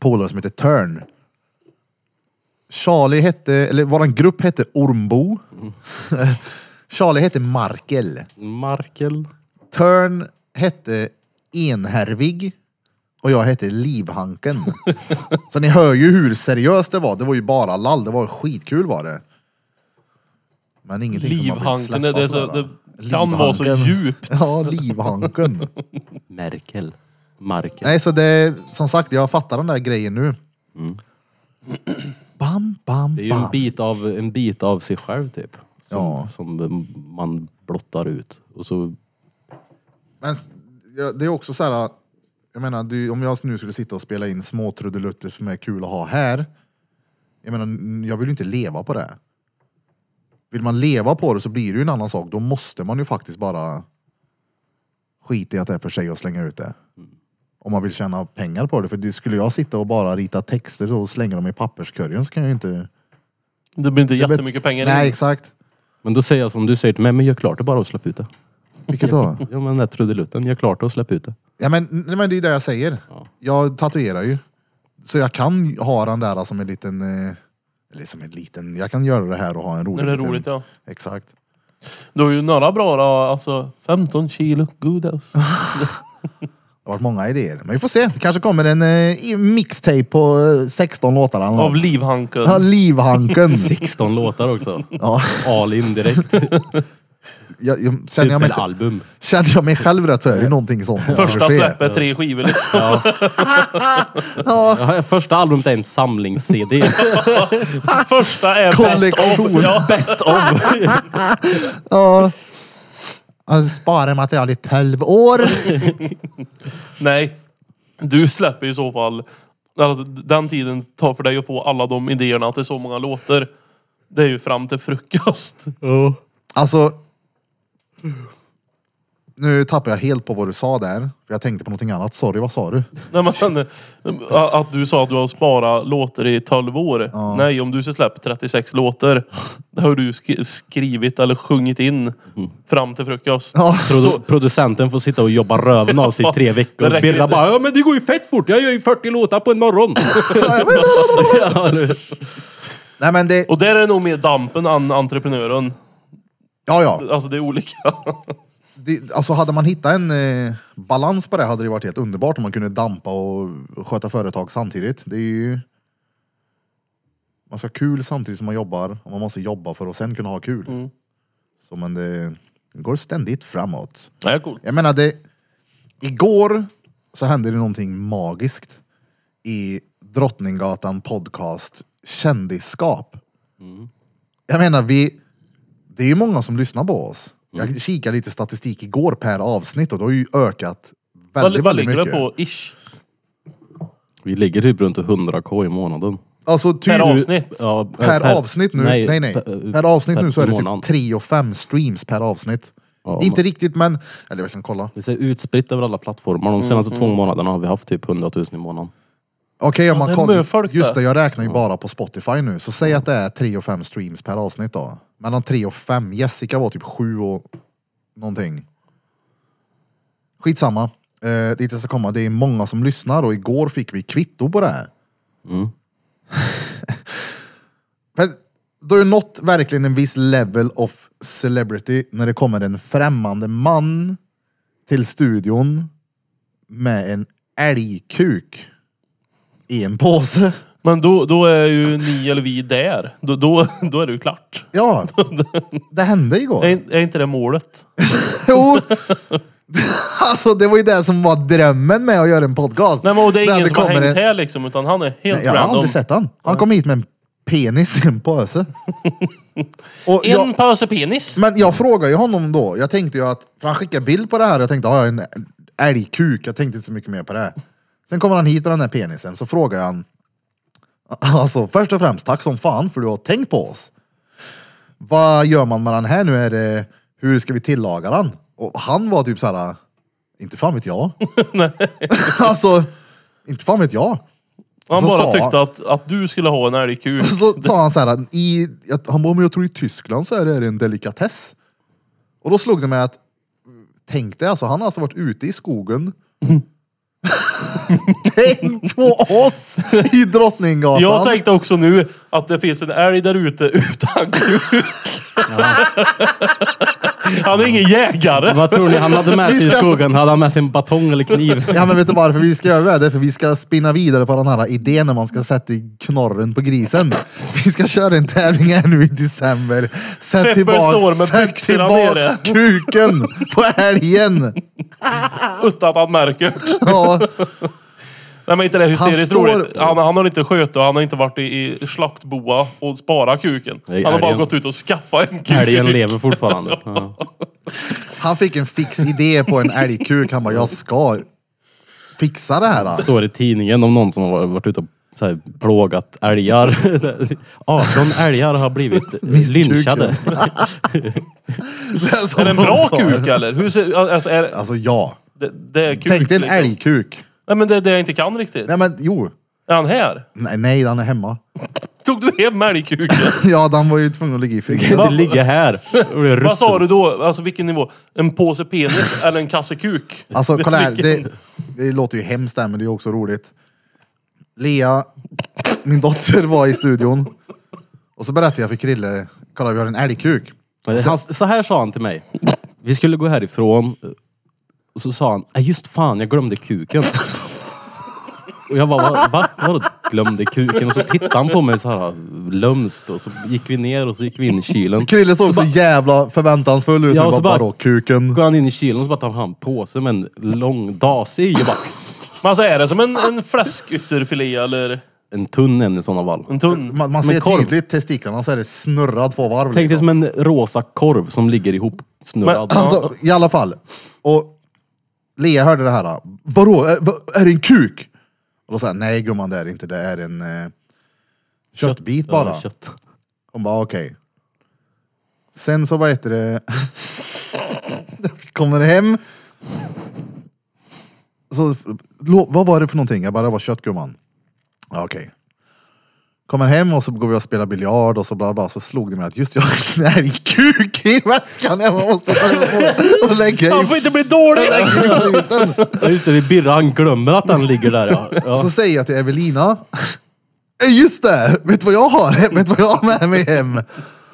S1: polare som heter Turn. Charlie hette, eller våran grupp hette Ormbo.
S2: Mm.
S1: Charlie hette Markel.
S2: Markel.
S1: Törn hette Enhärvig och jag hette Livhanken. Så ni hör ju hur seriöst det var. Det var ju bara lall. Det var skitkul var det. Men ingenting som man vill
S5: Livhanken,
S1: släppa
S5: det, är så,
S1: sådär.
S5: det kan vara så
S1: Livhanken.
S5: djupt.
S1: Ja, Livhanken.
S2: Merkel. Markel.
S1: Nej, så det, som sagt, jag fattar den där grejen nu.
S5: Mm.
S1: Bam, bam,
S2: Det är ju en
S1: bam.
S2: bit av, en bit av sig själv typ. Som,
S1: Ja.
S2: som eh, man blottar ut. Och så,
S1: Men s- ja, det är också så här, jag menar du, om jag nu skulle sitta och spela in små trudelutter som är kul att ha här. Jag menar, n- jag vill ju inte leva på det. Vill man leva på det så blir det ju en annan sak. Då måste man ju faktiskt bara skita i att det är för sig och slänga ut det. Om man vill tjäna pengar på det. För det skulle jag sitta och bara rita texter och slänga dem i papperskorgen så kan jag ju inte...
S5: Det blir inte
S1: Jag vet-
S5: jättemycket pengar.
S1: Nej,
S5: Nej.
S1: exakt.
S2: men då säger jag som du säger till mig, men gör klart det bara och släpp ut det.
S1: Vilket då?
S2: Ja men den där trudelutten, gör klart det och släpp ut det.
S1: Ja, men, nej, men det är det jag säger. Jag tatuerar ju. Så jag kan ju ha den där som en liten... eh, Eller som en liten... Jag kan göra det här och ha en rolig
S5: Det är
S1: liten-
S5: roligt ja.
S1: Exakt.
S5: Du har ju några bra då, alltså 15 kilo godis.
S1: Det har varit många idéer. Men vi får se. Det kanske kommer en eh, i- mixtape på eh, 16 låtar. eller
S5: Av
S1: något.
S5: livhanken.
S1: Ja, Livhanken.
S2: 16 låtar också.
S1: Ja,
S2: All in direkt. Typ
S1: jag, jag, känner, jag mig,
S2: Superalbum.
S1: känner jag mig själv rätt så är det någonting sånt. som
S5: Typ Första
S1: kommer ske.
S5: släppet, tre skivor liksom.
S2: Ja, första albumet är en samlings-CD.
S5: Första är bäst
S1: Kollektion.
S5: of. Ja.
S2: Best of.
S1: Ja. Jag sparar material i 12 år.
S5: Nej. Du släpper ju i så fall... alltså, Den tiden tar för dig att få alla de idéerna till så många låtar. Det är ju fram till frukost.
S1: Alltså. Nu tappar jag helt på vad du sa där. För jag tänkte på någonting annat. Sorry, vad sa du?
S5: Nej, men, eh, att du sa att du har sparat låtar i 12 år. Nej, om du ska släppa 36 låtar. Det har du sk- skrivit eller sjungit in
S1: Mm.
S5: fram till frukost.
S1: Ja,
S2: Produ producenten får sitta och jobba röven av sig i tre veckor.
S5: det
S2: Och
S5: räcker
S2: Birra
S5: inte.
S2: bara, ja men det går ju fett fort. Jag gör ju 40 låtar på en morgon. ja, eller hur?
S1: nej men det...
S5: Och där är det nog mer dampen än entreprenören.
S1: Ja, ja.
S5: Alltså det är olika.
S1: Det, alltså hade man hittat en eh, balans på det hade det varit helt underbart om man kunde dampa och sköta företag samtidigt. Det är ju... Man ska ha kul samtidigt som man jobbar och man måste jobba för att sen kunna ha kul. Så men det går ständigt framåt.
S5: Det är coolt.
S1: Jag menar, det, igår så hände det någonting magiskt i Drottninggatan podcast kändisskap. Jag menar, vi, det är ju många som lyssnar på oss.
S5: Mm.
S1: Jag kikade lite statistik igår per avsnitt och det har ju ökat väldigt,
S5: Vad, vad
S1: väldigt
S5: ligger det
S1: mycket.
S5: på? Ish.
S2: Vi ligger typ runt 100k i månaden.
S1: Alltså, typ,
S5: Per avsnitt.
S2: Ja,
S1: Per, avsnitt nu, nej nej. Per, avsnitt nu så är det typ 3 och 5 streams per avsnitt.
S2: Ja,
S1: Inte riktigt men, eller jag kan kolla.
S2: Det är utspritt över alla plattformar. De senaste två månaderna har vi haft typ 100 000 i månaden.
S1: Okej, om
S5: det
S1: man
S5: är
S1: kollar.
S5: möfolk
S1: Just det,
S5: där.
S1: jag räknar ju bara på Spotify nu. Så säg att det är 3 och 5 streams per avsnitt då. Mellan 3 och 5. Jessica var typ 7 och någonting. Skitsamma. Eh, dit jag ska komma. Det är många som lyssnar och igår fick vi kvitto på det här. För då har ju nått verkligen en viss level of celebrity när det kommer en främmande man till studion med en älgkuk i en påse.
S5: Men då, då är ju ni eller vi där. Då, då, då är det ju klart.
S1: Ja, det hände igår.
S5: Är, är inte det målet?
S1: Jo. Alltså det var ju det som var drömmen med att göra en podcast.
S5: Nej men och det är
S1: Där
S5: ingen som har
S1: kommer
S5: hängt
S1: en-
S5: här liksom. Utan han är helt
S1: Nej, jag har
S5: random.
S1: aldrig sett han. Han kom hit med en penis i en påse. Och jag-
S5: En påse penis.
S1: Men jag frågade ju honom då. Jag tänkte ju att, för han skickade bild på det här jag tänkte, har jag en älgkuk? Jag tänkte inte så mycket mer på det. Sen kommer han hit med den här penisen, så frågar jag han. Alltså först och främst, tack som fan för du har tänkt på oss. Vad gör man med den här nu? Är det, hur ska vi tillaga den? Och han var typ så här, inte fan vet jag. alltså, inte fan vet jag.
S5: Han
S1: så
S5: bara
S1: sa
S5: tyckte
S1: han-
S5: att, att du skulle ha en älgkuk.
S1: Så sa han så här, i, jag- han bara, men jag tror i Tyskland så är det en delikatess. Och då slog det mig att, tänk dig alltså, han har alltså varit ute i skogen. tänk på oss i Drottninggatan.
S5: Jag tänkte också nu att det finns en älg där ute utan kuk. Han är ingen jägare.
S2: Vad tror ni han hade med
S1: Vi
S2: sig i
S1: ska-
S2: skogen? Hade han med sig en batong eller kniv?
S1: Ja men vet du varför vi ska göra det? här? Det är för vi ska spinna vidare på den här idén när man ska sätta i knorren på grisen. Vi ska köra en tävling här nu i december. Sätt
S5: Pepper står
S1: tillbaks,
S5: med
S1: sätt
S5: byxorna
S1: tillbaks kuken på älgen.
S5: Utan att han märker.
S1: Ja.
S5: Nej men inte det är hysteriskt
S1: Han står-
S5: roligt. Han, han har inte skött och han har inte varit i, i slaktboa och sparat kuken.
S2: Nej,
S5: Han har bara
S2: älgen.
S5: gått ut och skaffat en kuk.
S2: Älgen lever fortfarande. Ja.
S1: Han fick en fix idé på en älgkuk. Han bara, jag ska fixa det här. då."
S2: Står i tidningen om någon som har varit ute och så här, plågat älgar. 18 älgar har blivit
S1: Visst kuk,
S2: lynchade.
S1: Det är, som
S5: Är det en bra
S1: de tar.
S5: kuk eller? Hur ser, alltså, är, det-
S1: Alltså ja.
S5: det, det är kuk,
S1: Tänk dig en
S5: liksom.
S1: älgkuk.
S5: Nej men det är det jag inte kan riktigt.
S1: Nej men jo.
S5: Är han här?
S1: Nej, nej, han är hemma.
S5: Tog du hem älgkuken?
S1: Ja, den var ju tvungen att ligga i
S2: Det
S1: frysen.
S2: inte ligga här. Och det är
S5: Vad
S2: rutt-
S5: sa du då? Alltså vilken nivå? En påse penis eller en kasse kuk?
S1: Alltså kolla här.
S5: Vilken-
S1: Det, det låter ju hemskt där, men det är också roligt. Lea, min dotter, var i studion. Och så berättade jag för Krille, kolla vi har en älgkuk.
S2: Han, så här sa han till mig. Vi skulle gå härifrån. Och så sa han, "Nej, just fan jag glömde kuken. Och jag bara, va? va? Vadå glömde kuken? Och så tittade han på mig så här lömskt. Och så gick vi ner och så gick vi in i kylen.
S1: Krille såg
S2: Så
S1: så,
S2: bara-
S1: jävla förväntansfull ut.
S2: Ja, och
S1: Ja,
S2: så bara-
S1: bara, bara, kuken.
S2: går han in i kylen och så bara tar han en påse med en lång dase i. Och bara,
S5: Men alltså är det som en, en fläskytterfilé eller
S2: en tunn en i sådana fall.
S5: en tunn?
S1: Man, man
S2: Men
S1: ser
S2: korv.
S1: tydligt testiklarna så är det snurrad två varv.
S2: Tänk
S1: liksom.
S2: dig som en rosa korv som ligger ihop snurrad.
S5: Men-
S1: Alltså i alla fall. Och Lea hörde det här. då. Vadå, är, va- är det en kuk? Och då sa jag, nej gumman det är det inte, det är en eh, köttbit bara.
S2: Ja, kött.
S1: Hon bara okej. Sen så vad heter det? Kommer hem. Så, lo- vad var det för någonting? Jag bara, det var köttgumman. Ja, okej. Kommer hem och så går vi och spelar biljard och så bla bla. Så slog det mig att just jag har en älgkuk i väskan. Jag måste ta och, och lägga
S5: Han
S1: i,
S5: får inte bli dålig!
S1: lägga i frysen.
S2: Ja, Just det, det är Birra. Han glömmer att den ligger där. Ja. Ja.
S1: Så säger jag till Evelina. "Eh, Just det! Vet du vad jag har? Vet du vad jag har med mig hem?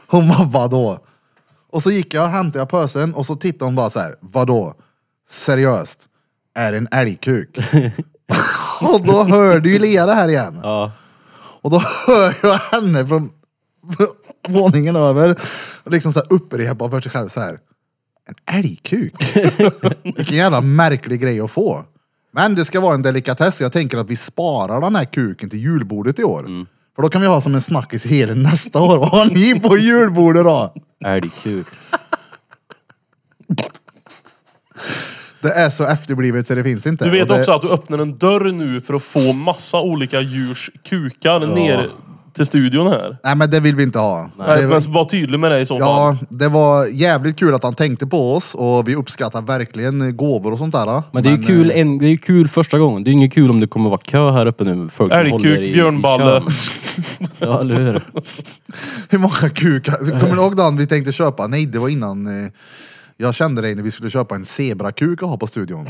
S1: Hon bara, vadå? Och så gick jag och hämtade jag pösen och så tittade hon bara så här, vadå? Seriöst? Är det en älgkuk? och då hörde ju Lea det här igen.
S2: Ja.
S1: Och då hör jag henne från våningen över och liksom så här upprepa för sig själv så här. En älgkuk? Vilken jävla märklig grej att få. Men det ska vara en delikatess. Jag tänker att vi sparar den här kuken till julbordet i år.
S2: Mm.
S1: För då kan vi ha som en snackis hela nästa år. Vad har ni på julbordet då?
S2: Älgkuk.
S1: Det är så efterblivet så det finns inte.
S5: Du
S1: Och
S5: vet
S1: det,
S5: också att du öppnar en dörr nu för att få massa olika djurs kukar ner till studion här.
S1: Nej men det vill vi inte ha.
S5: Nej,
S1: Det-
S5: men var tydlig med det i så fall.
S1: Ja, det var jävligt kul att han tänkte på oss och vi uppskattar verkligen gåvor och sånt där.
S2: Men det är ju kul,
S1: eh,
S2: en, det är ju kul första gången. Det är ju inget kul om det kommer vara kö här uppe nu. med Folk som
S5: Älgkuk,
S2: håller i,
S5: björnballe.
S2: I kön. ja, eller hur?
S1: Hur många kukar? Kommer du ihåg den vi tänkte köpa? Nej, det var innan eh, jag kände dig när vi skulle köpa en zebrakuk att ha på studion.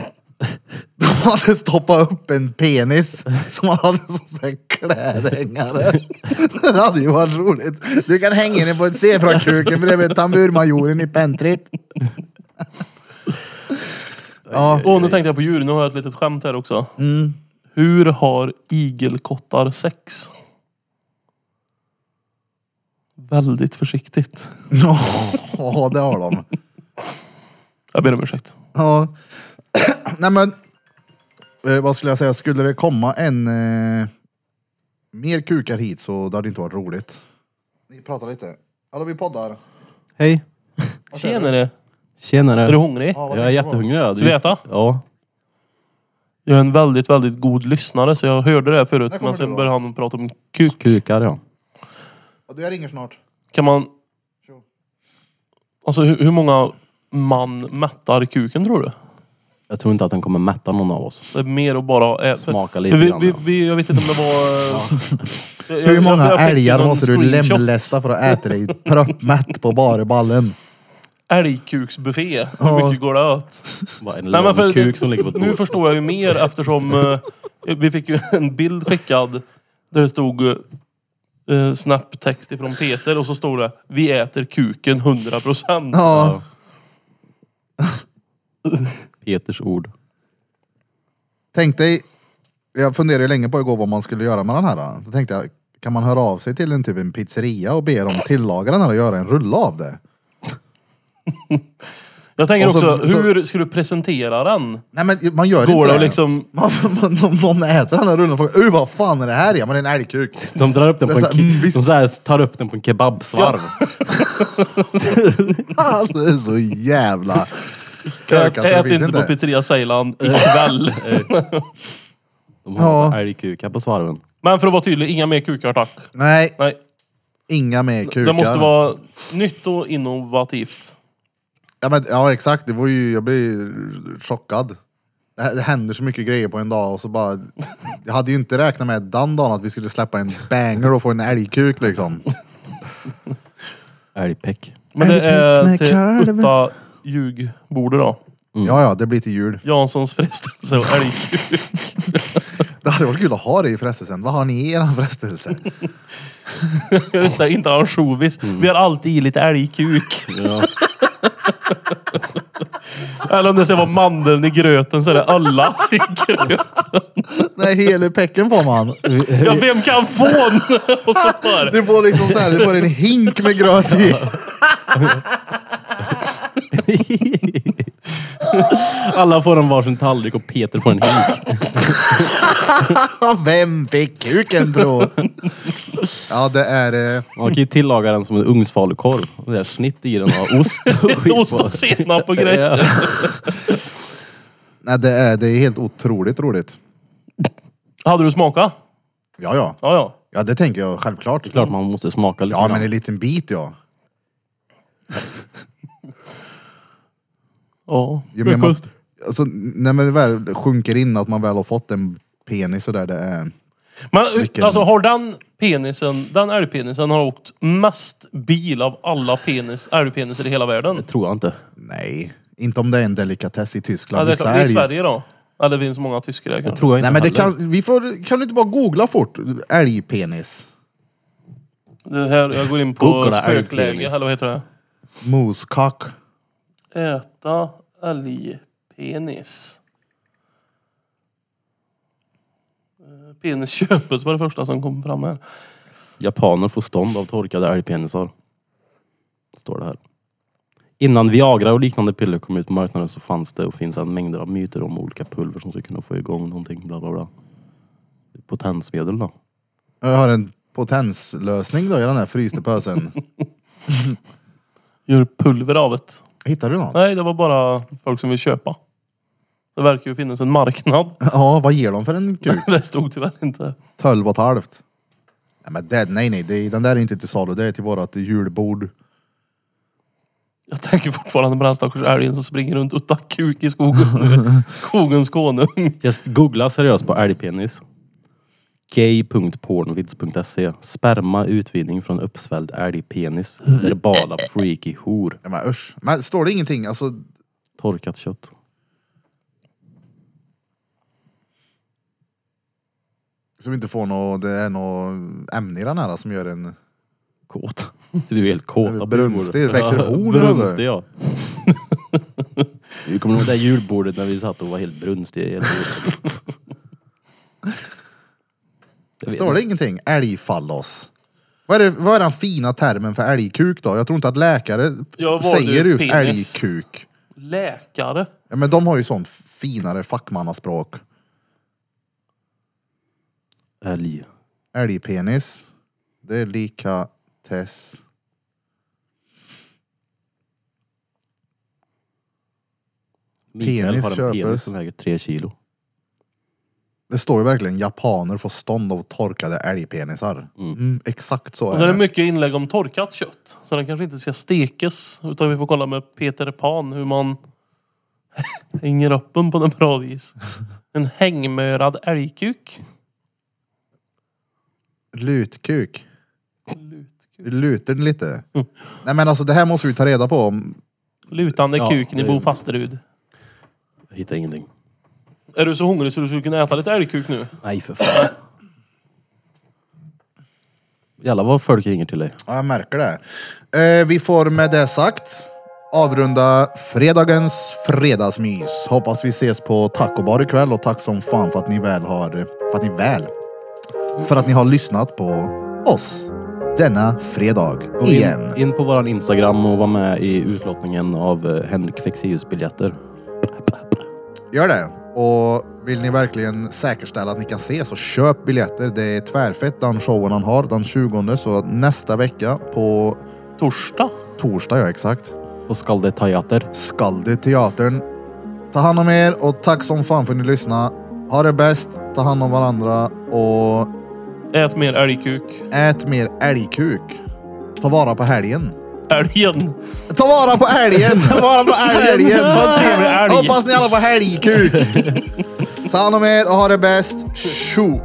S1: De hade stoppat upp en penis som man hade som sån här klädhängare. Det hade ju varit roligt. Du kan hänga den på en zebrakuken bredvid tamburmajoren i pentrit. Ja,
S5: Och nu tänkte jag på djur. Nu har jag ett litet skämt här också.
S1: Mm.
S5: Hur har igelkottar sex? Väldigt försiktigt.
S1: ja det har de.
S5: Jag ber om ursäkt.
S1: Ja. Nej men. Eh, vad skulle jag säga? Skulle det komma en eh, mer kukar hit så det hade inte varit roligt. Ni pratar lite. Hallå vi poddar.
S2: Hej!
S5: Tjenare! Är du
S2: Tjenare!
S5: hungrig?
S2: Jag är jättehungrig. ja. Du
S5: Ska vi äta?
S2: Ja.
S5: Jag är en väldigt, väldigt god lyssnare så jag hörde det här förut
S1: Där kommer
S5: men
S1: det
S5: sen
S1: då.
S5: började han prata om kuk.
S2: Kukar ja.
S1: Ja, du, Jag ringer snart.
S5: Kan man...
S1: Tjo.
S5: Alltså hur, hur många man mättar kuken tror du?
S2: Jag tror inte att den kommer mätta någon av oss.
S5: Det är mer att bara äta.
S2: Smaka lite
S5: vi,
S2: grann,
S5: vi,
S2: ja.
S5: vi, Jag vet inte om det var... Jag- jag-
S1: Hur många
S5: jag- jag fick
S1: älgar
S5: någon
S1: måste du
S5: screenshot.
S1: lemlästa för att äta dig proppmätt på bara ballen?
S5: Älgkuksbuffé. Hur mycket går det åt?
S2: Bara en
S5: Nej, men för,
S2: lång kuk som ligger på ett
S5: nu
S2: bord.
S5: förstår jag ju mer eftersom eh, vi fick ju en bild skickad där det stod eh, snapptext ifrån Peter och så stod det Vi äter kuken 100%.
S1: Ja.
S2: Peters ord.
S1: Tänk dig, jag funderade ju länge på igår vad man skulle göra med den här. Så tänkte jag, kan man höra av sig till en typ en pizzeria och be dem tillaga den här och göra en rulle av det?
S5: Jag tänker
S1: Och så-
S5: också,
S1: så-
S5: hur ska du presentera den?
S1: Nej men man gör
S5: Går
S1: inte
S5: det att liksom...
S1: Man, man, om någon äter den här rullen och frågar uh, vad fan är det här? Ja men det är en älgkuk.
S2: De drar upp den på
S1: Det är
S2: en,
S1: så här, mm,
S2: ke-
S1: visst.
S2: de så här tar upp den på en kebabsvarv.
S1: Alltså det är så jävla
S5: Ät,
S1: kökat så det
S5: ät
S1: finns
S5: inte på
S1: inte.
S5: Pizzeria eh, Ceylan ikväll.
S2: De har
S1: Ja.
S2: ja. älgkukar på svarven.
S5: Men för att vara tydlig, inga mer kukar tack.
S1: Nej,
S5: Nej,
S1: inga mer kukar.
S5: det måste vara nytt och innovativt.
S1: Ja, men, ja exakt, det var ju, jag blev chockad. Det, här- det händer så mycket grejer på en dag och så bara... Jag hade ju inte räknat med den dagen att vi skulle släppa en banger och få en älgkuk liksom.
S2: Älgpäck.
S5: Men det är
S1: Med
S5: till
S1: korv.
S5: Utta ljugbordet då.
S1: Ja, ja, det blir till jul.
S5: Janssons frestelse och älgkuk.
S1: Det hade varit kul att ha det i frestelsen. Vad har ni i er frestelse?
S5: Just det, inte ansjovis. Vi har alltid i lite älgkuk. Eller om det ska vara mandeln i gröten så är det alla i gröten.
S1: Nej, hela pecken får man.
S5: Ja, vem kan få en? Och så bara,
S1: Du får liksom så här, du får en hink med gröt i.
S2: Alla får en varsin tallrik och Peter får en hink.
S1: Vem fick kuken tro? Ja, det är... eh,
S2: Man kan ju tillaga den som en ugnsfalukorv. Och Det är snitt i den och ost och skit på.
S5: ost och senap och grejer.
S2: Ja.
S1: Nej, det är, det är helt otroligt roligt.
S5: Hade du smakat?
S1: Ja, ja.
S5: Ja, ja.
S1: Ja, det tänker jag självklart.
S2: Klart man måste smaka lite
S1: Ja,
S2: grann.
S1: men en liten bit ja.
S5: ja.
S1: Ju mer man, alltså, när man väl sjunker in att man väl har fått en penis så där det är...
S5: Men
S1: Vilken-
S5: alltså har den penisen, den älgpenisen har åkt mest bil av alla penis, älgpeniser i hela världen.
S2: Tror jag inte.
S1: Nej, inte om det är en delikatess i
S5: Ja,
S1: Tyskland.
S5: det, är klart, det är
S1: sälj.
S5: Sverige då. Eller det finns många tyskar där kanske.
S2: Tror jag inte
S1: Nej men det
S2: heller.
S1: kan, vi får, kan du inte bara googla fort? Älgpenis.
S5: Det här, jag går in på
S2: Googla
S5: spökläge,
S2: älgpenis.
S5: eller vad heter det?
S1: Moskock.
S5: Äta älgpenis. Eh, Penis köpes var det första som kom fram här.
S2: Japaner får stånd av torkade älgpenisar. Står det här. Innan Viagra och liknande piller kom ut på marknaden så fanns det och finns en mängder av myter om olika pulver som ska kunna få igång någonting bla bla bla. Potensmedel då.
S1: Jag har en potenslösning då i den här frysta pösen.
S5: Gör pulver av det.
S1: Hittar du någon?
S5: Nej, det var bara folk som vill köpa. Det verkar ju finnas en marknad.
S1: Ja, vad ger de för en kuk?
S5: Det stod tyvärr inte.
S1: Tolv och ett halvt. Nej men det, nej nej, det, den där är inte till salu. Det är till vårat julbord.
S5: Jag tänker fortfarande på den stackars älgen som springer runt utan kuk i skogen. nu. Skogens konung.
S2: Jag googlar seriöst på älgpenis. gay.pornvids.se Sperma utvinning från uppsvälld älgpenis. Verbala freaky hor.
S1: Nej men usch. Men står det ingenting? Alltså,
S2: Torkat kött.
S1: så vi inte får något, det är något ämne i den här som gör en...
S2: Kåt. Så du är helt kåta
S1: Brunstig,
S2: pulver.
S1: växer horn
S2: Brunstig ja. Du kommer ihåg det där julbordet när vi satt och var helt brunstiga. Helt Jag vet
S1: Står det ingenting? Älgfallos. Vad är, det, vad är den fina termen för älgkuk då? Jag tror inte att läkare
S5: Ja, vad
S1: säger
S5: du,
S1: just
S5: penis.
S1: älgkuk.
S5: Läkare.
S1: Ja, men de har ju sånt finare fackmannaspråk.
S2: Älg.
S1: Älgpenis. Det är lika Tess.
S2: Mikael
S1: Penis
S2: har en
S1: köpes.
S2: penis som väger tre kilo.
S1: Det står ju verkligen japaner får stånd av torkade älgpenisar. Mm, exakt så
S5: Och så är
S1: är
S5: det
S1: det.
S5: mycket inlägg om torkat kött. Så den kanske inte ska stekas. Utan vi får kolla med Peter Pan hur man hänger upp den på något bra vis. En hängmörad älgkuk.
S1: Lutkuk. Luter den lite? Nej men alltså det här måste vi ta reda på. om-
S5: Lutande
S1: Ja,
S5: kuken i
S2: det-
S5: Bo Fasterud.
S2: Jag hittar ingenting.
S5: Är du så hungrig så du skulle kunna äta lite älgkuk nu?
S2: Nej för fan. Jävlar vad folk ringer till dig.
S1: Ja, jag märker det. Eh, vi får med det sagt avrunda fredagens fredagsmys. Hoppas vi ses på Taco Bar ikväll och tack som fan för att ni väl har, för att ni väl, för att ni har lyssnat på oss denna fredag
S2: Och
S1: igen.
S2: In, in på våran Instagram och var med i utlottningen av eh, Henrik Fexeus biljetter.
S1: Gör det. Och vill ni verkligen säkerställa att ni kan se så köp biljetter. Det är tvärfett den showen han har den 20 så nästa vecka på
S5: Torsdag?
S1: torsdag ja exakt.
S2: På Skalde Teater.
S1: Skaldö teatern. Ta hand om er och tack som fan för att ni lyssnade. Ha det bäst, ta hand om varandra och
S5: Ät mer älgkuk.
S1: ät mer älgkuk. Ta vara på helgen.
S5: Älgen!
S1: Ta vara på helgen! ta vara på helgen!
S5: Ha en trevlig helg.
S1: Hoppas ni alla får helgkuk! ta hand om er och ha det bäst. Tjo!